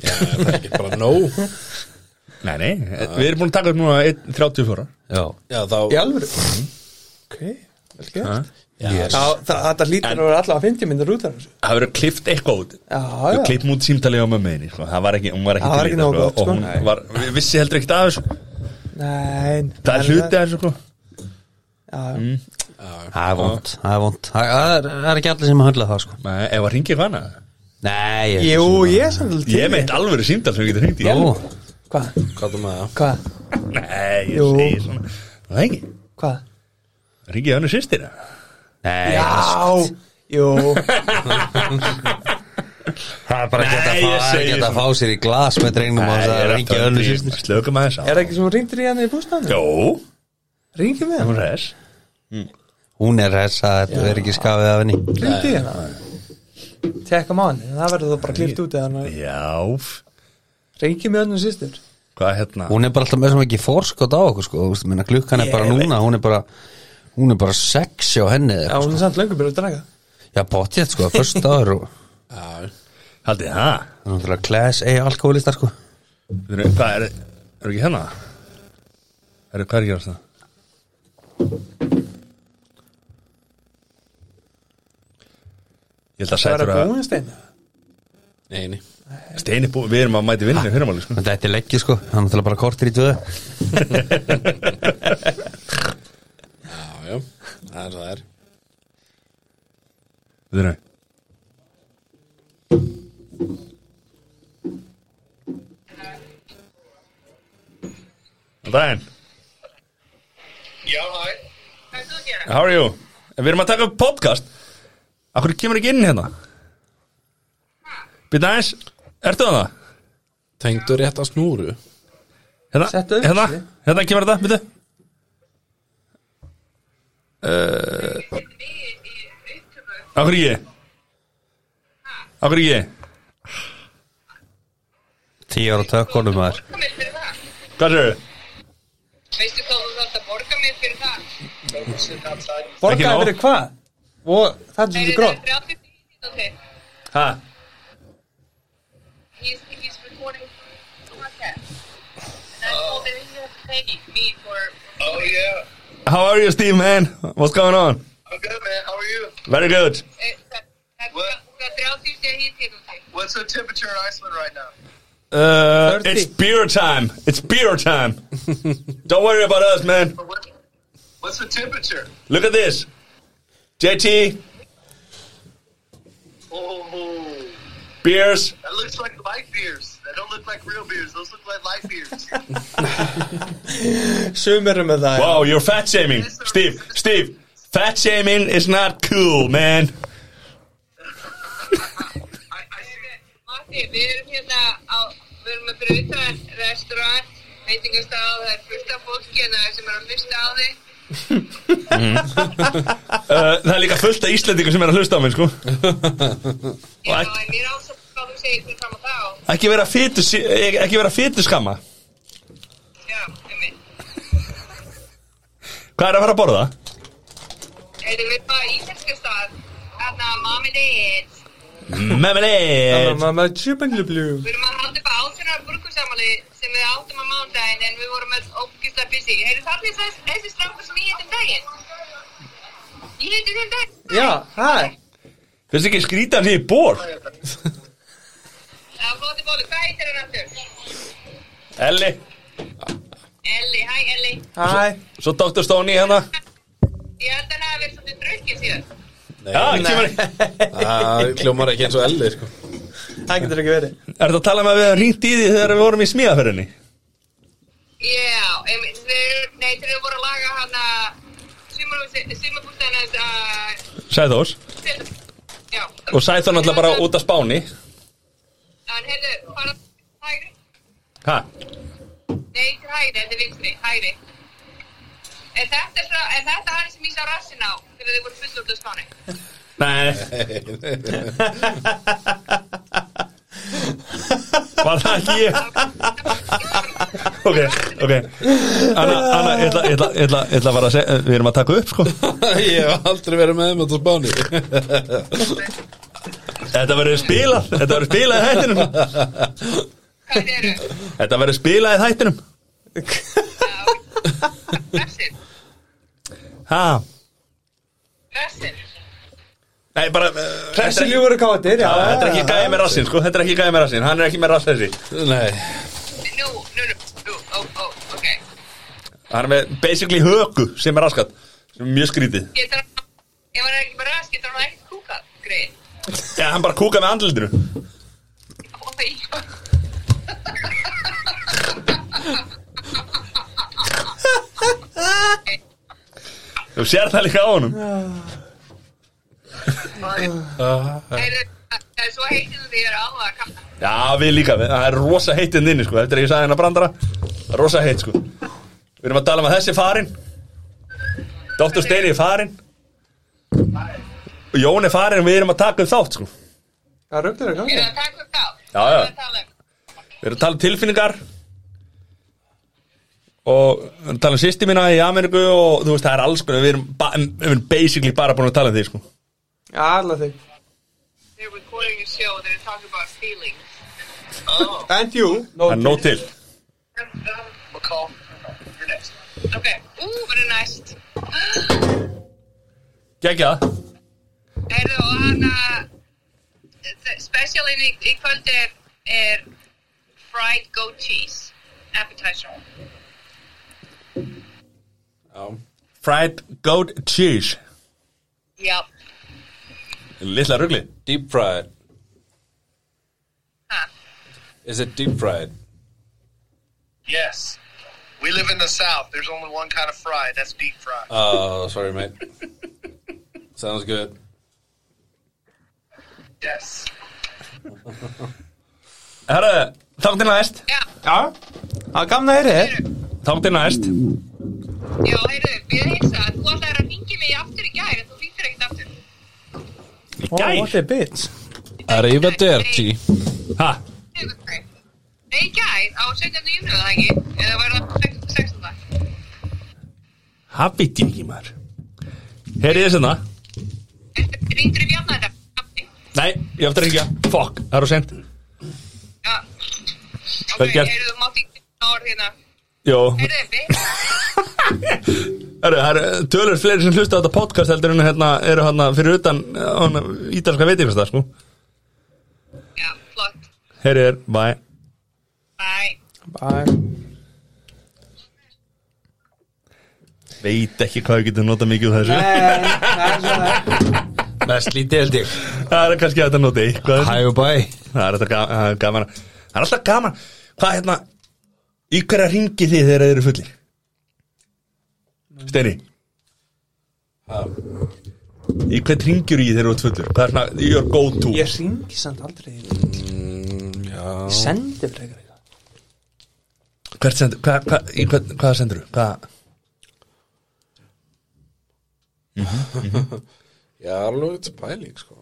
Já, það er ekki bara nóg
Nei, nei, Eh, við erum búin að taka upp núna einn- 34
Já,
Já, þá
Í alvöru
Mhm.
Ok, vel gert
yes.
Þá- það- Þetta hlýtur að vera allavega 50 myndir út af þessu
Það verður klift eitthvað út
Já,
Við
Ah, já
klippum út símtalið á mömmuðinni sko. Það var ekki, hún var ekki
Það var
til í
ekki
þetta,
nógu gott,
Og
sko.
hún var, við vissi heldur ekkert af þessu
Nei,
Það er hluti Mm. af þessu sko.
hluti
Það er vond, það er vond Það það er, það er ekki allir sem að höndla það sko
Nei, ef að ringi hana
Nei, ég
Jú, ég er samt alveg til
Ég meitt alvöru símtal sem við getum hringt í
Nú,
Hvað,
Hvað þú með það?
hvað,
Nei, ég
Jú.
segi svona Það er ekki,
hvað
ringi hana sýstir
Nei,
Já, jú
það er bara ekki hægt
Nei,
að
ég
fá- það er
segi
ekki hægt að
svona.
fá sér í glas með drengnum og það er ekki önnu sýstir
Slökum aðeins á
Er það ekki sem hún ringdir í hann í bústæðan?
Jó,
Ringir með hann,
hún res
Hún er þess að þetta er ekki skafið af henni
ringdi í hann Tekka máni, það verður það bara klipt út eða hann
Já, f-
Ringir með hann og sýstir
hvað hérna
Hún er bara alltaf með sem ekki forskot á okkur sko þú veist, minna, Klukkan er bara
Ég
núna, hún er bara Hún er bara sex hjá henni
Já,
eða eitthvað,
hún er samt löngu byrjuð að draga
sko. Já, potjett sko, fyrst áður og
Já,
Haldið þið það
Það er náttúrulega class A alkoholistar sko
Við erum- Hvað er, er ekki hérna Er, hvað er ekki hérna Ég held að
Það er
sætur
að
að
búin steina
neini
Steini búið, við erum að mæti vinnu fyrir máli sko.
En Þetta er leggju sko, það er náttúrulega bara kortir í tvöðu
Já, já, það er svo það er
Við erum Góðan daginn.
Já, hæ. Hvað er þú að gera?
How are you? Við erum að taka upp podcast Akkur kemur ekki inn hérna Býta aðeins Ertu það?
Tengdu rétt að snúru
Hérna,
Settu upp,
hérna,
sí.
hérna kemur þetta, býtu
Við erum í upptöku.
Akkur ég Akkur ég
Tíu ára tökkonum maður
Borga mér fyrir það.
Hvað séu?
Veistu hvað þú þarft að borga mér fyrir það?
Ekki nóg.
Borgaði fyrir hvað? Og það er
Nei,
svolítið
það er
grótt
30 mínútur til.
Ha?
He's, he's recording podcast. And I told him he was paying me for...
Oh yeah,
How are you Steve man? What's going on?
I'm good, man. How are you?
Very good
eh, það- það- Það er 30 mínútur til.
What's the temperature in Iceland right now?
uh,
Thirty.
It's beer time It's beer time Don't worry about us man
Or What, what's the temperature?
Look at this JT
Oh,
Beers
that looks like light beers. That don't look like real beers. Those look like light beers.
Sumir eru með það
Wow, you're fat shaming, Steve. Steve, fat shaming is not cool, man.
Matti, við erum hérna á, við erum að fyrir utan restaurant, veitingastað, það er fullt af fólki hérna sem er að hlusta á þig.
Uh, það er líka fullt af Íslendingum sem er að hlusta á mig, sko.
Já,
What?
en mér ásum hvað þú segir fyrir fram á þá.
Ekki vera fytu, ekki vera fytu skamma.
Já, einmitt.
Hvað er að fara að borða?
Erum við bara íslenska stað, Hérna, þarna Mommy Dad,
Memelade.
Mamma tjúbenglu bljú
við erum að halda upp á átjónar burgursamali sem við áttum á mándaginn en við vorum öll ógislega busy. Heyrðu þarna er þess- þessi strákur sem ég heiti um daginn? Ég heiti um daginn.
Já, hæ
Finnst ekki skrýta hann því í bor?
Já, flóti bóli, hvað heitir hann aftur?
Elli,
Elli, hæ Elli.
Hæ
svo Dr. Stoney hérna.
Ég held að hann hafi verið svolítið drukkin síðan.
Já, kemur
Það kljómar ekki eins og elli sko.
Það getur ekki verið
(laughs) Er þetta að tala með að við hefum hringt í því þegar við vorum í smíðaferðinni?
Já, einmitt, þeir, nei, þeir voru að laga hann að sumabústæðan að
Sæþós.
að- já.
Og Sæþór náttúrulega bara út af spáni.
En heyrðu, fara hægri,
Ha?
nei, til hægri, þetta er vinstri, hægri. Er þetta, svo, er þetta hann sem ég sá rassin á þegar þið voru fullur út af spáni?
(laughs) Nei, var það ekki ég? (laughs) Ok, ok Anna, Anna, ég ætla, ég ætla, ég ætla, ég ætla bara að segja Við erum að taka upp, sko
(laughs) Ég hef aldrei verið með þeim út á spáni
Þetta verður spilað, þetta verður spilað í þættinum
Hvað eru?
Þetta verður spilað í þættinum
Rassin,
Ha,
rassin.
nei, bara uh,
Þessi
Þetta er-
ljúfur og kátir, já
þetta er ekki gæði með rassin, sko Þetta er ekki gæði með rassin, hann er ekki með rassin
Nei,
Nú, nú, nú, nú, ó, ó, ok.
Hann er með basically höku sem er raskat Sem er mjög skrítið
Getur hann, ef hann er ekki bara rass, getur hann ekkert kúkað, greið.
Já, hann bara kúka með andlitinu
Oj.
Þú sér það líka á honum
Heyrðu, það er svo heitir þú þegar alveg að kalla.
Já, við líka, við, það er rosa heitt inn inni, sko Eftir að ég sagði hennar brandara það er Rosa heitt, sko Við erum að tala um að þessi er farinn Dr. Steini er farinn Og Jón er farinn og Við erum að taka upp þátt, sko
Það ruglir að
Erum
gangi
við að taka upp þá?
Já, já. Við erum að tala um tilfinningar Og við erum að tala um sýsti mína í Ameríku Og þú veist, það er alls, sko Við erum, ba við erum basically bara búin að tala um því, sko
Alla þig
They're recording a show, they're talking about feelings.
oh,
And you
Það er nóg til
McCall, you're next.
Okay. Ooh, very nice.
Gekja það
(gasps) Heyrðu, og eh, hann að specialin í, í kvöld er, er fried goat cheese appetizer.
Fried goat cheese
Já.
Lilla rugli
deep fried
Ha.
Is it deep fried?
(laughs) Yes, we live in the South. There's only one kind of fry. That's deep fried.
Uh,
Oh, sorry, mate. Sounds good.
yes.
Herru, þang til næst
Já,
Já,
Það gamna er þið
þang til næst
já, heyrðu, ég heilsa Þú ætlaðir að ringi mig aftur í gær En þú ringir ekkert aftur
Oh,
Gær.
what a bitch
Arrivederci.
Ha,
Nei, í gær á 17. júnu, það ekki Eða var það 16.
það veit ég ekki maður Heyrið þið sinna
Ertu ringdur í bjarna hérna? þetta?
Nei, ég eftir að ringja Fuck, það er á sent
Já
Vel
Ok,
gert.
heyrðu, þú mátt ekki orðina
Jó,
Heyrðu, við
herru, það eru eh, tölur fleiri sem hlusta á þetta podcast heldur en hérna eru hérna fyrir utan eh, hana, ítalska veitingasta sko
Já, flott
Heyrið þér, bye
Bye
Bye
Veit ekki hvað við getum notað mikið úr þessu
Mest lítið held ég
Það er kannski hægt að nota eitthvað af þessu.
Hæ og bæ
Það er alltaf ga- það er gaman að- Það er alltaf gaman Hvað hérna Í hverja ringi þið þegar þið eru fullir? Steini Í hvern ringjur í þegar þú ert fullur? Hvað er svona Your go to
Ég ringi samt aldrei mm, Ég sendi frekar eitthvað
Hvert sendur hva, hva, í hvern, Hvað sendur þú? Hvað
Já, alveg þetta er pæling, sko.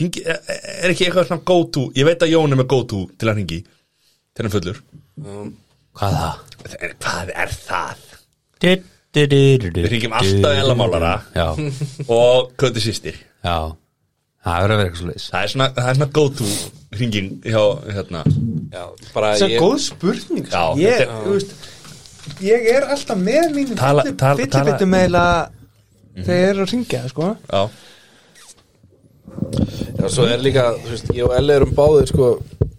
ringi Er e- er ekki eitthvað svona go to Ég veit að Jón er með go to til að ringi Til hann er fullur
Hvað það?
En Hvað er það?
Við
Við hringjum alltaf í Ellamálara.
Já,
Og Kötu sýstir
já Það verður að vera eitthvað svo
Það er svona, það er svona go to ringing hjá hérna
Já, bara
Það
ég...
er góð spurning sko.
Já,
ég,
þetta er-
þú veist, ég er alltaf með mínum
Tala-
fylli-
tala- Mm.
fyllibitum eða þegar ég er að ringja sko.
Já
Já, svo er líka, þú veist, ég og Elli erum báðir, sko,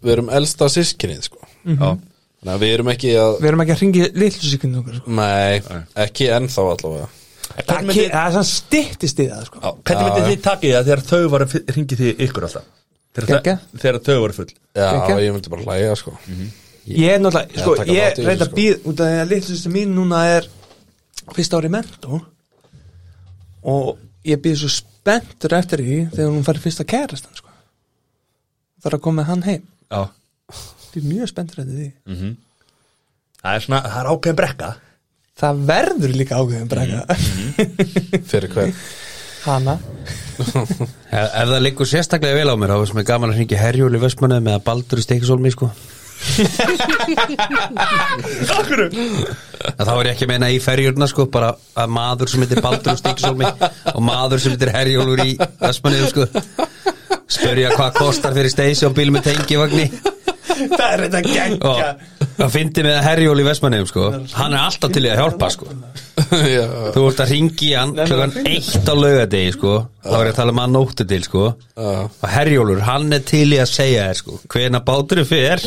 við erum elsta sískinnið, sko. Já. Þannig að við erum ekki að...
Mhm. Við erum ekki að ringja litlusíkund okkur sko.
Nei, ekki ennþá allavega.
Hvernig
Það
myndi,
ke- það er sann styttist í það sko.
á, hvernig myndi þið takið það þegar þau var að ringi þið ykkur alltaf? Þegar,
Geggjað.
þau- þegar þau var full
Já,
Ekki?
ég myndi bara hlæja, sko.
Ég er náttúrulega,
Já,
sko,
taka þátt
ég
í
reynd
þessu,
að
sko.
býð út af því að litlustu mín núna er fyrsta ári mentó og ég býð svo spenntur eftir því þegar hún fær fyrsta kærastan sko. þarf að koma með hann heim
Já
ég er mjög spenntur eftir því
Mm.
Það er svona, það er ákveðin brekka
það verður líka ágæðum
Mm-hmm.
brekka
Fyrir hver.
hana
Ef, ef það liggur sérstaklega vel á mér þá er sem er gaman að hringja herjúli vestmannu með að baldur í steikisólmi sko
Akkur
En þá er ég ekki að meina í ferjurna sko bara að maður sem heitir baldur í steikisólmi og maður sem heitir herjúlur í vestmannu sko spyrja hvað kostar fyrir steisi á bíl með tengivagni
það er þetta
og
gengja
það fyndi með herjúli í vestmannu sko hann er alltaf til í að hjálpa sko
(laughs) Já,
þú ert að ringi hann klukkan eitt á laugadegi sko þá er ég að tala um hann nóttu til sko og Herjólfur, hann er til í að segja þér sko hvena báturinn fer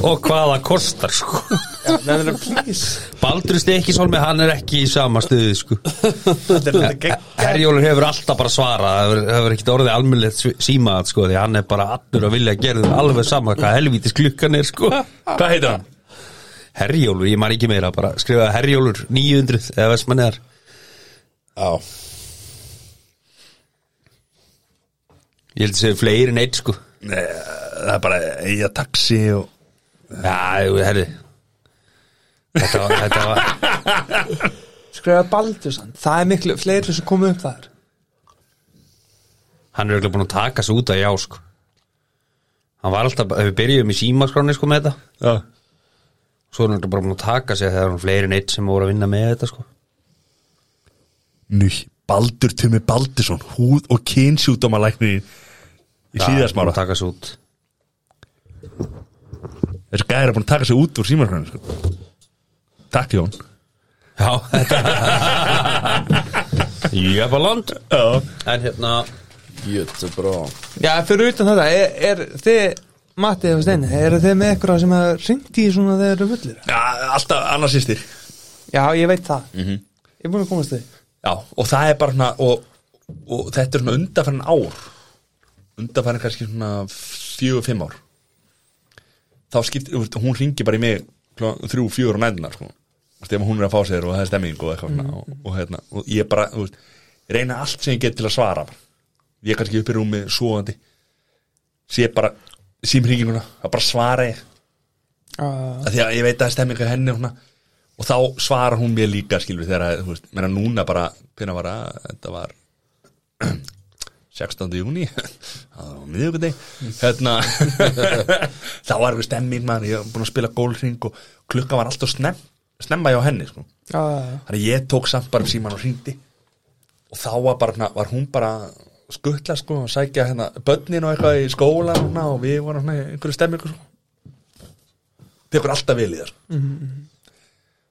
og hvað það kostar sko Baldur Stekisholmi, hann er ekki í sama stuði sko Herjólfur hefur alltaf bara svarað það hefur, hefur ekkit orðið almennilegt símað sko því hann er bara allur að vilja að gera þér alveg sama hvað helvítis klukkan er sko
Hvað heitir hann?
Herjólfur, ég man ekki meira bara skrifaði Herjólfur 900 eða vestmanniðar
já.
ég held að segja fleiri en eitt sko
Nei, það er bara eiga taxi og
Já, jú, herri Þetta var, þetta var
skrifa Baldursson, það er miklu fleiri sem komu upp þar
Hann er eiginlega búin að taka sig út að já, sko Hann var alltaf, ef við byrjuðum í símaskráni, sko, með þetta
Já
Svo er hann örugglega bara búin að taka sig þegar hann fleiri en eitt sem voru að vinna með þetta, sko
Nú, Baldur Tumi Baldursson Húð og kynsjúdómalækni Í
búin
síðasmára
að taka sig út
Þessi gæri er búin að taka sig út úr símaskræðinu sko. Takk Jón
Já, þetta Jöfaland
Já
En hérna,
Jötu, brá.
já, fyrir utan þetta, er, er þið Matti og Steini, eru þið með eitthvað sem að ringti svona þegar þeir eru fullir?
Já, alltaf annarsýstir
Já, ég veit það Ég er búin að komast þig
Já, og það er bara svona og, og þetta er svona undanfærin ár undanfærin kannski svona fjögur, fimm ár þá skiptir, þú veist, hún ringi bara í mig klukkan þrjú, fjögur og nændinar sko. þegar hún er að fá sér og það er stemming og eitthvað mm. og, og hérna, og ég bara, þú veist ég reyna allt sem ég get til að svara bara. ég er kannski upp í rúmi svoandi sé bara símhringinguna að bara svara ég
uh,
að því að ég veit að það er stemming að henni húnna og þá svarar hún mér líka skilur þegar að, þú veist, meina núna bara hvernig var að, þetta var (clears throat) 16. júni (laughs) það var miðugundeg hérna (laughs) þá var eitthvað stemming maður, ég var búin að spila gólring og klukka var alltaf snem, snemma hjá henni sko.
uh,
þannig að ég tók samt bara síman og hringdi og þá var, bara, svona- var hún bara skuttla sko og sækja hérna börnin og eitthvað í skóla og, og við vorum svona í einhverju stemmingu sko. tekur alltaf vel í það sko.
Mhm.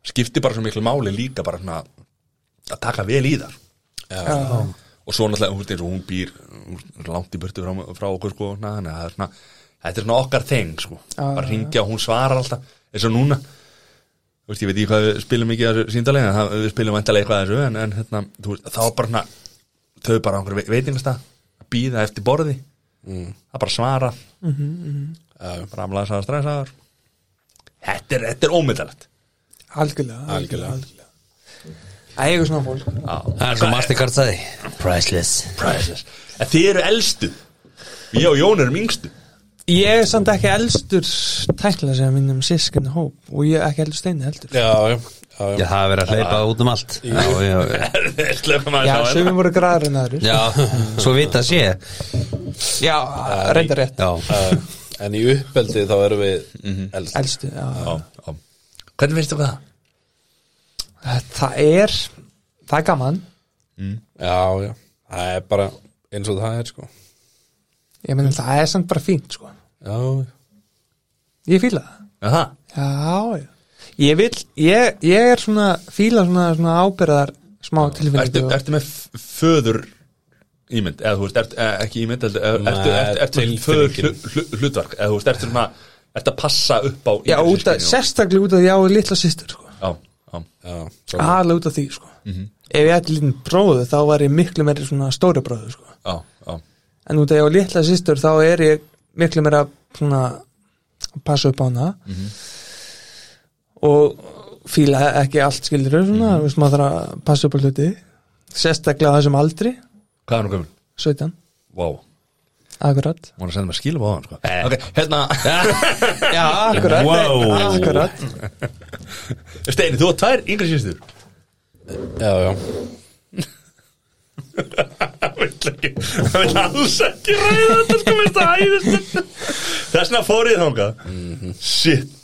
skipti bara svo miklu máli líka bara svona að taka vel í það
uh,
og svo náttúrulega, hún, hún, hún býr hún, er langt í burtu frá, frá okkur sko, na, na, það er svona, þetta er svona okkar þeng sko.
Já,
bara
já,
ringja og hún svarar alltaf eins og núna Þú veist, ég veit ekki hvað við spilum mikið að síndalega það, við spilum vantarlega eitthvað að þessu en, en hérna, þú veist, þá er bara svona, þau er bara á einhverju ve- veitingastað að býða eftir borði það er bara svara mm -hmm, bara amlaðsaðar, stressaðar þetta er, þetta er ómyndalegt
algjörlega, algjörlega, algjörlega. Æ, eitthvað svona fólk
Það er svo Mastercard sagði Priceless
Priceless. en þið eru elstu ég og Jón erum yngstu (laughs)
Ég er samt ekki elstur tækla sem minnum sískinni hóp og ég er ekki eldur steini heldur
Já, já, já, já.
Já, það er verið að hleypa út um allt Já, já, já
slökum að
Já, sömum voru græður en aðrir
Já, svo vita sé
Já, reyndar rétt
Já,
En í uppeldi þá erum við mm -hmm. elst
Elstu, já, já.
já, já. hérna. Hvernig finnst þú það?
Það er, það er gaman
Já, já, það er bara eins og það er sko
Ég meina það er samt bara fínt sko
Já,
Ég fíla það
Aha.
Já, já Ég vil, ég, ég er svona fíla svona, svona ábyrðar smá
Ertu,
tilfinningu og-
ertu með f- föður ímynd, eða þú veist, ertu, eh, ekki ímynd heldur, eh,
Nei,
ertu, ertu, ertu með föður
tilfinningin.
hlu- hlu- hlutverk, eða þú veist, ertu svona ertu að passa upp á
Já,
yngri
út af,
systkini og-
sérstaklega út af því að ég á litla systur sko
Já, já,
já, svo
Aðalega út af því sko Ef ég ætti lítinn bróðu þá var ég miklu meiri svona stóri bróðu sko
já, já
En út af ég á litla systur þá er ég miklu meira svona að passa upp á hana og fíla ekki allt skilur svona, mm veist maður þarf að passa upp á hluti sérstaklega á þessum aldri
Hvað er nú gömul?
17,
Vá, wow.
akkurat
hún er að senda mér skilum á hann, sko Ok, hérna,
Já, akkurat,
Wow.
akkurat.
Steini, þú og tvær yngri sýstur
Já, já,
Það vill ekki, það vill alls ekki ræða þetta, sko, veist það æðist Þessna fór ég þangað Shit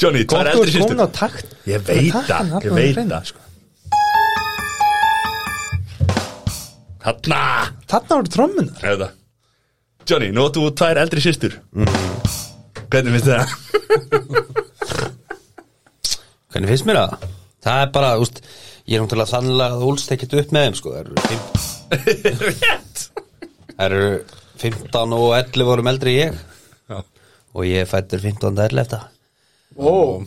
Johnny, tvær
Gott úr
eldri
komin á
sýstur
takt
Ég veit
Takk,
það,
hann
ég
var
veit
hrein.
það sko. Hanna
Þarna voru trommunar
Hefðu það. Johnny, nú áttu tvær eldri sýstur Hvernig finnst þér það? (laughs)
hvernig finnst mér það? Það er bara, úst, ég er náttúrulega þannlega að úlst ekkert upp með þeim sko. Það eru fimm-
Rétt
þær eru 15 og 11 vorum eldri en ég
Já.
og ég er fættur 15 og 11
wow.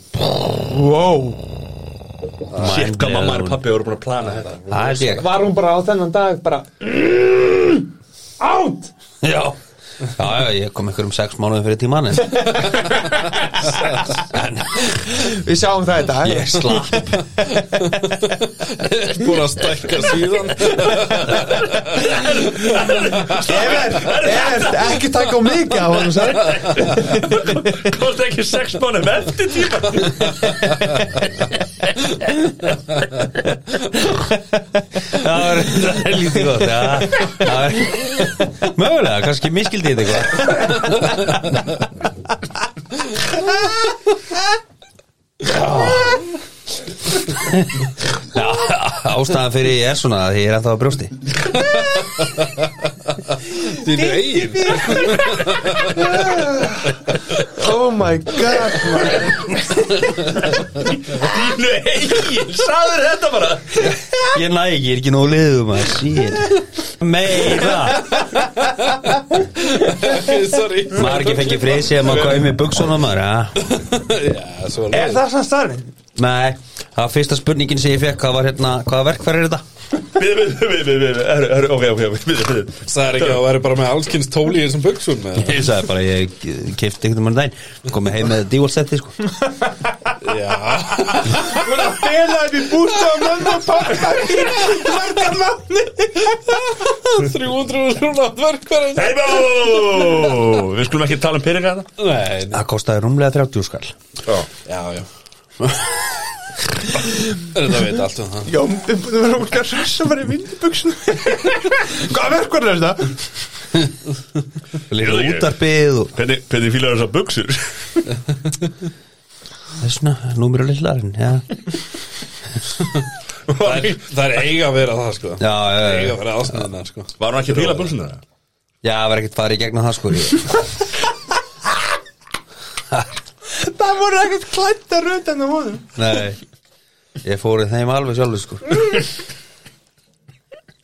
Shit, hvað mamma og pappi voru búin að plana þetta
Það er ég
Var hún bara á þennan dag bara Átt
Já, já, já ég kom ykkur um 6 mánuðum fyrir tíman en en
Við sjáum það í dag
(laughs)
ég slapp
búin að stækka síðan
Evert, Evert, ekki taka á mikið á hann
komst ekki sex mánuðum eftir tíma
Það var það er lítið gott já, það var, Mögulega, kannski miskildi þetta eitthvað Já, Já, ástæðan fyrir ég er svona að ég er ennþá að brjósti
Þínu eigin
Oh my god man.
Nú, eigin, sagður þetta bara
Ég næ ekki, ég er ekki nóg liðum að síðan Meira
Sorry
Maður ekki fengið freysi að maður kæmi buksunum maður, ja
Já, svo
Er
leið
það svona starfinn?
Nei, það var fyrsta spurningin sem ég fekk hvað var hérna, hvaða verkfæri er þetta?
Við, við, við, við, við, herru, herru, ok, ok, ok, við, við, við
Það er ekki að vera bara með allskynns tóli í þessum buksum eða?
Ég sagði bara, ég kefti einhvern mann dæn Komið heim með díval seti, sko
Já,
Hún er að fela upp í bústa og mömmu og pappa í margar manni
300 rúna verkvarinn
Hey, bó! Við skulum ekki tala um peninga þetta
Nei, nei.
Það kostaði rúmlega 30 skall
já, já Þetta veit allt um það
Já, við erum búin að vera okkar rass að vera í vindubuxum Hvað verkvar er þetta?
Líka
Ég-
útarpið og
Hvernig, hvernig fílar þessar buksur?
þessna, númur og lillarinn Já,
Það er, það er eiga að vera það sko
já, já,
Eiga
já,
að vera aðsnaðina sko
Var hún ekki að fíla buksuna?
já það var ekkert farið í gegnum það, sko ég.
Það voru ekkert klætt að röta hennar honum
Nei, ég fórið þeim alveg sjálfur, sko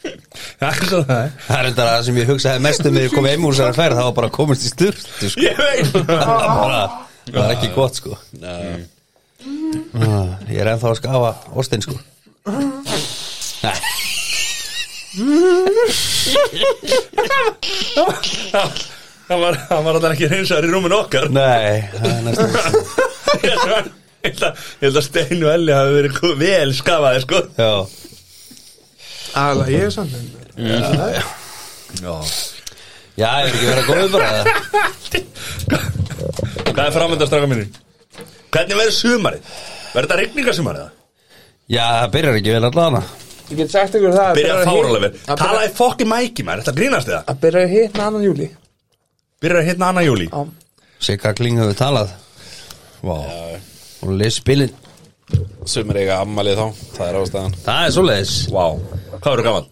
Já, svo það er
Það er þetta það sem ég hugsaði mest um þegar ég kom heim úr þessari ferð, það var bara að komast í sturt sko.
Ég veit
það var bara, það var ekki gott sko
Nei.
Ah, Ég er ennþá að skafa ostin sko Nei,
Hann var, hann var alltaf ekki reynsar í rúmin okkar (laughs)
nei, það er næstum því.
Ég held að- ég held að Steinu Elli hafi verið ko- vel skafaði, sko
Já,
Alla, ég er samt
já, ég er ekki verið að koma upp bara
Hvað er framönda straka minni? Hvernig verður sumarið? Verður þetta rigningarsumarið?
Já, það byrjar ekki vel allavega
Ég get sagt ykkur það
Byrjar að fáralega vel
að byrja-
Talaði fokki mæki maður, þetta grínast þið
Að byrja að hitna annan júli
Byrjar að hitna annað júli
Já.
Sigga Kling hefur talað Vá Og les spilin,
Sumir eiga ammalið þá, það er ástæðan
það er svoleiðis
Vá, hvað verður gaman?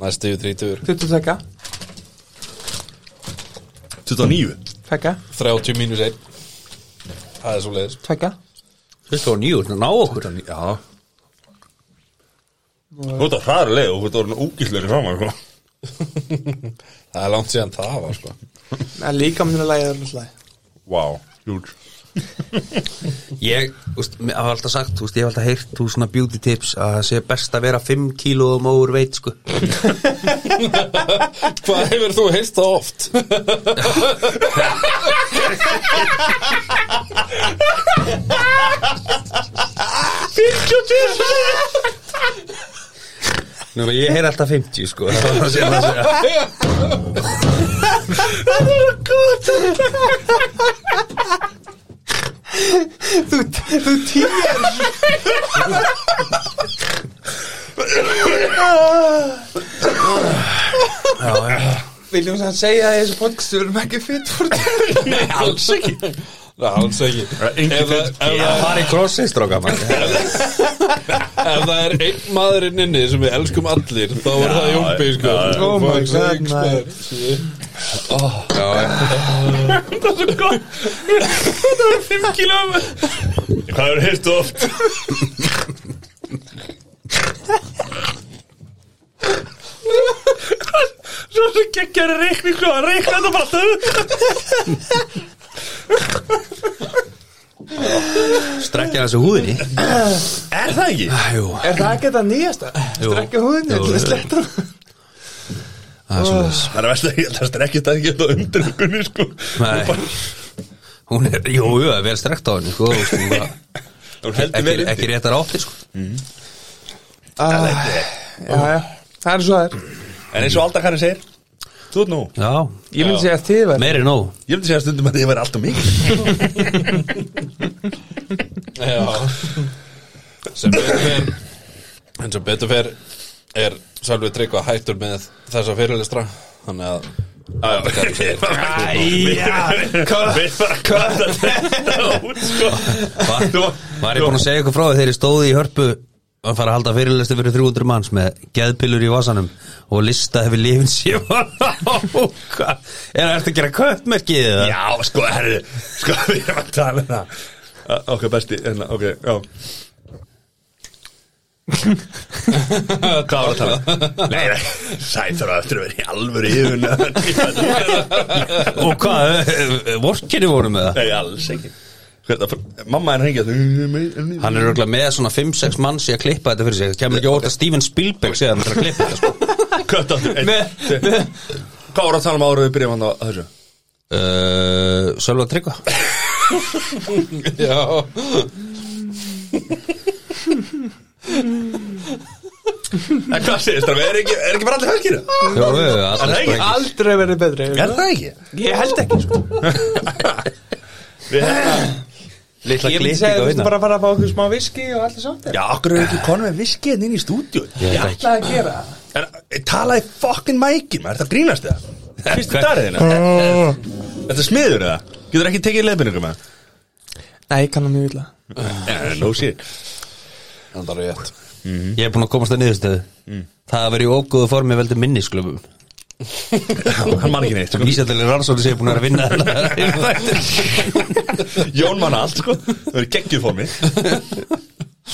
Næstu 30,
20 fekka
29
Fekka
30 mínus 1 Það er svo leiðis
Fekka
29, svona ná okkur
Já Þú ert á hraðarlega og þú ert orðin úkislega saman sko.
(laughs) Það er langt síðan það var sko
En líka minnur að lægja það með slæði
Vá, hjúl
Ég, úst, mér hafa alltaf sagt, úst, ég hef alltaf heyrt þú svona beauty tips að það sé best að vera 5 kílóum óur veit sko
Hvað hefur þú heist það oft?
Nú, ég heyr alltaf 50 sko Það var sér það
Þú týr Viljum sann segja að þessu podcast Við erum ekki fit for þetta
(laughs) Nei, alls ekki
Nei, alls ekki
engin
Ef það-
fyrir-
ef það-
í crossið stróka mann
(laughs) ef það er einn maðurinn inni sem við elskum allir þá var það Jómbi sko
já.
Oh my god, maður.
Hvað verður heilt oft? Svo sem geggjari reikning og hann reikna þetta bara þau
Strekkja þessu húðinni
Er það ekki?
Jú,
Er það ekki þetta nýjasta?
Jú.
Strekka húðinni
Jú,
til
jú.
að sletta
það er svona
Það er verst að ég það strekkist að ekki þetta undir ykkurni sko
Nei. Hún er, jú, jú, það er vel strekt á henni sko, þú veist, hún bara-
Hún heldur
ekki,
verið
ekki réttar áttir sko
Ah,
Já, já, það er svo það er
En eins og alltaf hann segir Þú ert nú
Já,
Ég myndi segja að þið verð
meiri nóg
Ég myndi segja stundum að ég væri alltaf mikið
Já. sem betur fer en sem betur fer er Sölvi Tryggva hættur með þessa fyrirlistra þannig að
Æja Við bara kvata þetta út sko
Va,
Þú-
Var ég búin að segja ykkur frá því þegar ég stóði í hörpu að fara að halda fyrirlistu fyrir 300 manns með geðpillur í vasanum og lista hefur lifin sér var á Hvað? Er það eftir að gera köttmerkið eða?
Já, sko, herri Sko, (laughs) við erum að tala um það Uh, Ok, besti, hérna, ok, já Hvað var að tala? um? Nei, nei, sæt þarf að eftir að vera í alvöru yfirn (laughs)
Og hvað, vorkinu voru með það?
Nei, alls ekki Hvað, Hérna, mamma henn hengið
Hann er örgulega með svona 5-6 manns í að klippa þetta fyrir sig Það kemur ekki óvart að Steven Spielberg sé að hann er að klippa þetta sko.
Kött aftur einn, tveir. Hvað voru að tala um ára við byrjum hann á þessu?
uh, Sölva Tryggva
Já
En hvað segir strafið, er ekki, er ekki bara allir helgir?
Jó, við, allir
það ekki?
sprengi
Aldrei verið betri
Er það ekki? sko.
Ég held ekki sko
(laughs) Við hérna
Lilla
Ég myndi
klipping hérna.
segja
að
að þú
vinna
bara að fara að fá okkur smá viski og allt þess aftur
Já, okkur er ekki konum með viskiðin inn í stúdíu
Ég
Já,
veit
Það að gera
en eh, talaði fucking mækin, maður, það grínast það Fyrstu dariðina
Mm.
Þetta er smiður eða? Getur ekki tekið leiðbyrningum með
Nei, ég kann það mjög illa
það? No shit
Það er rétt
ekki. Ég er búin að komast að niðurstöðu Það að vera í ógóðu formi veldur minnisklöfum
(laughs) Hann man ekki neitt sko.
Vísandali Rannsóli sé búin að vera að vinna þetta.
(laughs) Jón manna allt sko Það verður geggjuð fór mig Ég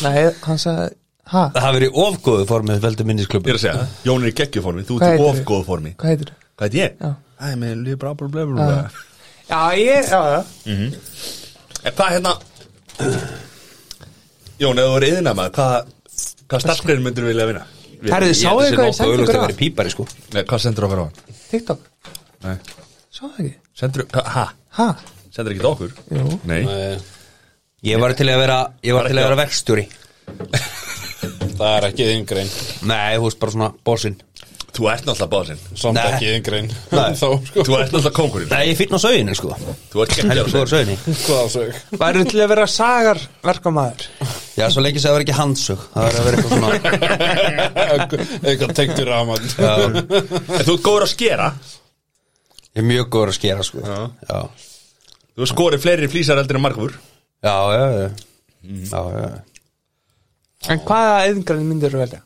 Nei, hann sagði Ha,
Það að vera í ofgóðu formi veldur minnisklöfum
er að segja, Jón er í geggjuð fór mig Þú
Hvað
ert í
heitir þú?
ofgóð fór mig
hvað heitir þú?
Hvað heit ég?
Já.
Æ, með líf bra bra bla bla
Já. Já, ég, já, já
En hvað hérna Jón, ef þú eru yðina maður Hvað, hvað starfskrein myndir vilja vinna?
Herðu, sáðu þið hvað ég sendi
ykkur
ykkur
að
á
vera pípari sko
Nei, hvað sendur okkur á hann?
TikTok?
Nei.
Sáðu það ekki?
Sendur, hva- ha?
Ha?
Sendur ekki okkur?
Jú
Nei,
Nei,
Ég var til að vera, ég var til að vera verkstjóri
Það er ekki þín grein
Nei, þú veist bara svona bossinn
þú ert náttúrulega básinn
Samt
Nei.
ekki þín grein
Nei.
(laughs) Þá sko
Þú ert náttúrulega kongurinn
Nei, ég fyrir á söginu sko
Þú ert
Heldur
geggjuð
góður söginu
Hvað ásög
Væru til að vera sagarverkamæður
Já, svo lengi sem það var ekki handsög Það var að vera eitthvað
(laughs)
svona
Eitthvað tengt í raman
Já,
En þú ert góður að skera
Ég er mjög góður að skera sko Já, já,
Þú skorið fleiri flýsar eldur en margur
já, já, já. já, já.
En hvaða eðingarinn myndir þú velja?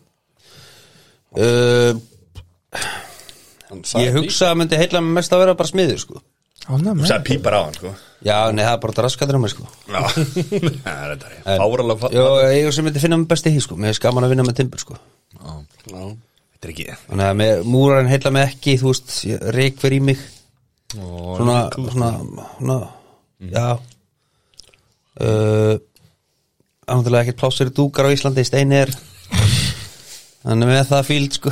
Uh, Ég hugsa að myndi heilla með mest að vera bara smiður sko
Ána,
Þú
með
sagði pípar á hann, sko
Já, nei, það er bara draskatur á mig sko
Já, (laughs) þetta er
En-
fáralega fa-
Jó, ég sem myndi finna mig best í því sko Mér er skaman að vinna með timbur sko
Þetta er ekki
Þannig að mér, múrarinn heilla með ekki, þú veist, reik fyrir í mig Svona, svona,
sko.
svona, já Uh, Það er náttúrulega ekkert plásir dúkar á Íslandi, steini er Þannig með það fíld, sko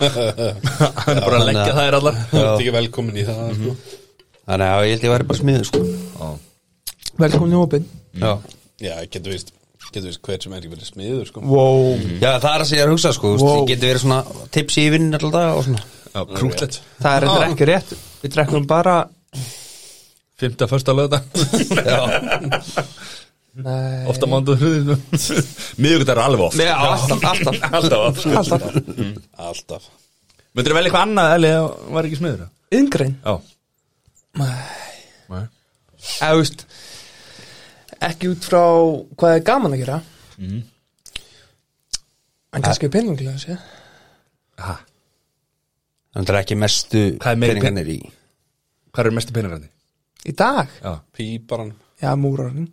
Hann er bara að leggja
þannig að-
þær allar Mhm.
Það er ekki velkomin í það sko.
Þannig að ég held ég væri bara smiður, sko
Velkomin í hópin
Mm.
Já,
Já, getur vist Getur vist hver sem er ekki verið smiður sko.
Wow
já það er það sem ég er að hugsa, sko þú veist,
Wow.
Ég geti verið svona tipsi í vinn alltaf dag og svona
Já, Krútlegt
Það er reyndar ekki rétt Við drekkum bara
Fymta, första (laughs) löða
Nei
Ofta mándu hruðinu Miðugut er alveg oft
Já, alltaf, alltaf
Alltaf oft
Alltaf
Alltaf
Myndir velja eitthvað annað Eli, ef þú var ekki smiður Já
Yðingrein
Nei.
Eða, þú veist Ekki út frá hvað er gaman að gera En kannski peninglega, sé
Ha,
Þannig er ekki mestu
Hvað er meiri pen-
peningarnir í
Hvað eru mestu peningarandi?
Í dag?
Já,
Píparan
Já, múrarinn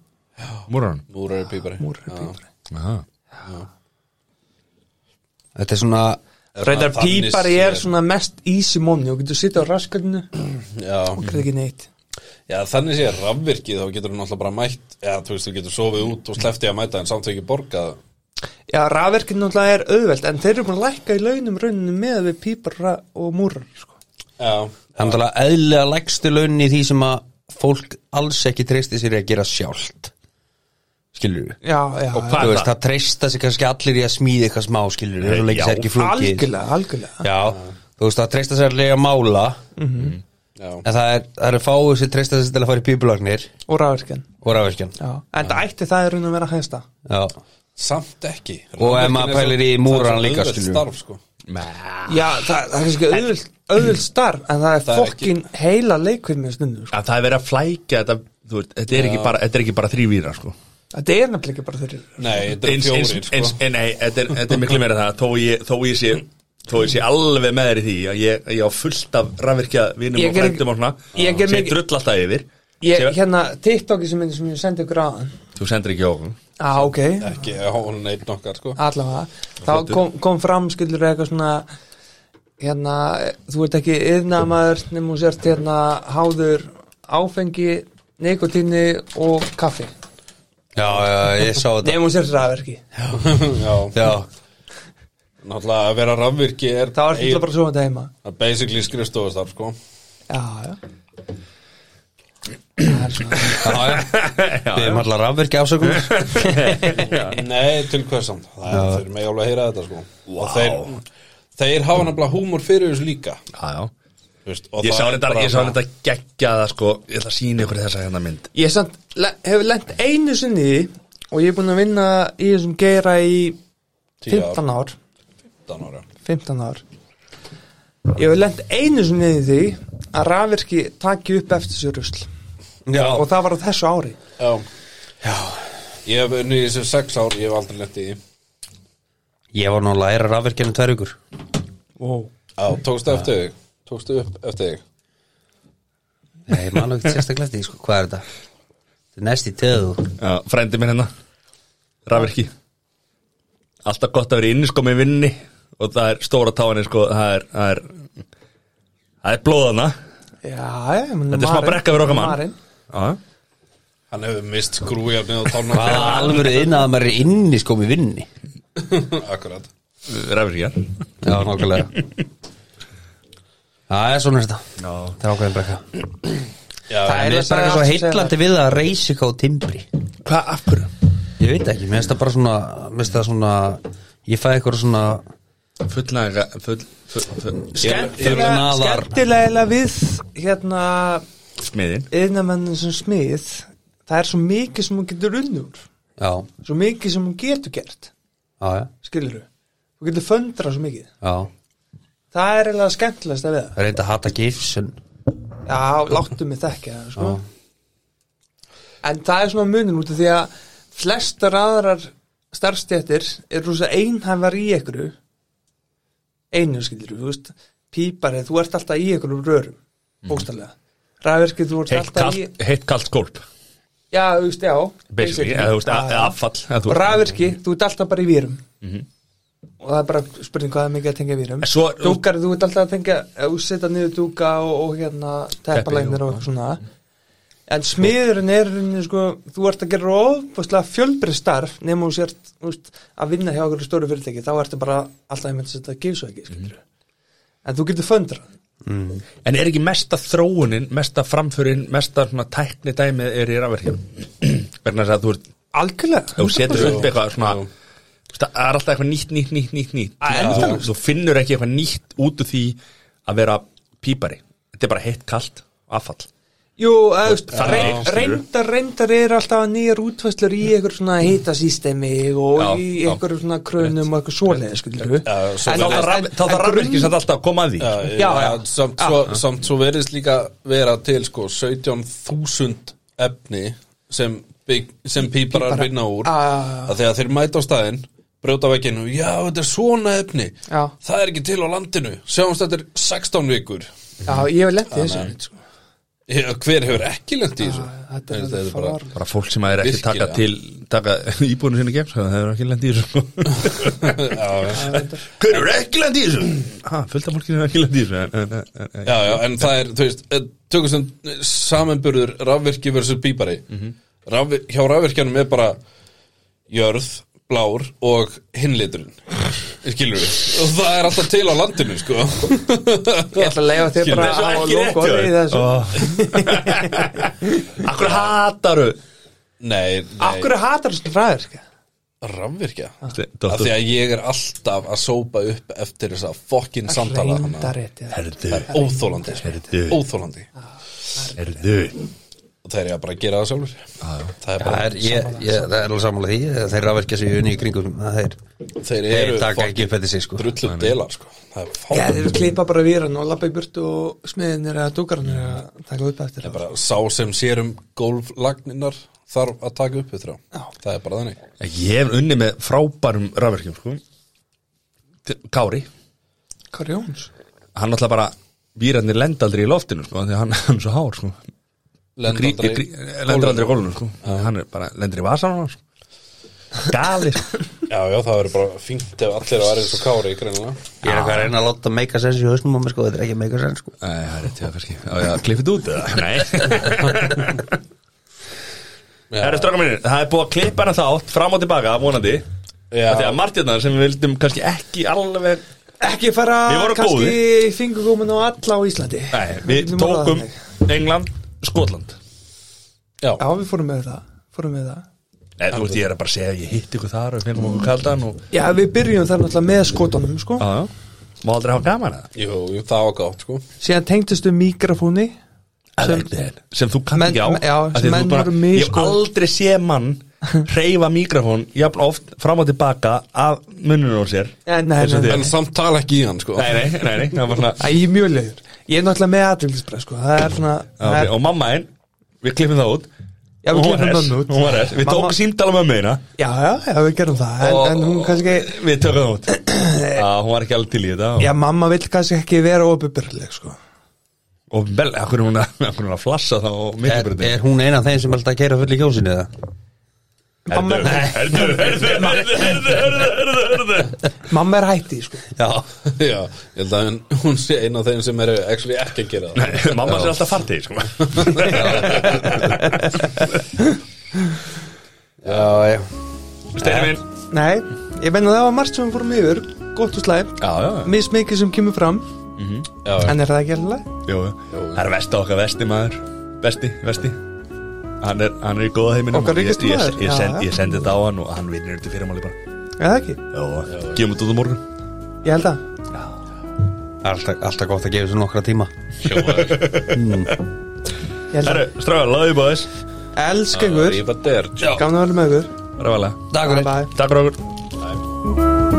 múran
Múrar er pípari
Múrar er pípari.
Þetta er svona,
Reyndar
Þannig
pípari er
séð.
svona mest easy money og getur sitt á raskatinu og
Já,
gerði ekki neitt
já þannig sé rafvirkið þá getur hún alltaf bara mætt Já, þú veist, þú getur sofið út og sleftið að mæta en samt ekki borgað
Já, rafverkinn náttúrulega er auðvelt en þeir eru búin að lækka í launum rauninu með við pípara og múrar sko.
Já,
það er náttúrulega eðlilega lægstu laun í því sem að fólk alls ekki treysti sér að gera sjálft Skilur við?
Já, já,
Og hvað
þú
er
veist,
það?
það treysta sig kannski allir í að smíði eitthvað smá skilur
Nei,
þú leikir
já,
sér ekki flókið
algjörlega, algjörlega
já, þú veist, það treysta sér allir í að mála
Mhm.
já
en það er, það er fáið sem treysta sér til að fara í pípulagnir
og rafverkinn
og rafverkjan
Já, en það ætti það er raun að vera hægsta
já,
Samt ekki
Og ef maður pælir í múraran líka, skilju.
skilju starf, sko.
Já, það, það er kannski auðvelt, auðvelt starf en það er
Það er ekki-
fokkin heila leikur með stundu sko.
Að það er verið að flækja þetta þú veist, Þetta er ekki bara, þetta er ekki bara þrývíra sko.
Þetta er nefnilega ekki bara þeirri
Nei, þetta er
eins, eins,
fjórir
eins,
sko.
en nei, þetta er, þetta er miklu meira en það þó ég, þó ég sé þó ég sé alveg með þér í því að ég, ég á fullt af rafvirkja vinum
Ég
og
ger ekki-
frændum og svona
ég ger
sem
mikið-
drull alltaf yfir
Ég,
sem,
hérna, TikToki sem minn sem ég sendi ykkur á
þú sendir ekki á okkur
Já, ok,
Ekki, já, hún er einn okkar sko.
allavega Þá kom, kom fram, skilur eitthvað svona hérna, þú ert ekki yðnamaður nema þú sért hérna háður áfengi, nikotinni og kaffi
Já, já, ég sá þetta
Nefnum hún sér rafverki
Já,
Já,
náttúrulega að vera rafvirki er
Það var ekki bara svo þetta heima
að basically skrifstofastarf sko
Já, já Það er svona
já, já Við erum allar rafverki afsökunar
(laughs)
Nei, til hvers samt Það er þeir með alveg að heyra þetta sko Og þeir, þeir hafa nefnilega húmor fyrir þessu líka
Já, já
þú veist, og
Ég
það
sá
er
þetta,
bara
ég sá
svona-
þetta geggjaða sko Ég ætla að sína ykkur þessa hérna mynd
Ég samt, le- hef lent einu sinni í því og ég er búin að vinna í þessum geira í
10 ár.
15 ár
15 ára
15 ár Ég hef lent einu sinni í því að rafvirki taki upp eftir sér rusl
Já,
og það var á þessu ári
Já. Ég hef unnið í þessu 6 ár, ég hef aldrei lett í því
ég var nú að læra rafverkinu tvær ykkur
wow.
Já, tókstu eftir þig Tókstu upp eftir þig
Nei, ég man ekki sérstaklega eftir því, sko, hvað er þetta? Þetta er næst í teðu
Já, frændi minn hérna Rafirki Alltaf gott að vera inni sko með vinni Og það er stóra táinni sko Það er, það er, það er blóðana
Já, ég, meni,
Þetta er smá brekka fyrir okkar mann. Já,
Hann hefur mist grújafnið og (laughs) tálna
Hvað alvöru innað að maður er inni sko með vinni
Akkurat
rafirkjar
Já, nokkulega Það er svona er þetta Það er ákveðin brekka
Já,
Það
er bara
er bara eitthvað svo
allt sem
heillandi við að reysika á timbri
Hvað, af hverju?
Ég veit ekki, mér finnst það bara svona Mér finnst það svona Ég fæ eitthvað svona
Fullnæga, full, full, full
Skemmtilega,
Fullnaðar.
skemmtilega eiginlega við hérna
Smiðin
yðnamennin sem smið það er svo mikið sem hún getur unnur
Já,
svo mikið sem hún getur gert
já, já,
skilur þú, þú getur föndra svo mikið
já.
það er eiginlega skemmtilegast að við
Það er eitthvað að hata gifs en
já, láttu mig þekka það sko. en það er svona munin út af því að flestar aðrar starfstjættir er rosa einhæfar í ykkur einu skilur þú veist píparið, þú ert alltaf í ykkur rörum, bókstallega ræðverkið, þú ert
Heitt
alltaf í
Mhm. kalt, heitt kalt skólp
já, þú veist, já
Basically, eða þú veist,
Já, já.
eða affall eða þú
og
veist.
ræðverki, þú ert alltaf bara í výrum og það er bara spurning hvað er mikið að tengja výrum
Mhm. En svo-
dúkar, þú ert alltaf að tengja ef þú setja niður dúka og, og hérna teppalegnir og eitthvað svona en smiðurinn er í rauninni, sko, þú ert að gera ofbúslega fjölbrið starf nema þú sért þú veist, að vinna hjá okkur stóru fyrirtæki, þá ertu bara alltaf einmitt að setja gifsvæki mm. en þú getur föndrað
En er ekki mesta þróunin, mesta framförin mesta svona tækni dæmið er í rafirkjum Verna þess að þú ert
algjörlega,
þú setur upp eitthvað svona
Jú.
þú veist, það er alltaf eitthvað nýtt, nýtt, nýtt, nýtt, nýtt
Að
Þú-
endalaust.
þú finnur ekki eitthvað nýtt út úr því að vera pípari þetta er bara heitt, kalt, affall
Jú, eða, þú veist,
Það er
reyn-
skilur.
reyndar, reyndar er alltaf nýjar útfæslur í einhver svona hitasýstemi og
Já,
í
já.
einhver svona krönum og eitthvað svoleiði, skilur við.
Já, svo
En-
þá
en-
þarf raf-
en-
þá
en
þarf rafvirkjum samt alltaf að koma að því
Já,
sko.
Já,
já,
já.
Samt, svo, samt svo verðist líka vera til sko 17.000 efni sem, bygg, sem píparar
Píparar. Ah.
vinna úr
Já, já, já.
að þegar þeir mæta á staðinn brjóta vekkinu, já þetta er svona efni
Já.
það er ekki til á landinu sjáumst þetta er 16 vikur
Já, ég hef lendið þessu. sko.
Ég- hver hefur ekki lent í
Ah.
þessu (laughs)
Þetta er,
Þetta
þetta
bara-
bara fólk sem er ekki
Virkilega.
taka til taka (laughs) íbúinu sinni gems það hefur ekki lendið í þessu sko.
já, já.
hver er ekki lendið í þessu ha, fullt af fólki sem er ekki lendið í þessu en- en- en- en- en-
já, já, en það er, þú veist eh, tökum sem samanburður rafvirki versus bíbari Raf, hjá rafvirkjanum er bara jörð, blár og hinleiturinn skilur við, og það er alltaf til á landinu sko
Ég ætla að leifa þér bara
Þessu
á
er Sko, ekki rétt
logo
hjá
í
þér.
þessu.
Ó. akkur hataru
nei, nei,
Akkur hatar þessu fræður, sko.
rafvirkja af því
Dóttur,
að ég er alltaf að sópa upp eftir þess að fokkin samtala hana
Reyndar rétt, já.
herðu,
það er óþólandi, sko.
Heyrðu.
óþólandi
herðu
og það er ég að bara að gera það sjálfur það er
það
bara,
er, ég, ég, það er alveg sammála því eh, Þeir rafverkja sig unni í kringum að Þeir,
þeir
þeir
eru
taka ekki
fokkin
upp eftir sig sko
drullu delar sko. það er
Já,
fokkin
þeir klippa bara výran og lappa í burtu og smiðinir eða dúkarnir að taka upp eftir það.
bara sá sem sér um gólflagninar þarf að taka upp yfir þá það er bara þannig
Ég hef unni með frábærum rafverkjum sko. Til- Kári
Kari Jóns.
Hann alltaf bara Býrarnir lenda aldrei í loftinu sko, af Því að hann, hann er svo hár sko.
Lenda
Grí,
aldrei-
grí, Lendur aldrei í gólfinu sko. Hann er bara lendur í vasan hann sko. Gali sko.
(laughs) já já það verður bara fínt ef allir að vera eins og kári greinilega
Ég er eitthvað að reyna að láta make a sense í hausnum á mér sko Þetta er ekki make a sense sko
Æ, það er rétt, já, kannski Á, já, klippið út eða? Nei
Nei,
Það er stráka mínir, það er búið að klippa hana þátt fram og tilbaka, vonandi
Já.
Þegar Martjarnar sem við vildum kannski ekki alveg
Ekki fara
Við vorum
kannski fingurgómin á alla á Íslandi
Nei, við
Getum orðað
tókum
þannig.
England, Skotland
Já, við fórum með það Fórum með það
Nei, þú veist, ég er að bara segja að ég hitt ykkur þar og finnum okkur kaldan og
Já, við byrjum þar náttúrulega með skotunum, sko
Já, já Má aldrei hafa gaman að
Jú, jú, það var gátt sko
Síðan tengdist við mikrofóni
það
Sem-
sem, sem þú kann
Menn-
ekki á
já,
af því
sem
að þú
menn
bara,
eru mis-
Ég hef aldrei sé mann hreyfa mikrofón jafn oft fram og tilbaka af munnunum á sér
Ja, Eh, nei,
Eins og
nei,
þér.
En samt tala ekki í hann sko
Nei, nei, nei, nei, það var svona
Æ, ég er mjög leiður Ég er náttúrulega með aðvillisbreið, sko Það er svona
Já,
það
ok,
er,
Og mamma einn, við klippum það út
Já, við
Hún var
klippum
hress,
mömmu út.
Hún var res, við
Mamma-
tókum símdala mömmu eina
já, já, já, við gerum það En, en hún kannski
Við tökum
(clears throat)
það út Já, hún var ekki alveg til í þetta og-
Já, mamma vill kannski ekki vera opubyrleg, sko
Og vel, akkur er hún að, akkur er hún að flassa það og
er,
mikilbröndi
er hún eina af þeim sem er alltaf að keira full í kjósinni eða?
Herðu, herðu, herðu, herðu, herðu, herðu, herðu
Mamma er hætti, sko
Já, (laughs) já, ég held að hún, hún sé eina af þeim sem eru actually ekki að gera það
(laughs)
Nei, Mamma sér alltaf fartið, (laughs) sko
Já, já
Steini minn
Nei, ég menna það var margt sem við fórum yfir Gott og slæm
Já, já, já
Mismikið sem kemur fram
Mhm, Já, já.
En er það ekki alltaf?
Jú, jú. það er vesti okkar vesti maður Vesti, vesti Hann er, hann er í góða heiminum
Okkar
og ég-
ríkasti
ég-
maður,
Ég,
já,
send,
já.
ég sendi þetta á hann og hann vinnir þetta fyrirmáli bara
Er það ekki?
Jó, gefum þetta út á morgun
Ég held að
Alltaf, alltaf gott að gefa sér nokkra tíma
Ég held að
Herru, stráðar, laðu í bóðis
Elska ykkur
Rífa der
Gaman að vera með ykkur
Ráðlega
Takk fyrir
Takk fyrir okkur